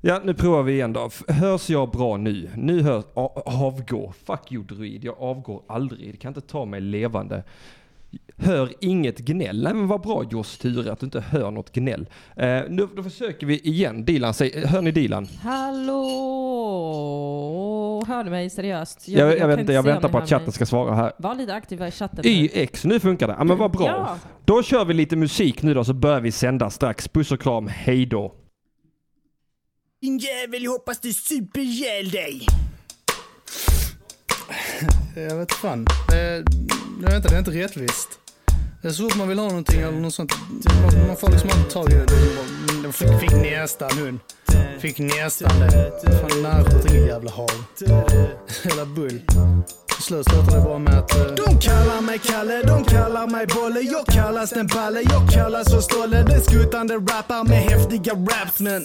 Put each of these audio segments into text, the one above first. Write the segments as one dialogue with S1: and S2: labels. S1: Ja, nu provar vi igen då. F- Hörs jag bra nu? Nu hörs... a- Avgå. Fuck you druid, jag avgår aldrig. Det kan inte ta mig levande. Hör inget gnäll. Nej, men vad bra Joss Ture att du inte hör något gnäll. Eh, nu, då försöker vi igen. Dilan, säg, hör ni Dilan?
S2: Hallå! Hör du mig seriöst?
S1: Jag, jag,
S2: kan
S1: vet inte, jag
S2: se om
S1: väntar
S2: ni
S1: på
S2: hör
S1: att chatten
S2: mig.
S1: ska svara här.
S2: Var lite aktiva i chatten. nu.
S1: YX, nu funkar det. Ja, men vad bra.
S2: Ja.
S1: Då kör vi lite musik nu då så börjar vi sända strax. Puss och kram, hej då.
S3: Din jävel, jag hoppas du super ihjäl dig!
S4: Jag vet fan. Det är, jag vet inte, det är inte rättvist. Det är så fort man vill ha någonting eller något sånt. Man, man får liksom inte tag i det. Det är bara- mm, Fick, fick nästan hon. Fick nästan det. Fan nära till jävla hav. Hela bull. Till slut slutade det bara med att... eh,
S3: De kallar mig Kalle, de kallar mig Bolle Jag kallas den Palle, jag kallas för Stolle Den skuttande rappar med häftiga raps men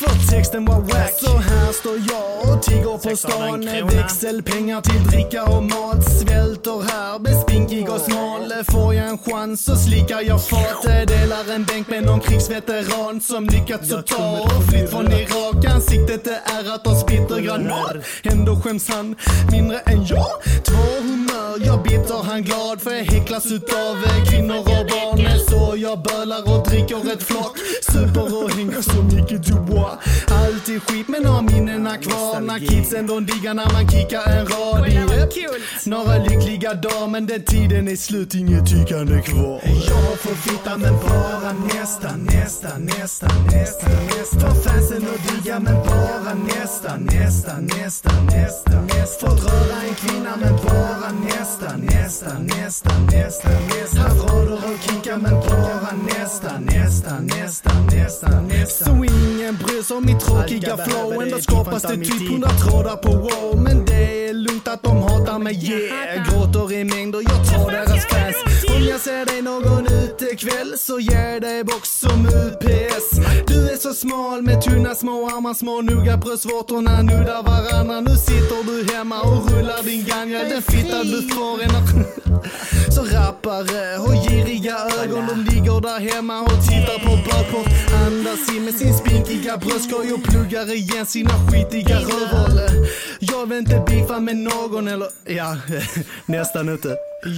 S3: för texten var wack Så här står jag och tigger på
S4: 600
S3: stan
S4: krona.
S3: Växelpengar till dricka och mat Svälter här, blir spinkig och smal Får jag en chans så slickar jag fat Delar en bänk med någon krigsveteran Som lyckats att ta och flytt från Irak Ansiktet det är att de spiter granat Ändå skäms han mindre än jag Två humör, jag bitter, han glad För jag häcklas utav eh, kvinnor och barn Men så jag bölar och dricker ett flock Super och hänger så mycket Dubois Alltid skit men har minnena kvar När kidsen de diggar när man kickar en rad i ett. Några lyckliga dagar men den tiden är slut, inget tyckande kvar Jag får fitta men bara nästa, nästa, nästa, nästa, nästa För fansen och digga men bara nästa, nästa, nästa, nästa, nästa Fått röra en kvinna men bara nästa, nästa, nästa, nästa, nästa Haft rader och kickar men bara nästa, nästa, nästa, nästa, nästa Så ingen bryr sig om mitt tråkiga flow Ändå skapas det typ hundra trådar på wow Men det är lugnt att de hatar mig, yeah Jag Gråter i mängder, jag tar deras fans Om jag ser dig någon utekväll så ger dig box som UPS Du är så smal med tunna små armar, små nugga bröstvårtorna nuddar varandra Nu sitter du hemma och rullar din ganja, den fitta du får en Så rappare och giriga ögon, de ligger där hemma och tittar på bögpop Andas in med sin spinkiga bröstkorg och pluggar igen sina skitiga rövhål Jag vill inte beefa med någon eller, ja, nästan inte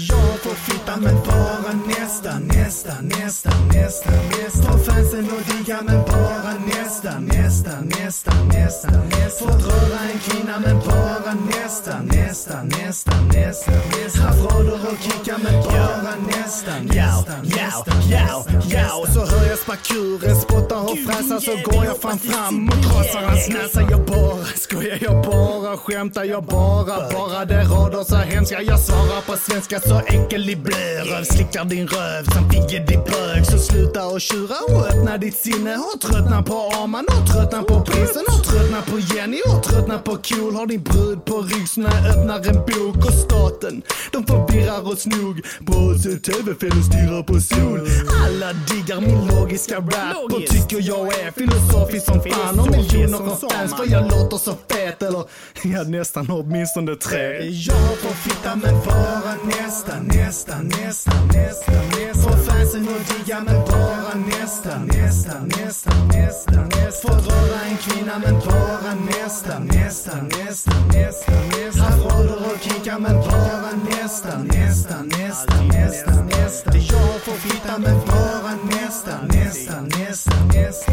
S3: jag får fitta men bara nästa, nästa, nästa, nästa, nästa Får fansen och digga men bara nästa, nästa, nästa, nästa, nästa Får röra en kvinna men bara nästa, nästa, nästa, nästa, nästa Haft rader och kickar men bara nästa, nästa, nästa, nästa, nästa Så hör jag sparkuren spotta och fräsa så går jag fan fram och krossar hans näsa Jag bara skojar, jag bara skämtar, jag bara, bara det rader så hemska Jag svarar på svenska så äcklig blöd Slickar din röv som figger din bög Så sluta och tjura och öppna ditt sinne Och tröttna på Arman och tröttna på prinsen Och tröttna på Jenny och tröttna på Cool Har din brud på rygg så när jag öppnar en bok Och staten, de förvirrar oss nog På sig tv-fel och stirrar på sol Alla diggar min logiska rap Och tycker jag är filosofisk som fan Och miljoner av fans för jag låter så fet Eller, jag nästan har åtminstone tre Jag får fitta men bara nästa, nästa, nästa, nästa, nästa Får fansen och digga men bara nästa, nästa, nästa, nästa, nästa Får röra en kvinna men bara nästa, nästa, nästa, nästa, nästa Haft rader och kickar men bara nästa, nästa, nästa, nästa, nästa Jag får fitta men bara nästa, nästa, nästa, nästa, nästa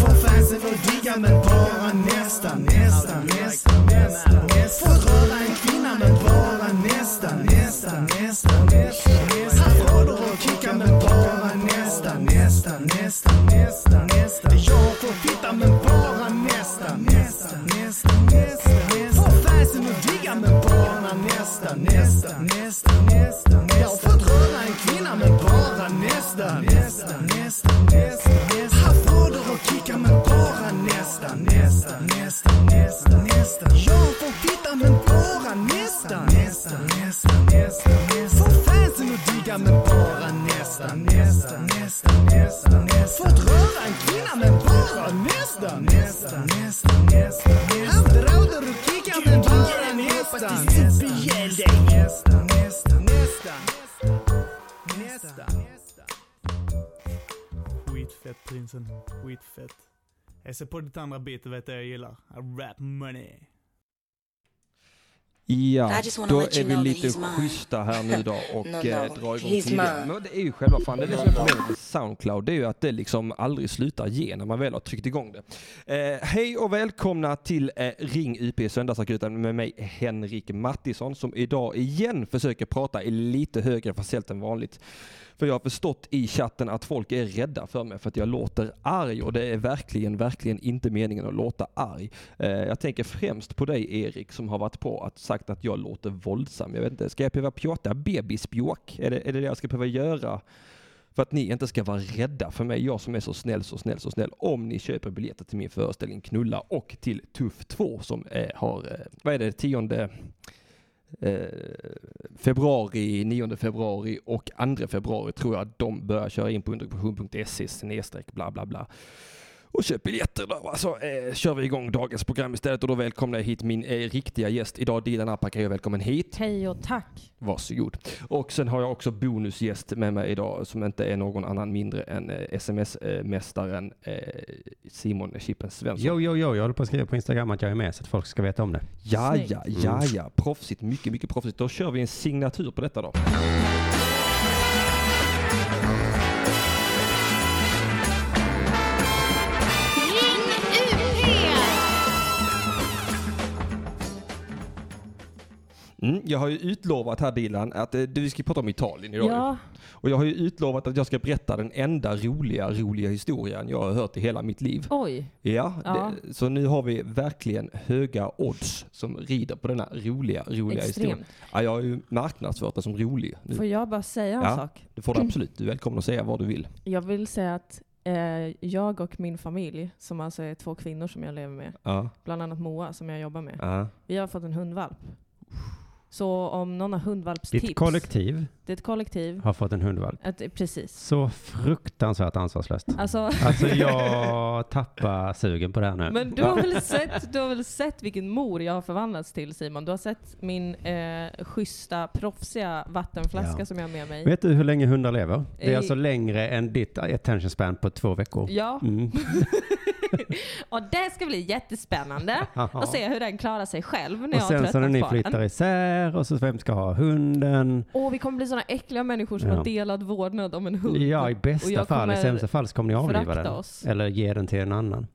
S3: Får fansen och digga men bara nästa, nästa, nästa, nästa, nästa Får röra en kvinna men bara nästa, nästa, nästa, nästa, nästa Rader och kickar men bara nästa, nästa, nästa, nästa, nästa Jag får fitta men bara nästa, nästa, nästa, nästa, nästa Får fansen och digga men bara nästa, nästa, nästa, nästa, nästa Jag har fått röra en kvinna men bara nästa, nästa, nästa, nästa, nästa Haft rader och kickar men bara nästa, nästa, nästa, nästa, nästa Jag får fitta men bara nästa, nästa, nästa, nästa, nästa Får fansen och digga men bara nästa, nästa, nästa, nästa, nästa Fått röra en kvinna men bara nästa, nästa, nästa, nästa, nästa Haft rader och kickar men bara nästa, nästa, nästa, nästa, nästa, nästa, nästa, nästa
S4: Skitfett prinsen, skitfett.
S5: Jag ser på ditt andra bit och vet jag gillar. Rap money.
S1: Ja,
S6: I just wanna
S1: då
S6: let
S1: är
S6: you
S1: vi
S6: know that
S1: lite
S6: he's mine.
S1: schyssta här nu då och
S6: No, no,
S1: eh, drar igång
S6: he's
S1: tidigare.
S6: mine.
S1: Men det är ju själva fan, det är det som är problemet med Soundcloud, det är ju att det liksom aldrig slutar ge när man väl har tryckt igång det. Eh, hej och välkomna till eh, Ring UP Söndagsakuten med mig Henrik Mattisson som idag igen försöker prata i lite högre falsett än vanligt. För jag har förstått i chatten att folk är rädda för mig för att jag låter arg och det är verkligen, verkligen inte meningen att låta arg. Eh, jag tänker främst på dig Erik som har varit på att sagt att jag låter våldsam. Jag vet inte, ska jag behöva pjata bebisbjåk? Är det, är det det jag ska behöva göra? För att ni inte ska vara rädda för mig, jag som är så snäll, så snäll, så snäll. Om ni köper biljetter till min föreställning Knulla och till Tuff 2 som eh, har, eh, vad är det, 10 eh, februari, 9 februari och 2 februari tror jag att de börjar köra in på underproduktion.se E snedstreck bla bla bla. Och köp biljetter då. Alltså, eh, kör vi igång dagens program istället och då välkomnar jag hit min eh, riktiga gäst idag, Dilan Apaka. Välkommen hit.
S2: Hej och tack.
S1: Varsågod. Och sen har jag också bonusgäst med mig idag som inte är någon annan mindre än eh, sms-mästaren eh, Simon Chippen Svensson.
S7: Jo, jo, jo, jag håller på att skriva på Instagram att jag är med så att folk ska veta om det.
S1: Ja,
S2: Snyggt.
S1: ja, ja, ja. Proffsigt. Mycket, mycket proffsigt. Då kör vi en signatur på detta då. Mm, jag har ju utlovat här Dilan att eh, du- vi ska prata om Italien idag. ju.
S2: Ja,
S1: Och jag har ju utlovat att jag ska berätta den enda roliga, roliga historien jag har hört i hela mitt liv.
S2: oj.
S1: Ja,
S2: Ja.
S1: Det, så nu har vi verkligen höga odds som rider på denna roliga, roliga historia.
S2: Extremt.
S1: Ja, jag har ju marknadsfört den som rolig. Nu.
S2: Får jag bara säga en
S1: Ja.
S2: sak?
S1: Det får du absolut. Du är välkommen att säga vad du vill.
S2: Jag vill säga att eh, jag och min familj, som alltså är två kvinnor som jag lever med,
S1: Ja.
S2: bland annat Moa som jag jobbar med,
S1: Ja.
S2: vi har fått en hundvalp. Så om någon har hundvalpstips.
S7: Ditt kollektiv
S2: Det är ett kollektiv.
S7: har fått en hundvalp.
S2: Att, precis.
S7: Så fruktansvärt ansvarslöst.
S2: Alltså,
S7: Alltså jag tappar sugen på det här nu.
S2: Men du har, väl sett, du har väl sett vilken mor jag har förvandlats till Simon? Du har sett min eh, schyssta, proffsiga vattenflaska
S7: Ja.
S2: som jag har med mig?
S7: Vet du hur länge hundar lever? Det är
S2: Eh,
S7: alltså längre än ditt attention span på två veckor.
S2: Ja,
S7: Mm.
S2: och det ska bli jättespännande att se hur den klarar sig själv när
S7: Och
S2: jag har
S7: sen så när
S2: tröttnat
S7: ni
S2: på den.
S7: flyttar isär och så vem ska ha hunden?
S2: Åh, vi kommer bli sådana äckliga människor som
S7: Ja.
S2: har delad vårdnad om en hund.
S7: Ja, i
S2: Och
S7: bästa
S2: jag
S7: fall. I
S2: kommer
S7: sämsta fall så kommer ni avliva
S2: förakta
S7: den.
S2: oss. Mm.
S7: Eller ge den till en annan.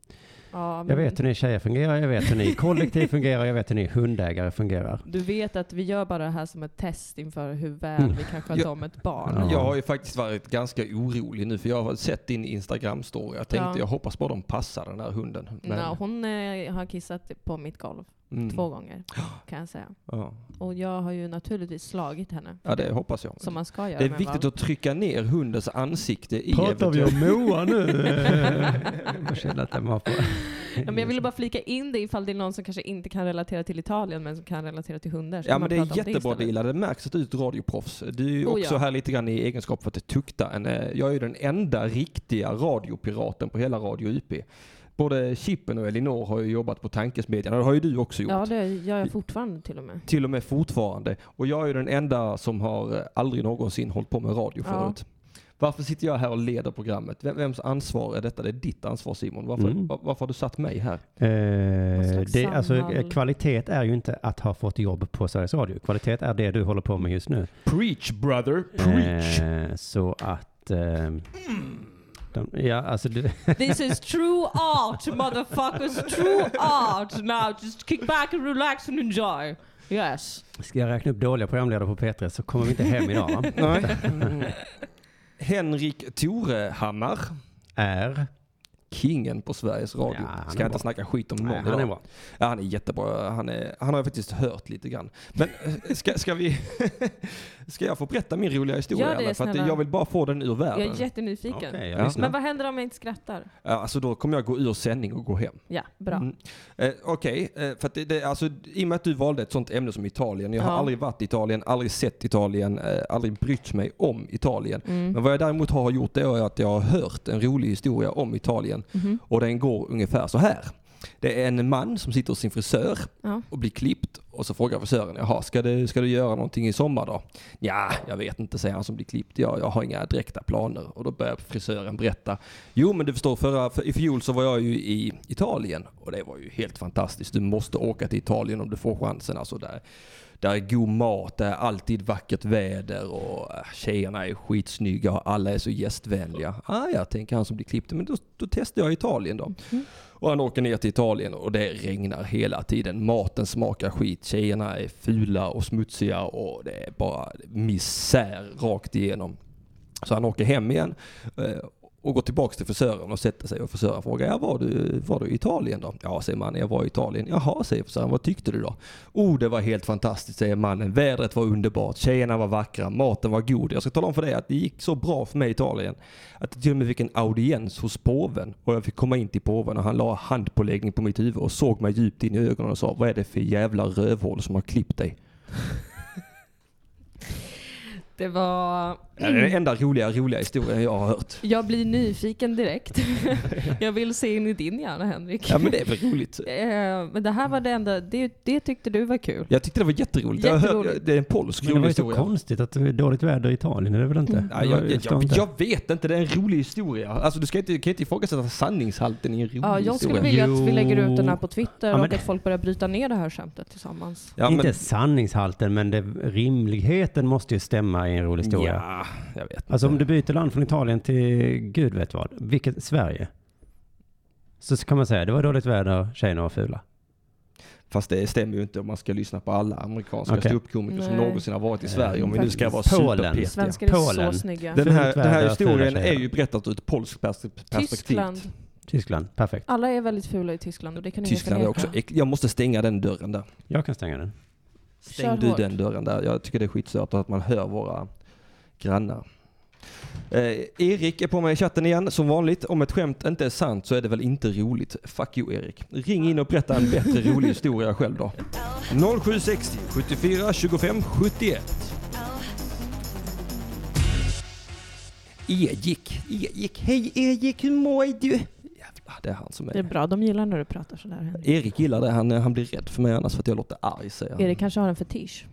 S2: Ja, men
S7: Jag vet hur ni tjejer fungerar, jag vet hur ni kollektiv fungerar, jag vet hur ni hundägare fungerar.
S2: Du vet att vi gör bara det här som ett test inför hur väl
S7: Mm.
S2: vi kan sköta
S1: Ja.
S2: om ett barn.
S7: Ja.
S1: Jag har ju faktiskt varit ganska orolig nu för jag har sett din Instagram-story. Jag tänkte
S2: Ja.
S1: jag hoppas bara de passar den där hunden. Men,
S2: Nå, hon eh, har kissat på mitt golv
S1: mm,
S2: två gånger, kan jag säga.
S1: Ja.
S2: Och jag har ju naturligtvis slagit henne.
S1: ja, det hoppas jag.
S2: Som man ska göra
S1: Det är
S2: med
S1: viktigt
S2: barn.
S1: att trycka ner hundens ansikte i
S7: Pratar vi
S1: eventuellt-
S7: om Moa nu? Jag känner att den var på.
S2: Ja, men jag ville bara flika in det ifall det är någon som kanske inte kan relatera till Italien men som kan relatera till hundar. Så
S1: Ja
S2: kan
S1: men det
S2: man prata
S1: är
S2: om
S1: jättebra
S2: istället.
S1: Dila, det märks att du är ett radioproffs. Du är ju
S2: Oh,
S1: också
S2: ja.
S1: här lite grann i egenskap för att tukta en, eh, jag är ju den enda riktiga radiopiraten på hela Radio UP. Både Chippen och Elinor har ju jobbat på Tankesmedjan och det har ju du också gjort.
S2: Ja det gör jag fortfarande till och med.
S1: Till och med fortfarande. Och jag är ju den enda som har eh, aldrig någonsin hållit på med radio
S2: Ja.
S1: förut. Varför sitter jag här och leder programmet? Vem, vems ansvar är detta? Det är ditt ansvar Simon. Varför,
S7: Mm.
S1: va- varför har du satt mig här?
S7: Eh,
S2: slags
S7: det, alltså,
S2: Samhall.
S7: kvalitet är ju inte att ha fått jobb på Sveriges Radio. Kvalitet är det du håller på med just nu.
S1: Preach brother,
S7: Eh, så att... Eh, de, ja, alltså du,
S2: This is true art motherfuckers, true art! Now just kick back and relax and enjoy. Yes.
S7: ska jag räkna upp dåliga programledare på P3 så kommer vi inte hem idag. Va?
S1: Nej. Mm. Henrik Torehammar.
S7: Är...
S1: kingen på Sveriges Radio.
S7: Ja, han
S1: Ska
S7: är
S1: inte
S7: bra.
S1: snacka skit om någon
S7: Nej, han
S1: idag.
S7: är bra.
S1: Ja, han är jättebra. Han, är, han har jag faktiskt hört lite grann. Men eh, ska, ska vi... ska jag få berätta min roliga historia?
S2: Gör det,
S1: eller? För att
S2: snälla.
S1: jag vill bara få den ur
S2: Jag
S1: världen.
S2: är jättenyfiken.
S7: Okej,
S1: Ja.
S7: jag lyssnar.
S2: Men vad händer om jag inte skrattar?
S1: Ja, alltså då kommer jag gå ur sändning och gå hem.
S2: Ja, bra.
S1: Mm. Eh, Okej, eh, för att det, det, alltså, i och med att du valde ett sånt ämne som Italien. Jag har
S2: Ja.
S1: aldrig varit i Italien, aldrig sett Italien, eh, aldrig brytt mig om Italien.
S2: Mm.
S1: Men vad jag däremot har gjort det är att jag har hört en rolig historia om Italien
S2: Mhm.
S1: och den går ungefär så här. Det är en man som sitter hos sin frisör
S2: Ja.
S1: och blir klippt och så frågar frisören, jaha, ska du, ska du göra någonting i sommar då? Ja, jag vet inte, säger han som blir klippt. Jag, jag har inga direkta planer. Och då börjar frisören berätta. Jo, men du förstår, förra, för, i fjol så var jag ju i Italien och det var ju helt fantastiskt. Du måste åka till Italien om du får chansen. Alltså där, där är god mat, där är alltid vackert väder och äh, tjejerna är skitsnygga och alla är så gästvänliga. Ah, ja, tänker han som blir klippt. Men då, då testar jag Italien då. Och han åker ner till Italien och det regnar hela tiden. Maten smakar skit, tjejerna är fula och smutsiga och det är bara misär rakt igenom. Så han åker hem igen eh, och går tillbaks till frisören och sätter sig och frisören frågar, ja var du, var du i Italien då? Ja, säger mannen, jag var i Italien. Jaha, säger frisören, vad tyckte du då? Oh, det var helt fantastiskt, säger mannen. Vädret var underbart, tjejerna var vackra, maten var god. Jag ska tala om för dig att det gick så bra för mig i Italien att jag till och med fick en audiens hos påven och jag fick komma in till påven och han la handpåläggning på mitt huvud och såg mig djupt in i ögonen och sa, vad är det för jävla rövhål som har klippt dig?
S2: Det var...
S1: Det är den enda roliga, roliga historien jag har hört.
S2: Jag blir nyfiken direkt. jag vill se in i din hjärna Henrik.
S1: Ja men det är väl roligt.
S2: Eh, Men det här var det enda, det, det tyckte du var kul.
S1: Jag tyckte det var jätteroligt. Jag har hört,
S2: Jätteroligt.
S1: det är en polsk
S7: Men det var
S1: rolig
S7: ju så
S1: historia.
S7: konstigt att det är dåligt väder i Italien, är det väl inte?
S1: Nej, jag, jag,
S7: förstår
S1: jag,
S7: inte.
S1: jag vet inte, det är en rolig historia. Alltså du ska inte, kan inte ifrågasätta sanningshalten i en rolig
S2: Ja, jag skulle
S1: historia.
S2: vilja att vi lägger ut den här
S7: Jo.
S2: på Twitter
S7: Ja, men
S2: och
S7: det-
S2: att folk börjar bryta ner det här skämtet tillsammans.
S1: Ja,
S7: Inte
S1: men,
S7: sanningshalten, men det, rimligheten måste ju stämma i en rolig historia.
S1: ja, jag vet
S7: Alltså om
S1: inte.
S7: du byter land från Italien till gud vet vad, vilket Sverige. Så kan man säga, det var dåligt väder, tjejerna var fula.
S1: Fast det stämmer ju inte om man ska lyssna på alla amerikanska
S7: Okej.
S1: ståuppkomiker som
S2: Nej.
S1: någonsin har varit i Sverige. Om vi nu ska vara
S7: Faktiskt. Polen.
S1: superpetiga.
S2: Svenskar är
S7: Polen.
S2: så snygga.
S1: Den här,
S7: Fult
S1: den här
S7: väder,
S1: historien
S7: fula
S1: är
S7: tjejer.
S1: ju berättad ur ett polskt pers- perspektiv.
S2: Tyskland.
S7: Tyskland, perfekt.
S2: Alla är väldigt fula i Tyskland och det kan ingen
S1: Tyskland är
S2: förneka.
S1: också äckligt. Jag måste stänga den dörren där.
S7: Jag kan stänga den.
S2: Kör
S1: Stäng du
S2: hårt.
S1: den dörren där. Jag tycker det är skitsört att man hör våra grannar. Eh, Erik är på mig i chatten igen som vanligt. Om ett skämt inte är sant så är det väl inte roligt. Fuck you Erik. Ring in och berätta en bättre rolig historia själv då. 0760 74 25 71. Erik, Erik, hej Erik, hur mår du? Jävlar, det är han som
S2: Det är
S1: är...
S2: bra, de gillar när du pratar sådär Henrik.
S1: Erik gillar det, han, han blir rädd för mig annars för att jag låter arg säger han.
S2: Erik kanske har en fetisch.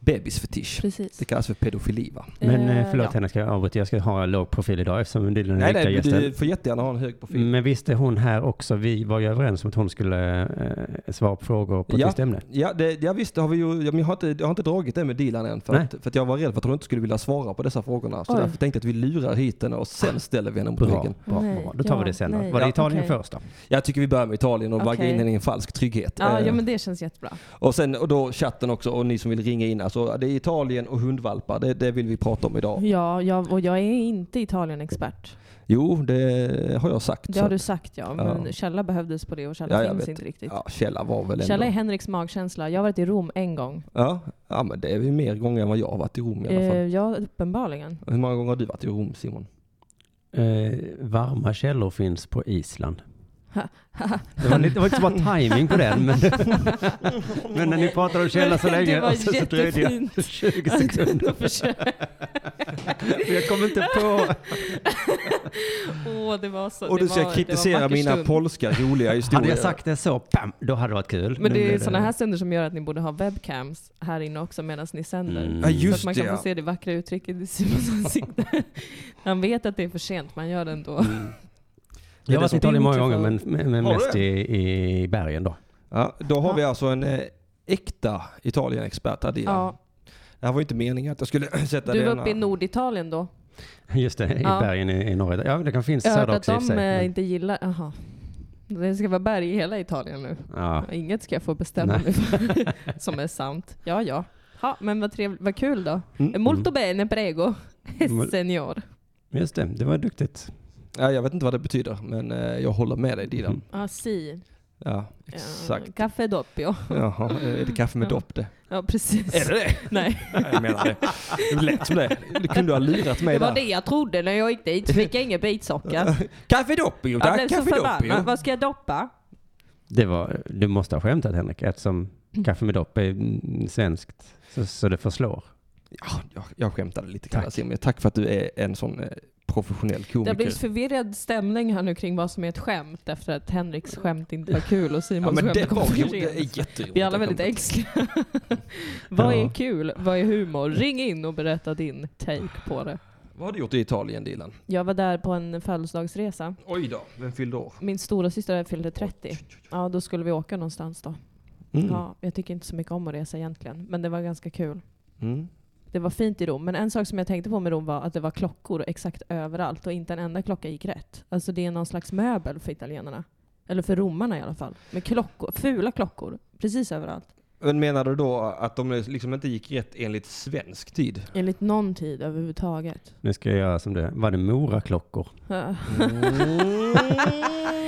S1: Bebisfetisch.
S2: Precis.
S1: Det kallas för pedofili va?
S7: Men
S2: Eh,
S7: eh, förlåt
S2: ja.
S7: Henrik, ska jag avbryta? Jag ska ha en låg profil idag eftersom Dylan är
S1: Nej,
S7: riktiga
S1: nej,
S7: gästen. Mm.
S1: du får jättegärna ha en hög profil.
S7: Men visst är hon här också? Vi var ju överens om att hon skulle eh, svara på frågor på ett
S1: Ja.
S7: visst ämne.
S1: Ja, det, ja visst, det har vi ju, ja, men jag, har inte, jag har inte dragit det med Dilan än för,
S7: Nej.
S1: att, för att jag var rädd för att hon inte skulle vilja svara på dessa frågorna. Så
S2: Oj.
S1: därför tänkte jag att vi lurar hit henne och sen ställer vi henne mot
S7: Ah. Bra,
S1: väggen.
S7: bra,
S2: Nej,
S7: bra. Då tar vi
S2: ja,
S7: det sen då.
S2: nej.
S7: Var det
S1: Ja,
S7: Italien
S2: okej.
S7: först då?
S1: Jag tycker vi börjar med Italien och vaggar
S2: Okej.
S1: in henne i en falsk trygghet.
S2: Ja,
S1: Eh,
S2: ja, men det känns jättebra.
S1: Och sen och då chatten också och ni som vill ringa in. Alltså, det är Italien och hundvalpar, det, det vill vi prata om idag.
S2: Ja, jag, och jag är inte Italienexpert.
S1: Jo, det har jag sagt.
S2: Det
S1: så
S2: har
S1: att-
S2: du sagt ja, men
S1: ja.
S2: källa behövdes på det och
S1: Ja,
S2: källa
S1: jag
S2: finns
S1: vet.
S2: inte riktigt.
S1: ja, Källa var väl ändå...
S2: Källa är Henriks magkänsla. Jag har varit i Rom en gång.
S1: ja, ja, men det är väl mer gånger än vad jag har varit i Rom i alla fall.
S2: Eh, ja, uppenbarligen.
S1: Hur många gånger har du varit i Rom Simon?
S7: Eh, varma källor finns på Island. Det var, lite, det var inte så bra timing på den, men, men när ni pratade om källa så länge
S2: det var
S7: och så, så dröjde jag
S2: jättefint.
S7: 20
S2: att du
S7: sekunder.
S2: ändå försöker.
S7: Men jag kom inte på.
S2: Åh, det var så.
S1: Och
S2: det
S1: du ska
S2: var, det var
S1: kritisera
S2: en vacker
S1: mina
S2: stund.
S1: polska roliga historier.
S7: Hade jag sagt det så, bam, då hade det varit kul.
S2: Men
S7: Nu
S2: det är
S7: blev
S2: sådana här stunder som gör att ni borde ha webcams här inne också medan ni sänder.
S7: Mm.
S1: Ja
S2: Så att
S1: just
S2: man
S1: det.
S2: kan
S1: ja.
S2: få se det vackra uttrycket i Simons ansikte. Han vet att det är för sent, man gör det ändå.
S7: Jag har varit i Italien många gånger,
S2: Beautiful.
S7: men, men, men
S1: Har du
S7: mest
S1: det?
S7: i, i bergen då.
S1: Ja, då har vi alltså en eh, äkta Italien-expert här.
S2: Ja.
S1: Ja. Det här var ju inte meningen att jag skulle sätta
S2: Du
S1: denna.
S2: var uppe i Norditalien då?
S7: Just det, i
S2: Ja.
S7: bergen i, i norra Italien. Ja, det kan finnas
S2: Jag har
S7: söder
S2: hört att
S7: också i och för
S2: de
S7: sig.
S2: eh,
S7: men-
S2: inte gillar... Aha. Det ska vara berg i hela Italien nu.
S7: Ja.
S2: Inget ska jag få bestämma
S7: Nej.
S2: mig för som är sant. Ja, ja. Ha, men vad, trevligt, vad kul då.
S1: Mm.
S2: Molto bene prego,
S7: Mm.
S2: senior.
S7: Just det, det var duktigt.
S1: Ja, jag vet inte vad det betyder, men eh, jag håller med dig Dilan.
S7: Mm.
S2: Ah, si.
S1: Ja,
S2: Ja,
S1: exakt.
S2: Caffè doppio.
S1: Jaha, eh, är det kaffe med
S2: Ja.
S1: dopp det?
S2: Ja, precis.
S1: Är det det?
S2: Nej,
S1: Nej, jag menar det. Det lät som det. Det kunde du ha lurat mig
S2: det var
S1: där.
S2: det jag trodde när jag gick dit. Fick jag ingen bitsocker.
S1: Kaffe doppio
S2: Jag
S1: tack,
S2: blev så
S1: kaffe doppio.
S2: förbannad. Vad ska jag doppa?
S7: Det var, du måste ha skämtat Henrik, eftersom kaffe med dopp är mm, svenskt. Så, så det förslår.
S1: Ja, jag, jag skämtade lite kan
S7: Tack.
S1: jag säga, men tack för att du är en sån eh, professionell
S2: Det
S1: komiker.
S2: har blivit förvirrad stämning här nu kring vad som är ett skämt efter att Henriks skämt inte var kul och
S1: ja,
S2: Simons
S1: men
S2: skämt
S1: det
S2: kom
S1: var
S2: för
S1: ju,
S2: sent.
S1: det är jätteroligt.
S2: Vi är alla
S1: det
S2: väldigt
S1: skämtet.
S2: ängsliga. vad
S7: Ja.
S2: är kul? Vad är humor? Ring in och berätta din take på det.
S1: Vad har du gjort i Italien Dilan?
S2: Jag var där på en födelsedagsresa.
S1: Oj då, vem fyllde år?
S2: Min stora syster fyllde 30. Ja, då skulle vi åka någonstans då.
S1: Mm.
S2: Ja, jag tycker inte så mycket om att resa egentligen, men det var ganska kul.
S1: Mm.
S2: Det var fint i Rom, men en sak som jag tänkte på med Rom var att det var klockor exakt överallt och inte en enda klocka gick rätt. Alltså det är någon slags möbel för italienarna. Eller för romarna i alla fall. Med klockor, fula klockor, precis överallt.
S1: Men menar du då att de liksom inte gick rätt enligt svensk tid?
S2: Enligt någon tid överhuvudtaget.
S7: Nu ska jag göra som det. Var det Moraklockor?
S2: Ja.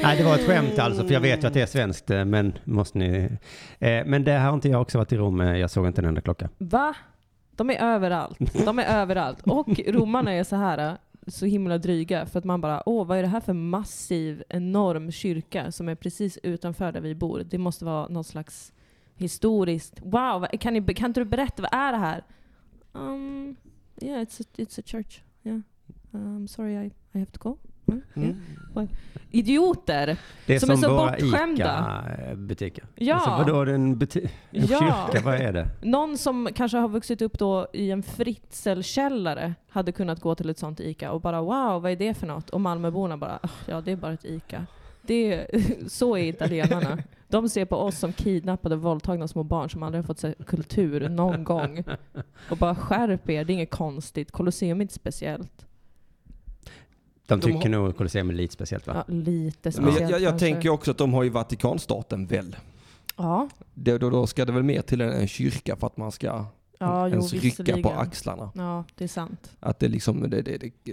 S7: Nej, det var ett skämt alltså, för jag vet ju att det är svenskt, eh, men måste ni... Eh, men det här har inte jag också varit i Rom, eh, jag såg inte en enda klocka.
S2: Va? De är överallt. De är överallt. Och romarna är så här äh, så himla dryga för att man bara åh vad är det här för massiv enorm kyrka som är precis utanför där vi bor. Det måste vara någon slags historiskt. Wow, vad- kan, ni, kan inte du berätta vad är det här? Um, yeah, it's a, it's a church. Yeah. Um, sorry I, I have to go. Mm, yeah.
S1: Mm.
S2: Idioter!
S7: Det är
S2: Som
S7: som,
S2: är så
S7: våra
S2: bortskämda.
S7: ICA-butiker.
S2: Ja.
S7: Alltså, vadå, det är en, buti- en
S2: Ja.
S7: kyrka? Vad är det?
S2: Någon som kanske har vuxit upp då i en fritzelkällare hade kunnat gå till ett sånt ICA och bara wow, vad är det för något? Och Malmöborna bara, "Ah, ja det är bara ett ICA. Det är, så är italienarna. De ser på oss som kidnappade och våldtagna små barn som aldrig har fått se kultur någon gång. Och bara skärp er, det är inget konstigt. Colosseum är inte speciellt.
S1: De
S7: De tycker
S1: har-
S7: nog Colosseum är lite speciellt va?
S2: Ja, lite
S1: Men
S2: speciellt
S1: jag, jag, jag
S2: kanske.
S1: tänker också att de har ju Vatikanstaten väl?
S2: Ja,
S1: Då, då, då ska det väl mer till en, en kyrka för att man ska
S2: ja jo,
S1: ens rycka på
S2: visserligen.
S1: axlarna.
S2: Ja, det är sant.
S1: Att det liksom, det, det, det, det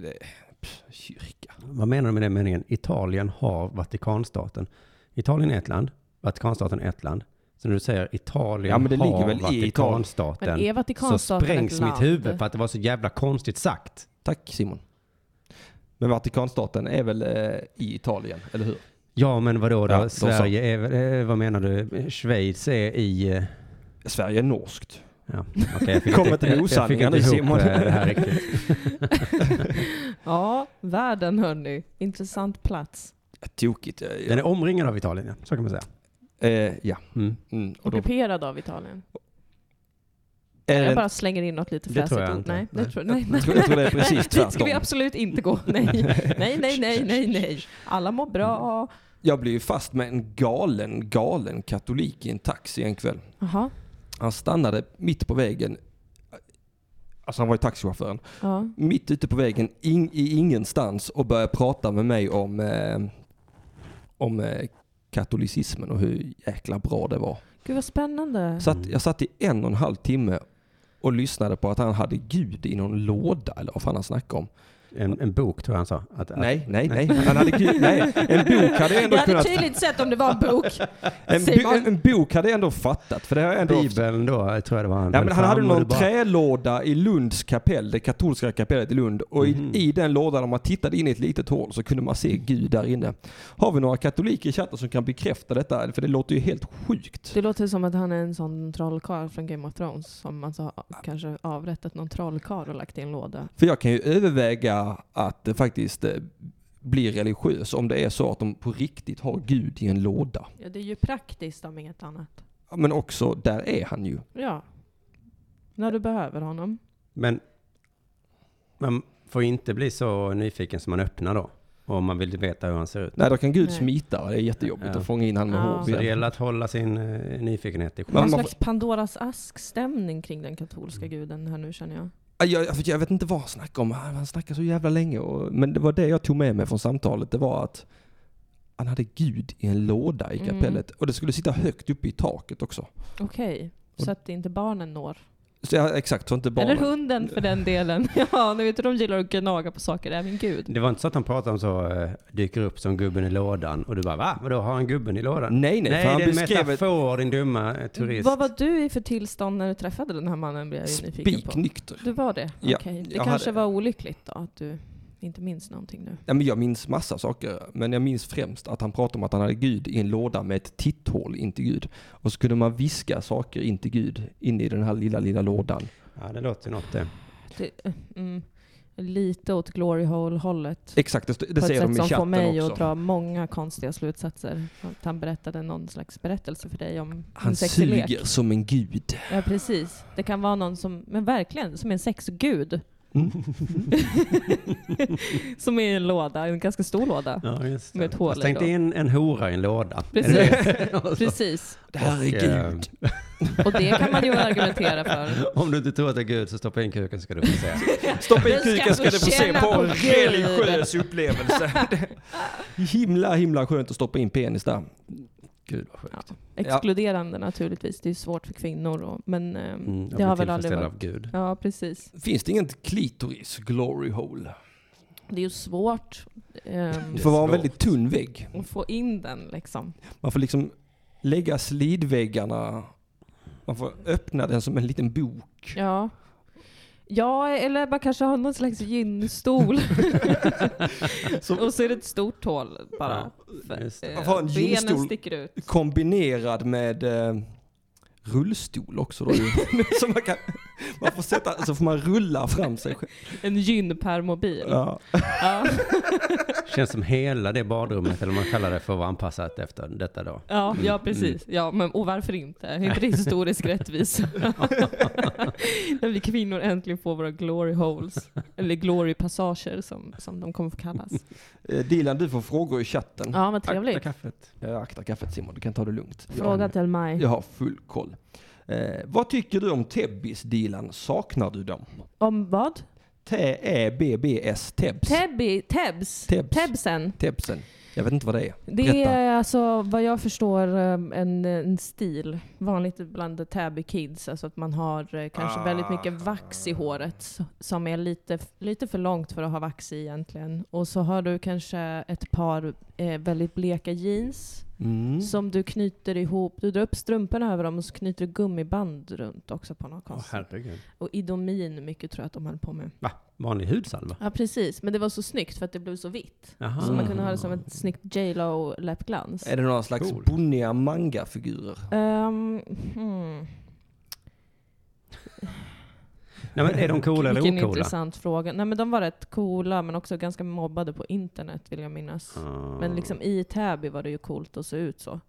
S1: pff, kyrka.
S7: Vad menar du med den meningen? Italien har Vatikanstaten. Italien är ett land, Vatikanstaten är ett land. Så när du säger Italien
S1: Ja, men det
S7: har
S1: ligger väl i Italien.
S7: Vatikanstaten
S2: Men är
S7: så
S2: Vatikanstaten
S7: sprängs
S2: ett land?
S7: mitt huvud för att det var så jävla konstigt sagt.
S1: Tack Simon. Men Vatikanstaten är väl eh, i Italien, eller hur?
S7: Ja, men vadå då?
S1: Ja, de sa-
S7: Sverige är väl- eh, vad menar du? Schweiz är i... eh,
S1: Sverige är norskt.
S7: Ja, okej, jag fick
S1: Kom inte med
S7: jag- jag fick
S1: osanningar
S7: inte
S1: nu,
S7: ihop,
S1: Simon.
S7: eh, Det här riktigt.
S2: Ja, världen hörni. Intressant plats.
S1: Tokigt. Eh,
S7: Den är omringad av Italien, ja. så kan man säga.
S1: eh, ja.
S7: Mm.
S1: Mm. Och då,
S2: Ockuperad av Italien.
S1: är
S2: Jag
S1: det,
S2: bara slänger in något lite
S7: Det
S2: fräsigt.
S7: tror jag
S2: ord.
S7: inte.
S2: Nej, det
S7: Nej.
S2: tror, nej, nej.
S1: jag, tror, jag tror det är precis
S2: Dit ska vi
S1: tvärtom.
S2: absolut inte gå. Nej, nej, nej, nej, nej. nej. Alla mår bra.
S1: Jag blev ju fast med en galen, galen katolik i en taxi en kväll.
S2: Jaha.
S1: Han stannade mitt på vägen. Alltså han var ju taxichauffören.
S2: Ja.
S1: Mitt ute på vägen in, i ingenstans och började prata med mig om, eh, om eh, katolicismen och hur jäkla bra det var.
S2: Gud vad spännande.
S1: Så att, jag satt i en och en halv timme och lyssnade på att han hade Gud i någon låda eller vad fan han snackade om.
S7: En, en bok tror jag han sa. Att, att,
S1: Nej, nej, nej. Han hade Gud, nej. En bok hade jag ändå
S2: Jag hade
S1: kunnat...
S2: tydligt sett om det var en bok.
S1: En, bo,
S2: Simon.
S1: en, en bok hade jag ändå fattat. För det har jag ändå...
S7: Bibeln då, jag tror jag det var han.
S1: Ja,
S7: höll
S1: men han hade
S7: fram och
S1: någon
S7: du bara-
S1: trälåda i Lunds kapell, det katolska kapellet i Lund. Och
S7: Mhm. Mm.
S1: i, i den lådan, om man tittade in i ett litet hål, så kunde man se Gud där inne. Har vi några katoliker i chatten som kan bekräfta detta? För det låter ju helt sjukt.
S2: Det låter som att han är en sån trollkarl från Game of Thrones som alltså kanske avrättat någon trollkarl och lagt i en låda.
S1: För jag kan ju överväga att eh, faktiskt eh, bli religiös om det är så att de på riktigt har Gud i en låda.
S2: Ja, det är ju praktiskt om inget annat.
S1: Ja, Men också, där är han ju.
S2: Ja. När du behöver honom.
S7: Men man får inte bli så nyfiken som man öppnar då. Om man vill veta hur han ser ut.
S1: Nej, då kan Gud
S2: Nej.
S1: smita. Det är jättejobbigt
S7: Ja.
S1: att fånga in han med
S2: Ja.
S1: hår.
S7: Så det gäller att hålla sin eh, nyfikenhet i schack.
S1: Man- Mm.
S2: Någon
S1: man
S2: slags Pandoras ask-stämning kring den katolska guden här nu känner jag.
S1: Ja, Jag, alltså, jag, jag vet inte vad han snackade om. Han han snackade så jävla länge. Och, men det var det jag tog med mig från samtalet. Det var att han hade Gud i en låda i
S2: Mm.
S1: kapellet. Och det skulle sitta högt uppe i taket också.
S2: Okej,
S1: Och-
S2: så att inte barnen når.
S1: Så, ja, exakt, så inte barnen...
S2: Eller hunden för den delen. Ja, ni vet hur de gillar att gnaga på saker, även gud.
S7: Det var inte så att han pratade om så, eh, dyker upp som gubben i lådan och du bara va? Vadå, har han gubben i lådan?
S1: Nej, nej.
S7: Nej,
S1: för han
S7: det är en
S1: beskrev ett
S7: metafor din dumma eh, turist.
S2: Vad var du i för tillstånd när du träffade den här mannen blev jag ju nyfiken på.
S1: spiknykter.
S2: Du var det?
S1: Ja,
S2: Okej. Det
S1: jag
S2: kanske
S1: hade-
S2: var olyckligt då, att du inte minns någonting nu.
S1: Ja, men jag minns massa saker. Men jag minns främst att han pratade om att han hade Gud i en låda med ett titthål in till Gud. Och så kunde man viska saker in till Gud inne i den här lilla, lilla lådan.
S7: Ja, det låter ju något det.
S2: Det, eh, mm. lite åt glory hole-hållet.
S1: Exakt, det, det
S2: På ett
S1: säger de
S2: sätt
S1: i
S2: som får
S1: chatten
S2: mig
S1: också.
S2: att dra många konstiga slutsatser. Att han berättade någon slags berättelse för dig om
S1: Han
S2: en sexig lek.
S1: suger som en gud.
S2: Ja, precis. Det kan vara någon som, men verkligen, som är en sexgud.
S7: Mm.
S2: som är i en låda, en ganska stor låda.
S7: Ja, just det.
S2: Med ett hål
S7: Fast Tänk
S2: ändå.
S7: dig in en hora i en låda.
S2: Precis.
S7: Och så-
S2: Precis.
S1: Det här är
S7: Och, eh,
S1: gud.
S2: Och det kan man ju argumentera för.
S7: Om du inte tror att det är Gud så stoppa in kuken ska du få se.
S1: Stoppa
S2: Du
S1: in
S2: ska
S1: kuken ska
S2: få
S1: du få se
S2: känna
S1: på
S2: på
S1: en religiös upplevelse. Det- himla, himla skönt att stoppa in penis där.
S7: Gud vad sjukt.
S2: Exkluderande naturligtvis, det är svårt för kvinnor. Och, men ehm,
S7: Mm, jag
S2: det
S7: blir
S2: har väl aldrig
S7: tillfredsställd
S2: varit...
S7: av Gud.
S2: Ja, precis.
S1: Finns det inget klitoris glory hole?
S2: Det är ju svårt ehm,
S1: Det får vara en
S7: Svårt.
S1: väldigt tunn vägg.
S2: att få in den liksom.
S1: Man får liksom lägga slidväggarna. Man får öppna den som en liten bok.
S2: Ja. Ja, eller man kanske har någon slags gynstol. och så är det ett stort hål bara. För,
S7: just det.
S2: eh,
S1: Man får ha en
S2: benen
S1: gynstol.
S2: sticker ut.
S1: Kombinerad med eh, rullstol också då ju. så man, kan, man får sätta, så får man rulla fram sig själv.
S2: En gynpermobil. Ja.
S1: Ja.
S2: Ja.
S7: Känns som hela det badrummet, eller vad man kallar det, för att vara anpassat efter detta då.
S2: Ja, precis. Ja, men, och varför inte? Är inte det historisk rättvisa? När vi kvinnor äntligen får våra glory holes. Eller glory passager som, som de kommer få kallas.
S1: Eh, Dilan, du får frågor i chatten.
S2: Ja, vad trevligt.
S7: Akta kaffet.
S1: Jag aktar kaffet Simon, du kan ta det lugnt.
S2: Fråga till mig.
S1: Jag har full koll. Eh, vad tycker du om Tebbis Dilan? Saknar du dem?
S2: Om vad?
S1: T-E-B-B-S Tebbs.
S2: Tebby, Tebs?
S1: Tebs.
S2: Tebsen?
S1: Tebsen. Jag vet inte vad det är.
S2: Det
S1: Berätta.
S2: är alltså vad jag förstår eh, en, en stil, vanligt bland Täby kids, alltså att man har eh, kanske
S1: Ah.
S2: väldigt mycket vax i håret s- som är lite, lite för långt för att ha vax i egentligen. Och så har du kanske ett par eh, väldigt bleka jeans
S1: Mm.
S2: som du knyter ihop, du drar upp strumporna över dem och så knyter du gummiband runt också på något
S7: Åh
S2: konstigt.
S7: herregud.
S2: och idomin mycket tror jag att de höll på med.
S7: Va? Vanlig hudsalva?
S2: Ja precis, men det var så snyggt för att det blev så vitt.
S7: Jaha.
S1: Ah.
S2: Så man kunde ha det som ett snyggt J.Lo läppglans.
S1: Är det några slags
S7: Cool.
S1: bonniga mangafigurer?
S2: Ehm, hmm.
S7: Nej, men är de coola eller
S2: Vilken
S7: ocoola?
S2: intressant fråga. Nej, men de var rätt coola, men också ganska mobbade på internet vill jag minnas.
S7: Ah.
S2: Men liksom i Täby var det ju coolt att se ut så.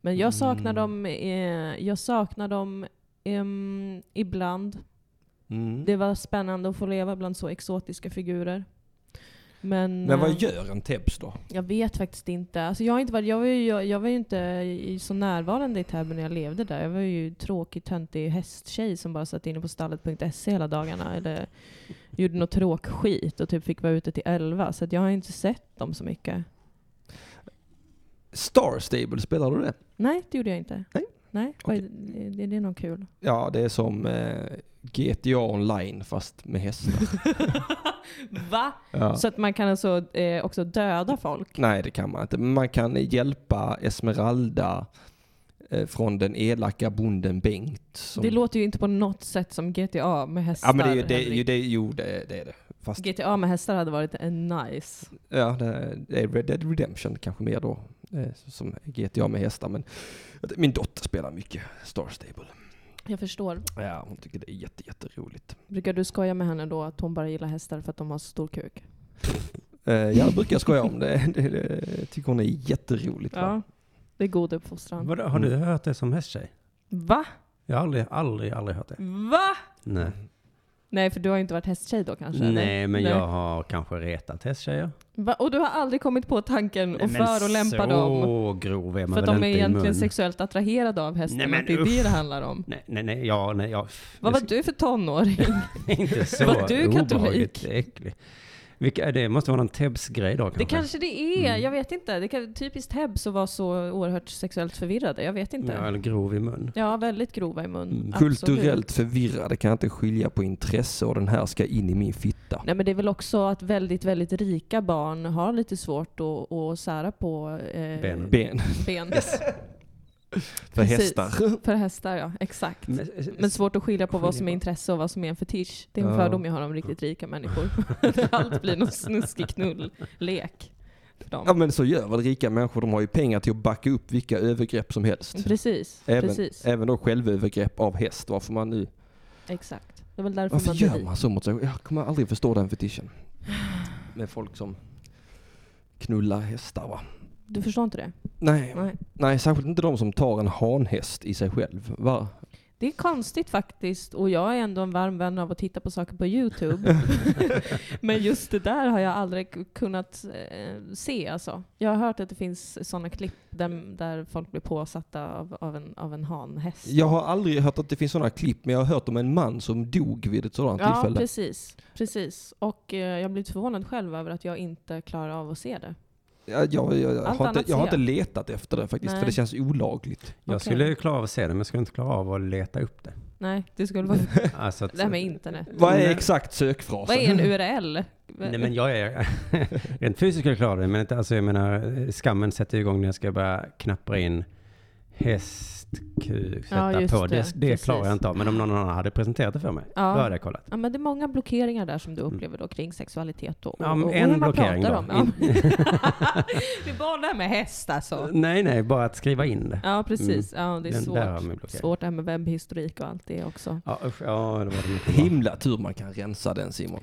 S2: Men jag saknar dem, eh, jag saknar dem ehm, ibland.
S1: Mm.
S2: Det var spännande att få leva bland så exotiska figurer. Men,
S1: Men vad
S2: eh,
S1: gör en Tebbs då?
S2: jag vet faktiskt inte. Alltså jag, har inte varit, jag, var ju, jag, jag var ju inte i- så närvarande i Täby när jag levde där. Jag var ju tråkig, töntig hästtjej som bara satt inne på stallet.se E hela dagarna. Eller gjorde något tråkskit och typ fick vara ute till elva. Så att jag har inte sett dem så mycket.
S1: Star Stable, spelar du det?
S2: Nej, det gjorde jag inte.
S1: Nej.
S2: Nej, vad är, är det något kul?
S1: Ja, det är som eh, GTA online fast med hästar.
S2: Va?
S1: Ja.
S2: Så att man kan alltså eh, också döda folk?
S1: Nej, det kan man inte. Men man kan hjälpa Esmeralda eh, från den elaka bonden Bengt. Som,
S2: Det låter ju inte på något sätt som GTA med hästar.
S1: Ja, men det är ju det, är
S2: Henrik.
S1: ju det, jo, det, det är det. Fast
S2: GTA med hästar hade varit eh, nice.
S1: ja, det är- det är Red Dead Redemption kanske mer då, eh, som GTA med hästar. Men min dotter spelar mycket Star Stable.
S2: Jag förstår.
S1: Ja, hon tycker det är jätte, jätteroligt.
S2: Brukar du skoja med henne då att hon bara gillar hästar för att de har så stor kuk?
S1: Eh, jag brukar skoja om det. det, det tycker hon är jätteroligt. Va?
S2: Det är god uppfostran.
S7: Vadå, har du hört det som hästtjej?
S2: Va?
S7: Jag har aldrig, aldrig, aldrig hört det.
S2: Va?
S7: Nej,
S1: Mm.
S2: Nej, för du har ju inte varit hästtjej då kanske? eller?
S7: Nej men jag har kanske retat hästtjejer.
S2: Va? Och du har aldrig kommit på tanken
S7: Nej,
S2: att
S7: men
S2: förolämpa dem
S7: Så grov är man
S2: för att
S7: väl
S2: de är
S7: inte i mun.
S2: egentligen sexuellt attraherade av hästen?
S7: Nej, men
S2: att det är det
S7: uff.
S2: det handlar om?
S7: Nej, nej, nej, ja, nej, ja.
S2: Vad var du för tonåring?
S7: Inte så
S2: Var du katolik?
S7: obehagligt äcklig. Vilka, det måste vara någon Tebbs-grej då kanske?
S2: Det kanske det är,
S7: Mm.
S2: jag vet inte. Det kan, typiskt Hebs att vara så oerhört sexuellt förvirrade. Jag vet inte.
S7: Ja, Mm.
S2: Ja,
S7: eller grov i mun.
S2: väldigt grova i mun. absolut.
S1: Kulturellt förvirrade kan jag inte skilja på intresse och den här ska in i min fitta.
S2: Nej men det är väl också att väldigt, väldigt rika barn har lite svårt att, att sära på eh,
S7: Benen.
S1: Ben
S2: ben.
S1: för
S2: Precis.
S1: hästar. Mm.
S2: För hästar ja, exakt. Men, svårt att skilja på vad som är intresse och vad som är en fetisch. Det är en
S1: Ja.
S2: fördom jag har om riktigt rika människor. Allt blir någon snuskig knull-lek för
S1: Ja
S2: dem.
S1: men så gör väl rika människor, de har ju pengar till att backa upp vilka övergrepp som helst.
S2: Precis,
S1: Även,
S2: precis.
S1: även då självövergrepp av häst, varför man nu...
S2: Exakt. Det är väl därför
S1: Varför
S2: man blir
S1: gör
S2: vit.
S1: man så mot sig? Jag kommer aldrig förstå den fetischen. Med folk som knullar hästar va?
S2: Du förstår inte det?
S1: Nej,
S2: Nej.
S1: nej, särskilt inte de som tar en hanhäst i sig själv. Va?
S2: Det är konstigt faktiskt, och jag är ändå en varm vän av att titta på saker på YouTube. Men just det där har jag aldrig k- kunnat eh, se alltså. Jag har hört att det finns sådana klipp där, där folk blir påsatta av, av, en, av en hanhäst.
S1: Jag har aldrig hört att det finns sådana klipp, men jag har hört om en man som dog vid ett sådant
S2: Ja,
S1: tillfälle.
S2: precis. precis. Och eh, jag blev förvånad själv över att jag inte klarar av att se det.
S1: Jag, jag, jag, jag,
S2: Allt
S1: har, inte,
S2: annat
S1: jag har
S2: ser
S1: inte
S2: jag.
S1: letat efter det faktiskt,
S2: Nej.
S1: för det känns olagligt.
S7: Jag
S2: Okej.
S7: skulle klara av att se det, men jag skulle inte klara av att leta upp det.
S2: Nej, det skulle vara
S7: Alltså att,
S2: det här med internet.
S1: Vad är
S7: Nej.
S1: exakt
S2: Mm. Vad
S1: sökfrasen?
S2: är en URL?
S7: Nej men jag är... rent fysiskt skulle jag klara det, men inte, alltså, jag menar, skammen sätter igång när jag ska börja knappra in hästkuk,
S2: Ja,
S7: sätta
S2: just
S7: på. Det,
S2: det.
S7: det, det klarar
S2: Precis.
S7: jag inte av. Men om någon annan hade presenterat det för mig,
S2: Ja.
S7: då hade jag kollat.
S2: Ja, men det är många blockeringar där som du upplever då kring sexualitet och, och,
S7: Ja, men
S2: och
S7: en
S2: hur man
S7: blockering
S2: pratar
S7: då.
S2: om. Ja. det är bara det här med häst alltså.
S7: Nej, nej, bara att skriva in det.
S2: Ja precis, ja, det är
S7: Mm. Den där har
S2: svårt.
S7: man blockerat.
S2: Svårt det här med webbhistorik och allt det också.
S7: Ja, usch, ja, det var det mycket bra.
S1: Himla tur man kan rensa den Simon.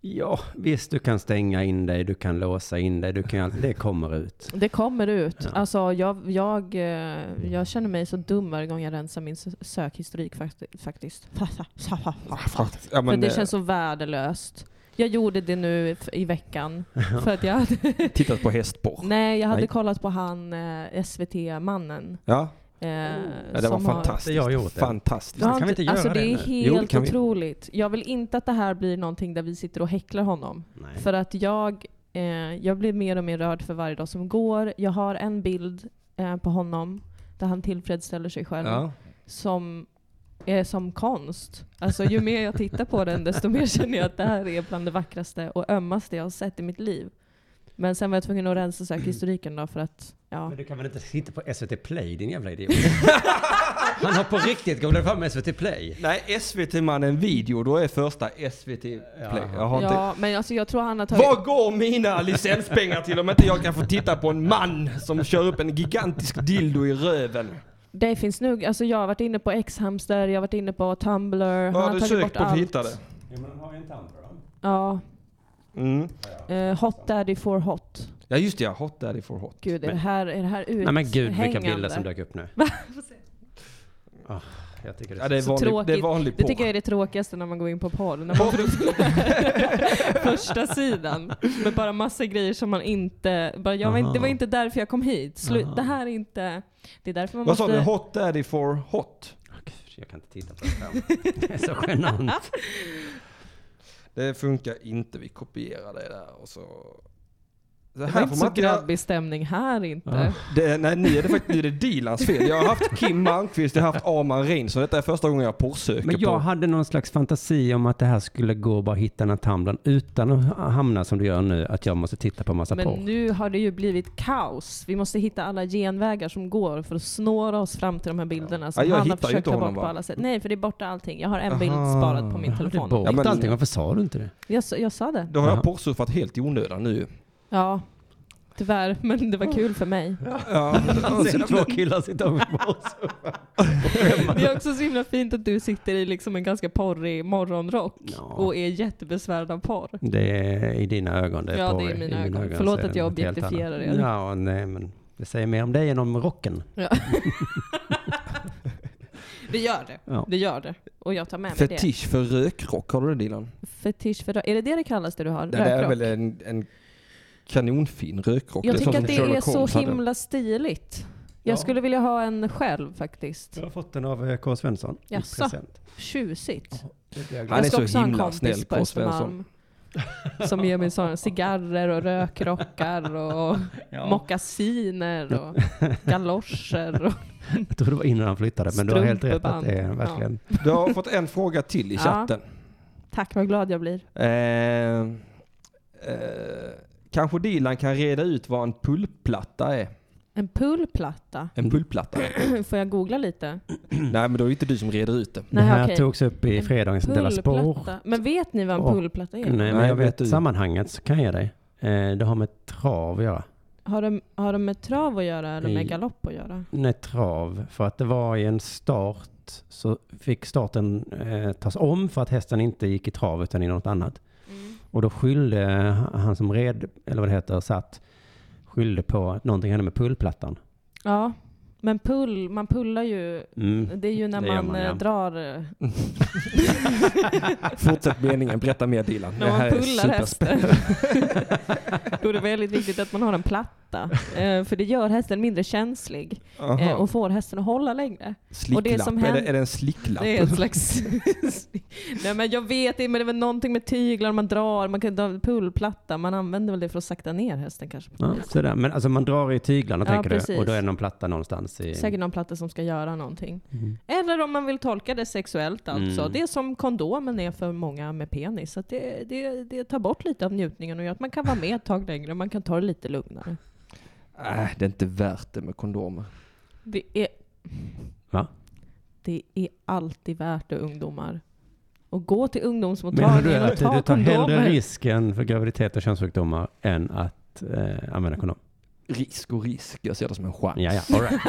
S7: ja, visst du kan stänga in dig, du kan låsa in dig, du kan, allt- det kommer ut.
S2: Det kommer ut.
S7: Ja.
S2: Alltså, jag, jag, eh, jag känner mig så dum varje gång jag rensar min s- sökhistorik fakti- faktiskt.
S1: Ja,
S2: För
S1: men,
S7: eh,
S1: eh,
S2: det känns så värdelöst. Jag gjorde det nu f- i veckan. För att jag hade,
S1: eh, Tittat på hästporr.
S2: nej, jag hade
S1: Nej.
S2: kollat på han eh, SVT-mannen.
S1: Ja,
S2: Eh,
S1: ja, det var fantastiskt.
S7: Jag har gjort det.
S1: Fantastiskt.
S2: Har,
S7: Kan vi inte göra
S2: alltså,
S7: det
S2: det är
S7: nu?
S1: Jo, det
S2: helt
S1: kan vi.
S2: otroligt. Jag vill inte att det här blir någonting där vi sitter och häcklar honom.
S7: Nej.
S2: För att jag, eh, jag blir mer och mer rörd för varje dag som går. Jag har en bild eh, på honom där han tillfredsställer sig själv
S1: Ja.
S2: som är som konst. Alltså ju mer jag tittar på den desto mer känner jag att det här är bland det vackraste och ömmaste jag har sett i mitt liv. Men sen var jag tvungen att rensa sökhistoriken då för att, ja.
S7: Men du kan väl inte sitta på SVT Play, din jävla idiot? Han har på riktigt googlat fram SVT Play.
S1: Nej, SVT-mannen video, då är första SVT Play.
S7: Jaha.
S1: Jag har inte...
S2: Ja, men alltså jag tror han har tagit...
S1: Vad går mina licenspengar till om inte jag kan få titta på en man som kör upp en gigantisk dildo i röven?
S2: Det finns nog, alltså jag har varit inne på X-hamster, jag har varit inne på Tumblr, han
S1: Vad
S2: har
S1: har du
S2: tagit
S1: sökt
S2: bort
S1: på för att
S2: allt.
S1: hitta det?
S7: Ja, men han har ju en tanter då.
S2: Ja,
S1: Mm.
S2: eh, Hot Daddy for Hot.
S1: Ja just det, ja. Hot Daddy for Hot.
S2: Gud, är
S7: Men-
S2: det här, är det här uthängande?
S7: Nej men gud vilka bilder som dök upp nu. Ah, jag tycker det
S1: Ja,
S7: är
S1: det, är
S2: Så
S1: vanlig,
S2: tråkigt.
S1: det är vanlig
S2: Det
S1: porr.
S2: tycker jag är det tråkigaste när man går in på porr. När man får upp första sidan med bara massa grejer som man inte... Bara, jag var inte det var inte därför jag kom hit. Slu, det här är inte... Det är därför man
S1: Vad sa
S2: måste...
S1: du? Hot Daddy for Hot?
S7: Åh, gud, jag kan inte titta på det här. Det är så genant.
S1: Det funkar inte, vi kopierar det där och så... Det
S2: Det var
S1: här
S2: inte
S1: får man
S2: så
S1: inte göra.
S2: grabbig stämning här inte.
S1: Det, nej, nu är det faktiskt nu är det Dilans fel. Jag har haft Kim Malmqvist, jag har haft Arman Reinsson. Detta är första gången jag porrsöker
S7: Men jag
S1: på...
S7: hade någon slags fantasi om att det här skulle gå att bara hitta den här tumblern utan att hamna som du gör nu, att jag måste titta på massa
S2: Men
S7: porr.
S2: nu har det ju blivit kaos. Vi måste hitta alla genvägar som går för att snåra oss fram till de här bilderna som
S1: Ja, jag
S2: han har
S1: hittar ju
S2: försökt
S1: inte
S2: ta
S1: honom,
S2: bort på
S1: va?
S2: alla sätt. Nej, för det är borta allting. Jag har en bild
S1: Aha.
S2: sparad på min
S7: Har du
S2: telefon.
S7: bort
S1: Ja, men-
S7: allting? Varför sa du inte det?
S2: Jag, sa- jag sa det.
S1: Då har jag
S7: Jaha.
S1: porrsurfat helt i onödan nu.
S2: Ja, tyvärr. Men det var kul för mig.
S1: Ja,
S7: Ser två killar sitta och porrsurfa.
S2: Det är också så himla fint att du sitter i liksom en ganska porrig morgonrock
S7: Ja.
S2: och är jättebesvärad av porr.
S7: Det är i dina ögon. Det är
S2: Ja,
S7: porr.
S2: det är i mina
S7: I
S2: ögon. Förlåt
S7: så är
S2: att
S7: det
S2: jag
S7: något helt annat.
S2: objektifierar er.
S7: Ja, nej, men det säger mer om dig än om rocken.
S2: Det gör det.
S7: Ja.
S2: Det gör det. Och jag tar med mig det.
S1: Fetisch för rökrock, har du det Dilan?
S2: Fetisch för Är det det det kallas det du har?
S1: Det är
S2: Rökrock?
S1: väl en, en kanonfin rökrock.
S2: Jag
S1: är
S2: tycker
S1: sånt
S2: att det
S1: som Sherlock
S2: är så
S1: Holmes hade.
S2: himla stiligt. Jag
S7: Ja.
S2: skulle vilja ha en själv faktiskt.
S7: Jag har fått den av eh, K. Svensson i
S2: Jaså?
S7: present.
S2: Tjusigt.
S7: Det blir jag glad.
S1: Han
S2: Jag
S1: är
S2: ska
S1: så
S2: också ha en
S1: himla
S2: kompis
S1: snäll,
S2: på
S1: K.
S2: Östermalm Som ger mig sådana cigarrer och rökrockar och mockasiner och galoscher. Och
S7: Jag tror det var innan han flyttade, men du har helt rätt att
S2: Strumpeband.
S7: det är verkligen...
S1: Du har fått en fråga till i
S2: Ja.
S1: chatten.
S2: tack vad glad jag blir.
S1: Eh, eh, kanske Dilan kan reda ut vad en pulpplatta är?
S2: En pullplatta.
S1: En pulpplatta?
S2: Får jag googla lite?
S1: Nej men då är det inte du som reder ut det.
S7: Det här
S2: okej.
S7: togs upp i fredagens Della Spår.
S2: Pullplatta. Men vet ni vad en
S7: Och-
S2: pullplatta är?
S7: Nej, men
S1: Nej,
S7: jag
S1: vet
S7: vet
S1: du.
S7: sammanhanget så kan jag dig. Eh, Det har med trav att göra.
S2: Har de, har de med trav att göra eller med galopp att göra?
S7: Nej, trav. För att det var i en start start så fick starten eh, tas om för att hästen inte gick i trav utan i något annat.
S2: Mm.
S7: Och då skyllde han som red, eller vad det heter, satt, skyllde på att någonting hände med pullplattan.
S2: Ja, men pull, man pullar ju.
S7: Mm.
S2: Det är ju när
S7: Det gör
S2: man,
S7: man,
S2: eh,
S7: ja.
S2: drar... eh,
S1: Fortsätt meningen, berätta mer Dilan.
S2: När
S1: det
S2: man
S1: här är
S2: pullar hästen.
S1: superspännande.
S2: Då är det väldigt viktigt att man har en platta. eh, För det gör hästen mindre känslig eh,
S1: Aha.
S2: och får hästen att hålla längre.
S1: Slicklapp,
S2: det som
S1: är, det,
S2: händer-
S1: är det en slicklapp?
S2: Det är en slags... Nej men jag vet inte, men det är väl någonting med tyglar man drar, man kan dra pullplatta. Man använder väl det för att sakta ner hästen kanske. på
S7: Ja,
S2: något vis.
S7: sådär. Men alltså man drar i tyglarna
S2: Ja,
S7: tänker
S2: precis.
S7: du och då är det någon platta någonstans. I...
S2: Säkert någon platta som ska göra någonting.
S7: Mm.
S2: Eller om man vill tolka det sexuellt alltså.
S7: Mm.
S2: Det är som kondomen är för många med penis. Så Att det, det, det tar bort lite av njutningen och gör att man kan vara med ett tag längre och man kan ta det lite lugnare.
S1: Äh, det är inte värt det med kondomer.
S2: Det är,
S7: Va?
S2: det är alltid värt det ungdomar. Och gå till
S7: Menar du
S2: ungdomsmottagningen och
S7: att du
S2: ta
S7: tar hellre
S2: kondomer.
S7: risken för graviditet och könssjukdomar än att eh, använda kondom?
S1: Risk och risk, jag ser det som en chans.
S7: Ja, ja. All right.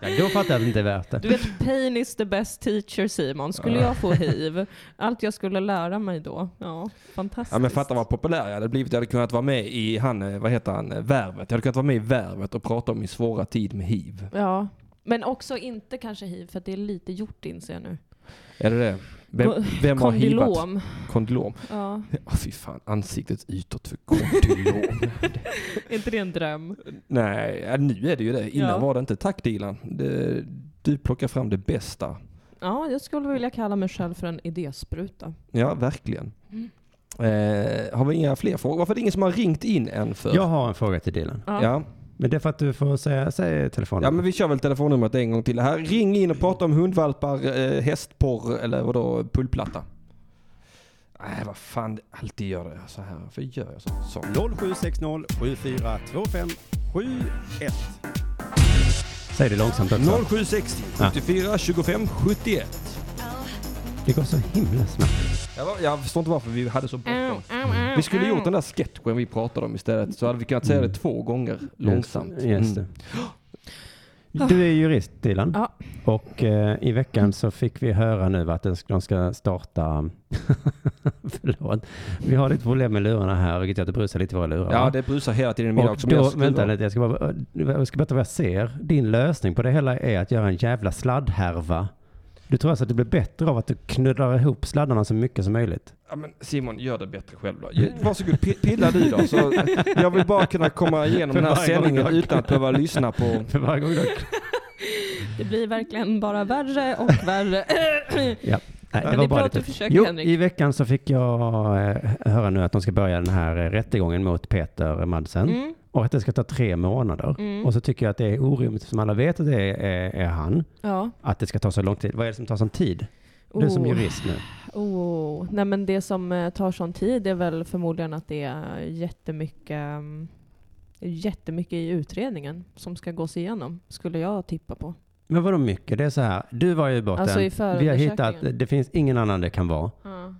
S7: ja, då fattar jag att det inte är värt det.
S2: Du vet, pain is the best teacher Simon. Skulle jag få hiv, allt jag skulle lära mig då. Ja, fantastiskt.
S1: Ja men fatta vad populär jag hade blivit. Jag hade kunnat vara med i han, eh, vad heter han, eh, Värvet. Jag hade kunnat vara med i Värvet och prata om min svåra tid med hiv.
S2: Ja. Men också inte kanske hiv, för att det är lite gjort inser jag nu.
S1: Är det det? Vem,
S2: Ko-
S1: vem har hivat?
S2: Kondylom.
S1: Kondylom.
S2: Ja.
S1: Oh, fy fan, ansiktets utåt för kondylom.
S2: Är inte det en dröm?
S1: Nej, ja, nu är det ju det. Innan
S2: Ja.
S1: var det inte. Tack Dilan. Det, du plockar fram det bästa.
S2: Ja, jag skulle vilja kalla mig själv för en idéspruta.
S1: Ja, verkligen. Eh, har vi inga fler frågor? Varför är det ingen som har ringt in än för?
S7: Jag har en fråga till Dylan.
S2: Ja.
S1: Ja.
S7: Men det är för att du får säga, säg telefonen.
S1: ja, men vi kör väl telefonnumret en gång till här. Ring in och prata om hundvalpar, eh, hästporr eller vadå, pullplatta. Nej, vad fan, det- alltid gör det så här. Varför gör jag så? så.
S7: 0760 7425 71. Säg det långsamt också.
S1: 0760
S7: Ja.
S1: 74 25 71.
S7: Det går så himla snabbt.
S1: Jag, var, jag förstår inte varför vi hade så bråttom.
S2: au,
S1: Vi skulle gjort den där sketchen vi pratade om istället så hade vi kunnat säga det två gånger långsamt.
S7: Yes.
S1: Mm.
S7: Du är jurist Dylan.
S2: Ja.
S7: Och eh, i veckan så fick vi höra nu att den ska- de ska starta... Förlåt. Vi har lite problem med lurarna här, vilket gör att det brusar lite i våra lurar.
S1: Ja,
S7: va?
S1: det brusar hela tiden i mina
S7: Och
S1: öron som
S7: då,
S1: jag skruvar.
S7: vänta lite, jag ska, bara, jag ska berätta vad jag ser. Din lösning på det hela är att göra en jävla sladdhärva. Du tror alltså att det blir bättre av att du knuddrar ihop sladdarna så mycket som möjligt?
S1: Ja, men Simon, gör det bättre själv då.
S2: Mm.
S1: Ge- Varsågod, pi- pilla du då. Så jag vill bara kunna komma igenom den här
S7: Varje gång
S1: sändningen
S7: jag-
S1: utan att behöva lyssna på...
S7: För varje gång du...
S2: Det blir verkligen bara värre och värre.
S7: Nej,
S2: Men det är bra att du försöker,
S7: jo,
S2: Henrik.
S7: i veckan så fick jag eh, höra nu att de ska börja den här eh, rättegången mot Peter Madsen.
S2: Mm.
S7: Och att det ska ta tre månader.
S2: Mm.
S7: Och så tycker jag att det är orimligt, som alla vet att det är, är, är han,
S2: Ja.
S7: att det ska ta så lång tid. Vad är det som tar sån tid? Du som jurist nu.
S2: Oh. Nej, men det som eh, tar sån tid är väl förmodligen att det är jättemycket, mm, jättemycket i utredningen som ska gås igenom, skulle jag tippa på.
S7: Men vadå mycket? Det är så här, du var ju i botten.
S2: Alltså i
S7: Vi har
S2: förundersökningen.
S7: hittat, det finns ingen annan det kan vara
S2: Ja.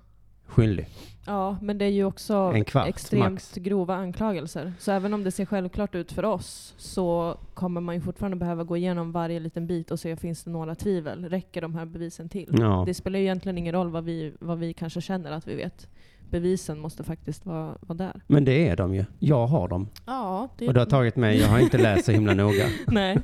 S7: skyldig.
S2: Ja, men det är ju också
S7: En kvart,
S2: extremt
S7: max.
S2: grova anklagelser. Så även om det ser självklart ut för oss så kommer man ju fortfarande behöva gå igenom varje liten bit och se finns det några tvivel. Räcker de här bevisen till?
S7: Mm. Ja.
S2: Det spelar ju egentligen ingen roll vad vi, vad vi kanske känner att vi vet. Bevisen måste faktiskt vara, vara där.
S7: Men det är de ju. Jag har dem.
S2: Ja,
S7: Och det har tagit mig, jag har inte läst så himla noga.
S2: Nej.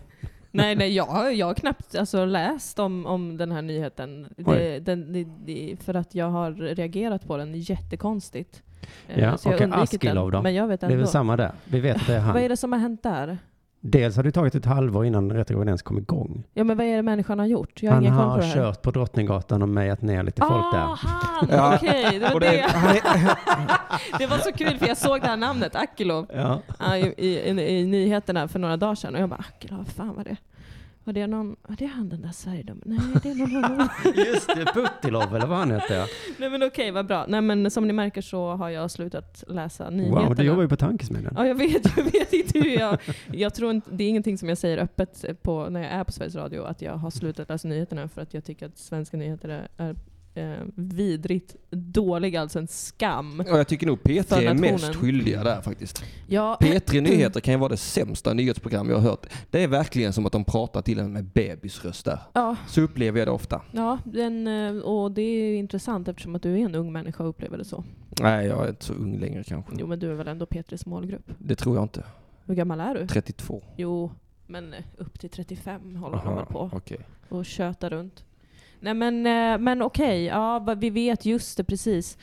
S2: Nej, nej jag, har- jag har knappt alltså, läst om, om den här nyheten. Det,
S7: Oj.
S2: den, det, det, för att jag har reagerat på den jättekonstigt. Eh,
S7: Ja,
S2: så jag har
S7: okej,
S2: undvikit
S7: Askilov då?
S2: den, Men jag vet
S7: Det är
S2: ändå.
S7: väl samma där. Vi vet att det är
S2: Vad är
S7: han.
S2: det som har hänt där?
S7: Dels har det tagit ett halvår innan rättegången ens kom igång.
S2: Ja men vad är det människan har gjort? Jag har
S7: Han
S2: ingen koll på
S7: har
S2: det här.
S7: kört på Drottninggatan och mejat ner lite folk
S2: Ah,
S7: där.
S2: han!
S1: Ja.
S2: Okej, det var
S1: Och det,
S2: det.
S1: han är,
S2: Det var så kul för jag såg det här namnet, Akilov,
S7: Ja.
S2: ah, i, i, i, i nyheterna för några dagar sedan. Och jag bara, Akilov, fan vad det var det någon, var det han den där Sverigedom? Nej, det är någon honom.
S7: Just det, Putilov eller vad han heter. ja.
S2: Nej men okej, vad bra. Nej men som ni märker så har jag slutat läsa nyheterna.
S7: Wow, du jobbar ju på tankesmedjan.
S2: Ja, jag vet, jag vet inte hur jag... jag tror inte, det är ingenting som jag säger öppet på, när jag är på Sveriges Radio, att jag har slutat läsa nyheterna för att jag tycker att svenska nyheter är, är eh, vidrigt dålig, alltså en skam.
S1: Och jag tycker nog P3 är
S2: För
S1: mest
S2: nationen.
S1: skyldiga där faktiskt.
S2: Ja,
S1: P3 Nyheter kan ju vara det sämsta nyhetsprogram jag har hört. Det är verkligen som att de pratar till en med bebisröst där.
S2: ja,
S1: Så upplever jag det ofta.
S2: ja den, eh, och det är ju intressant eftersom att du är en ung människa och upplever det så.
S1: Nej, jag är inte så ung längre kanske.
S2: Jo men du är väl ändå Petris målgrupp?
S1: Det tror jag inte.
S2: Hur gammal är du?
S1: 32.
S2: Jo, men eh, upp till 35 håller de väl på
S1: okej.
S2: och tjötar runt. Nej men, eh, men okej, ja vad vi vet just det precis.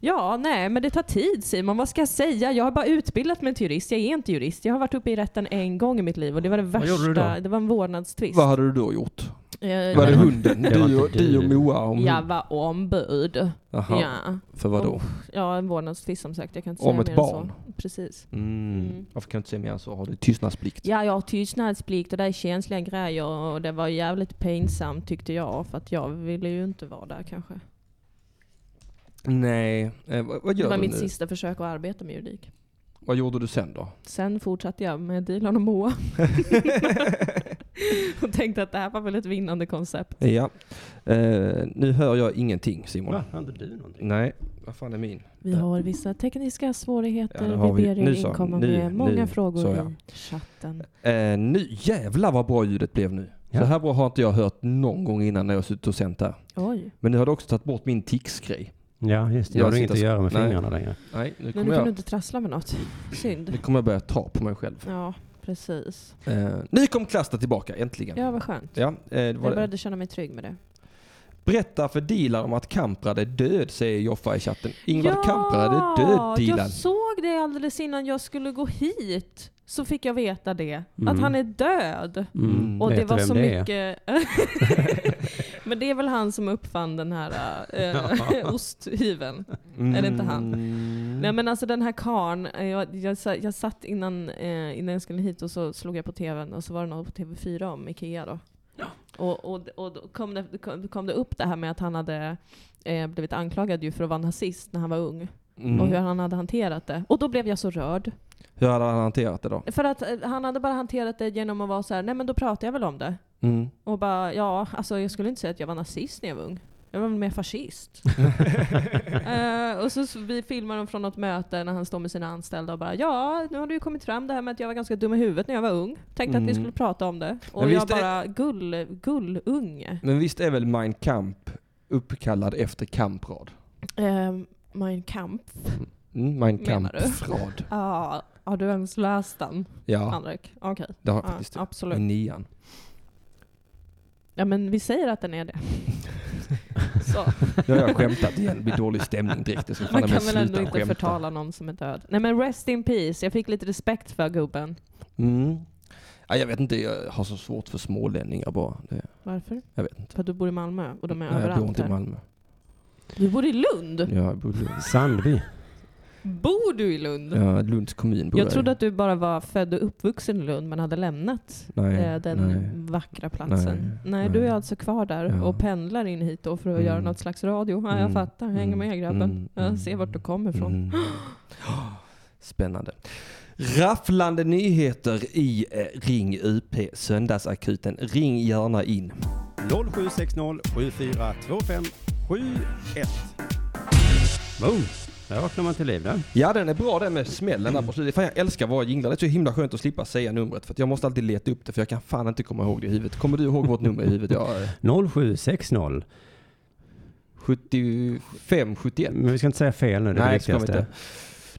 S2: Ja, nej men det tar tid Simon. Vad ska jag säga? Jag har bara utbildat mig till jurist. Jag är inte jurist. Jag har varit uppe i rätten en gång i mitt liv och det var det
S7: Vad gjorde du då?
S2: värsta. Det var en vårdnadstvist.
S1: Vad hade du då gjort?
S2: Eh,
S1: Var det
S7: var-
S1: hunden?
S7: det var
S1: Du och,
S7: inte
S1: du och
S7: du.
S1: Moa om
S2: Jag var ombud.
S1: Aha.
S2: Ja.
S1: För vad då?
S2: ja, en vårdnadstvist som sagt. Jag kan inte
S1: Om
S2: säga
S1: ett
S2: mer
S1: barn?
S2: Än så. Precis.
S1: Mm.
S2: Mm.
S1: Varför kan jag inte säga mer än så? Har du tystnadsplikt?
S2: Ja, jag har tystnadsplikt och det är känsliga grejer och det var jävligt pinsamt tyckte jag för att jag ville ju inte vara där kanske.
S1: Nej. Eh, vad, vad
S2: Det
S1: gör
S2: var
S1: du
S2: mitt
S1: nu?
S2: sista försök att arbeta med juridik.
S1: Vad gjorde du sen då?
S2: Sen fortsatte jag med Dilan och Moa. och tänkte att det här var väl ett vinnande koncept.
S1: Ja. Eh, nu hör jag ingenting Simon.
S7: Va? Har inte du någonting?
S1: Nej. Vad fan är min?
S2: Vi har vissa tekniska svårigheter.
S1: Ja, det har
S2: vi,
S1: vi.
S2: ber er
S1: Nu så.
S2: inkomma
S1: Nu,
S2: med många
S1: nu, så
S2: frågor
S1: ja.
S2: i chatten.
S1: Eh, nu, jävlar vad bra ljudet blev nu.
S7: Ja.
S1: Så här bra har inte jag hört någon gång innan när jag har suttit och sänt här.
S2: Oj.
S1: Men nu har du också tagit bort min tics-grej.
S7: Ja, just det.
S1: Jag
S7: Jag har
S1: sitter
S7: du inget att
S1: och-
S7: göra med
S1: Nej.
S7: fingrarna längre.
S1: Nej, nu
S2: Men nu
S1: kommer,
S2: kan du
S1: jag,
S2: inte trassla med något. Synd.
S1: nu kommer jag börja ta på mig själv.
S2: Ja, precis.
S1: Eh, nu kom Cluster tillbaka, äntligen.
S2: Ja, vad skönt.
S1: Ja, eh, det
S2: Jag
S1: var det.
S2: började känna mig trygg med det.
S1: Berätta för Dilan om att Kamprad är död, säger Joffa i chatten. Ingvar Kamprad är död, Dilan.
S2: jag såg det alldeles innan jag skulle gå hit. Så fick jag veta det.
S7: Mm.
S2: Att han är död.
S1: Mm.
S2: Och
S7: Vet
S2: det
S7: du
S2: var
S7: vem
S2: så
S7: det är?
S2: mycket... Men det är väl han som uppfann den här eh, osthyveln.
S7: Mm.
S2: Är det inte han?
S1: Mm.
S2: Nej men alltså den här karn jag, jag, sa- jag satt innan, eh, innan jag skulle hit och så slog jag på tvn och så var det något på TV4 om Ikea då. Och, och, och då kom det, kom, kom det upp det här med att han hade eh, blivit anklagad ju för att vara nazist när han var ung.
S1: Mm.
S2: Och hur han hade hanterat det. Och då blev jag så rörd.
S1: Hur hade han hanterat det då?
S2: För att eh, han hade bara hanterat det genom att vara så här: nej men då pratar jag väl om det.
S1: Mm.
S2: Och bara, ja, alltså jag skulle inte säga att jag var nazist när jag var ung. Jag var väl mer fascist. Eh, och så, så vi filmar dem från något möte när han står med sina anställda och bara ja, nu har det ju kommit fram det här med att jag var ganska dum i huvudet när jag var ung. Tänkte att
S1: Mm.
S2: vi skulle prata om det. Och
S1: Men
S2: jag
S1: visst är
S2: bara, gull, gullunge.
S1: Men visst är väl Mein Kamp uppkallad efter Kamprad?
S2: Uh, mein Kampf.
S1: Mm, mein
S2: Menar du?
S1: Kamprad.
S2: Ah, har du ens läst den,
S1: Ja,
S2: Henrik? Okej.
S1: det har jag
S2: Ah,
S1: faktiskt. Mm. I
S2: absolut.
S1: nian.
S2: Ja men vi säger att den är det. så.
S1: Nu har jag skämtat igen. Det blir dålig stämning direkt. Jag ska fan
S2: Man
S1: med
S2: kan väl ändå
S1: sluta
S2: inte
S1: skämta.
S2: förtala någon som är död. Nej men rest in peace. Jag fick lite respekt för gubben.
S1: Mm. Ja, jag vet inte, jag har så svårt för smålänningar bara. Det,
S2: Varför?
S1: jag vet inte.
S2: För att du bor i Malmö och de är
S1: Nej, jag bor
S2: överallt
S1: inte i
S2: här.
S1: Malmö.
S2: Du bor i Lund?
S1: Ja, jag bor i Lund.
S7: Sandby.
S2: Bor du i Lund?
S1: Ja, Lunds kommun bor
S2: Jag trodde
S1: i.
S2: att du bara var född och uppvuxen i Lund men hade lämnat eh,
S1: nej,
S2: den
S1: nej.
S2: vackra platsen.
S1: Nej,
S2: Nej,
S1: nej.
S2: du är alltså kvar där
S1: Ja.
S2: och pendlar in hit då för att
S1: Mm.
S2: göra något slags radio. Ja,
S1: Mm,
S2: jag fattar, hänger
S1: mm,
S2: med grabben.
S1: mm, mm,
S2: jag ser vart du kommer ifrån.
S1: Mm. Spännande. Rafflande nyheter i eh, Ring UP Söndagsakuten. Ring gärna in.
S6: 0760 7425 71.
S7: Boom! Där vaknar man till liv där.
S1: Ja, den är bra den med smällen där på slutet. Fan, jag älskar våra jinglar. Det är så himla skönt att slippa säga numret. För att jag måste alltid leta upp det för jag kan fan inte komma ihåg det i huvudet. Kommer du ihåg vårt nummer i huvudet? Ja, eh,
S7: 0760.
S1: 75, 71.
S7: Men vi ska inte säga fel nu, det är det
S1: Nej, det ska vi
S7: viktigaste.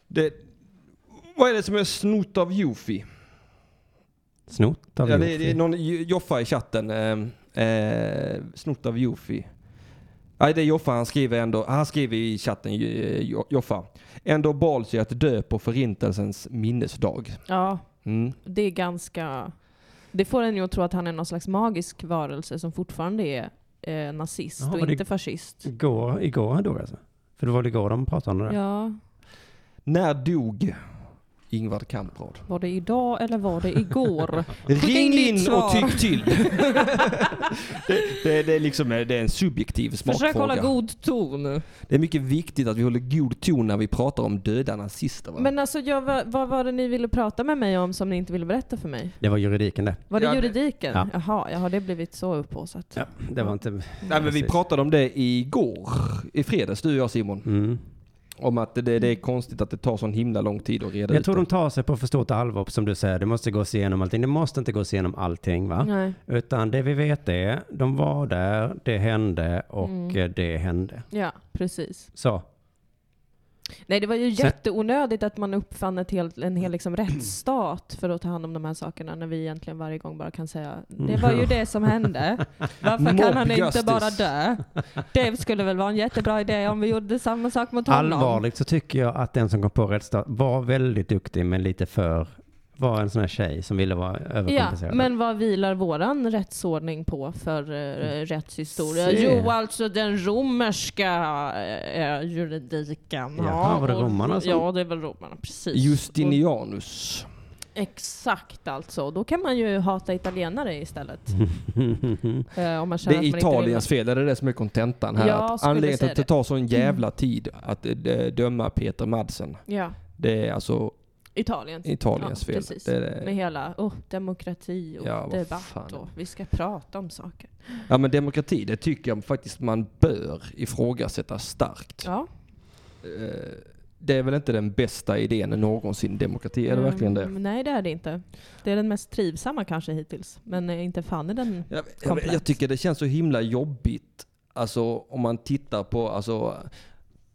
S1: inte. Det, vad är det som är snott av Jofi?
S7: Snott av
S1: Ja, det,
S7: Jofi.
S1: det är någon J- Joffa i chatten. Eh, eh, snott av Jofi. Nej, det är Joffa han skriver ändå. Han skriver i chatten, eh, Jo- Joffa. Ändå bals jag att dö på förintelsens minnesdag.
S2: Ja,
S1: Mm.
S2: det är ganska... Det får en ju att tro att han är någon slags magisk varelse som fortfarande är eh, nazist
S7: Jaha,
S2: och
S7: var det-
S2: inte fascist.
S7: Igår, igår då alltså? För det var väl igår de pratade om det? där.
S2: Ja,
S1: När dog Ingvar Kamprad.
S2: Var det idag eller var det igår? Skicka in
S1: Ring
S2: ditt
S1: in och
S2: svar.
S1: tyck till. det, det, det, är liksom, det är en subjektiv smakfråga.
S2: Försök hålla god ton.
S1: Det är mycket viktigt att vi håller god ton när vi pratar om döda nazister. Va?
S2: Men alltså, jag, vad, vad var det ni ville prata med mig om som ni inte ville berätta för mig?
S7: Det var juridiken det.
S2: Var det
S1: Ja, det-
S2: juridiken?
S7: Ja.
S2: Jaha, ja, har det blivit så upphaussat?
S7: Ja, det var inte...
S1: Nej, men vi
S7: precis.
S1: pratade om det igår, i fredags, du och jag Simon.
S7: Mm.
S1: Om att det, det är konstigt att det tar sån himla lång tid att reda
S7: Jag
S1: ut
S7: tror
S1: det.
S7: de tar sig på för stort allvar, som du säger. Det måste gås igenom allting. Det måste inte gås igenom allting, va?
S2: Nej.
S7: Utan det vi vet är, de var där, det hände och
S2: Mm.
S7: eh, det hände.
S2: Ja, precis.
S7: Så.
S2: Nej, det var ju
S7: Sen-
S2: jätteonödigt att man uppfann ett helt, en hel liksom, rättsstat för att ta hand om de här sakerna när vi egentligen varje gång bara kan säga det var
S7: Mm.
S2: ju det som hände. Varför kan
S1: Mob
S2: han inte
S1: justice.
S2: bara dö? Det skulle väl vara en jättebra idé om vi gjorde samma sak mot honom.
S7: Allvarligt så tycker jag att den som kom på rättsstat var väldigt duktig, men lite för... Var en sån här tjej som ville vara
S2: Ja,
S7: överkompenserad.
S2: men vad vilar våran rättsordning på för eh, rättshistoria?
S7: Mm. Se.
S2: Jo, alltså den romerska eh, juridiken.
S7: Jaha, var det
S2: och-
S7: romarna som-
S2: Ja, det är väl romarna, precis.
S1: Justinianus.
S2: Och, exakt alltså. Då kan man ju hata italienare istället. eh, om man
S1: Det
S2: känner
S1: är
S2: att man inte vill-
S1: Italiens fel, det är det som är kontentan här.
S2: Ja,
S1: att
S2: skulle
S1: anledningen till
S2: säga
S1: att det
S2: det.
S1: tar
S2: Mm.
S1: sån jävla tid att eh, döma Peter Madsen,
S2: Ja,
S1: det är alltså
S2: Italien.
S1: Italiens
S2: Ja,
S1: fel.
S2: precis.
S1: Det är, det.
S2: Med hela oh, demokrati och
S1: Ja, vad
S2: debatt
S1: fan.
S2: och vi ska prata om saker.
S1: Ja men demokrati, det tycker jag faktiskt man bör ifrågasätta starkt.
S2: Ja.
S1: Eh, Det är väl inte den bästa idén någonsin, demokrati. Är det verkligen det?
S2: Mm, Nej, det är det inte. Det är den mest trivsamma kanske hittills. Men eh, inte fan är den
S1: Jag, jag,
S2: Komplett.
S1: jag tycker det känns så himla jobbigt. Alltså om man tittar på, alltså,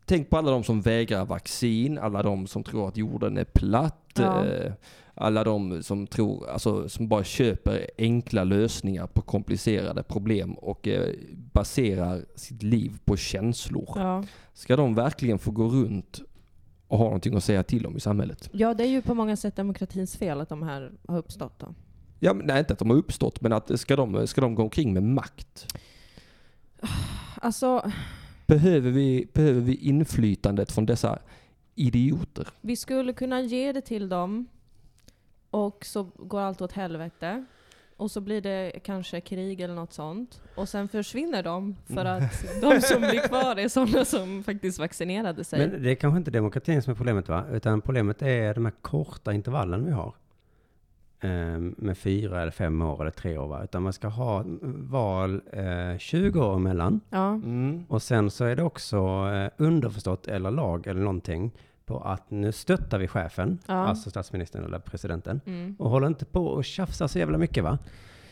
S1: tänk på alla de som vägrar vaccin, alla de som tror att jorden är platt.
S2: Ja.
S1: eh, Alla de som tror, alltså som bara köper enkla lösningar på komplicerade problem och eh, baserar sitt liv på känslor.
S2: Ja.
S1: Ska de verkligen få gå runt och ha någonting att säga till om i samhället?
S2: ja, det är ju på många sätt demokratins fel att de här har uppstått. Då.
S1: Ja, men, nej, inte att de har uppstått, men att ska de, ska de gå omkring med makt?
S2: Alltså,
S1: Behöver vi, behöver vi inflytandet från dessa idioter?
S2: vi skulle kunna ge det till dem och så går allt åt helvete. Och så blir det kanske krig eller något sånt. Och sen försvinner de för
S1: Mm.
S2: att de som blir kvar är sådana som faktiskt vaccinerade sig.
S7: Men det är kanske inte demokratin som är problemet va? Utan problemet är de här korta intervallen vi har. Ehm, Med fyra eller fem år eller tre år va? Utan man ska ha val eh, 20 år emellan.
S2: ja.
S1: Mm.
S7: Och sen så är det också eh, underförstått eller lag eller någonting på att nu stöttar vi chefen,
S2: Ja.
S7: alltså statsministern eller presidenten.
S2: Mm.
S7: Och håller inte på och tjafsar så jävla mycket va?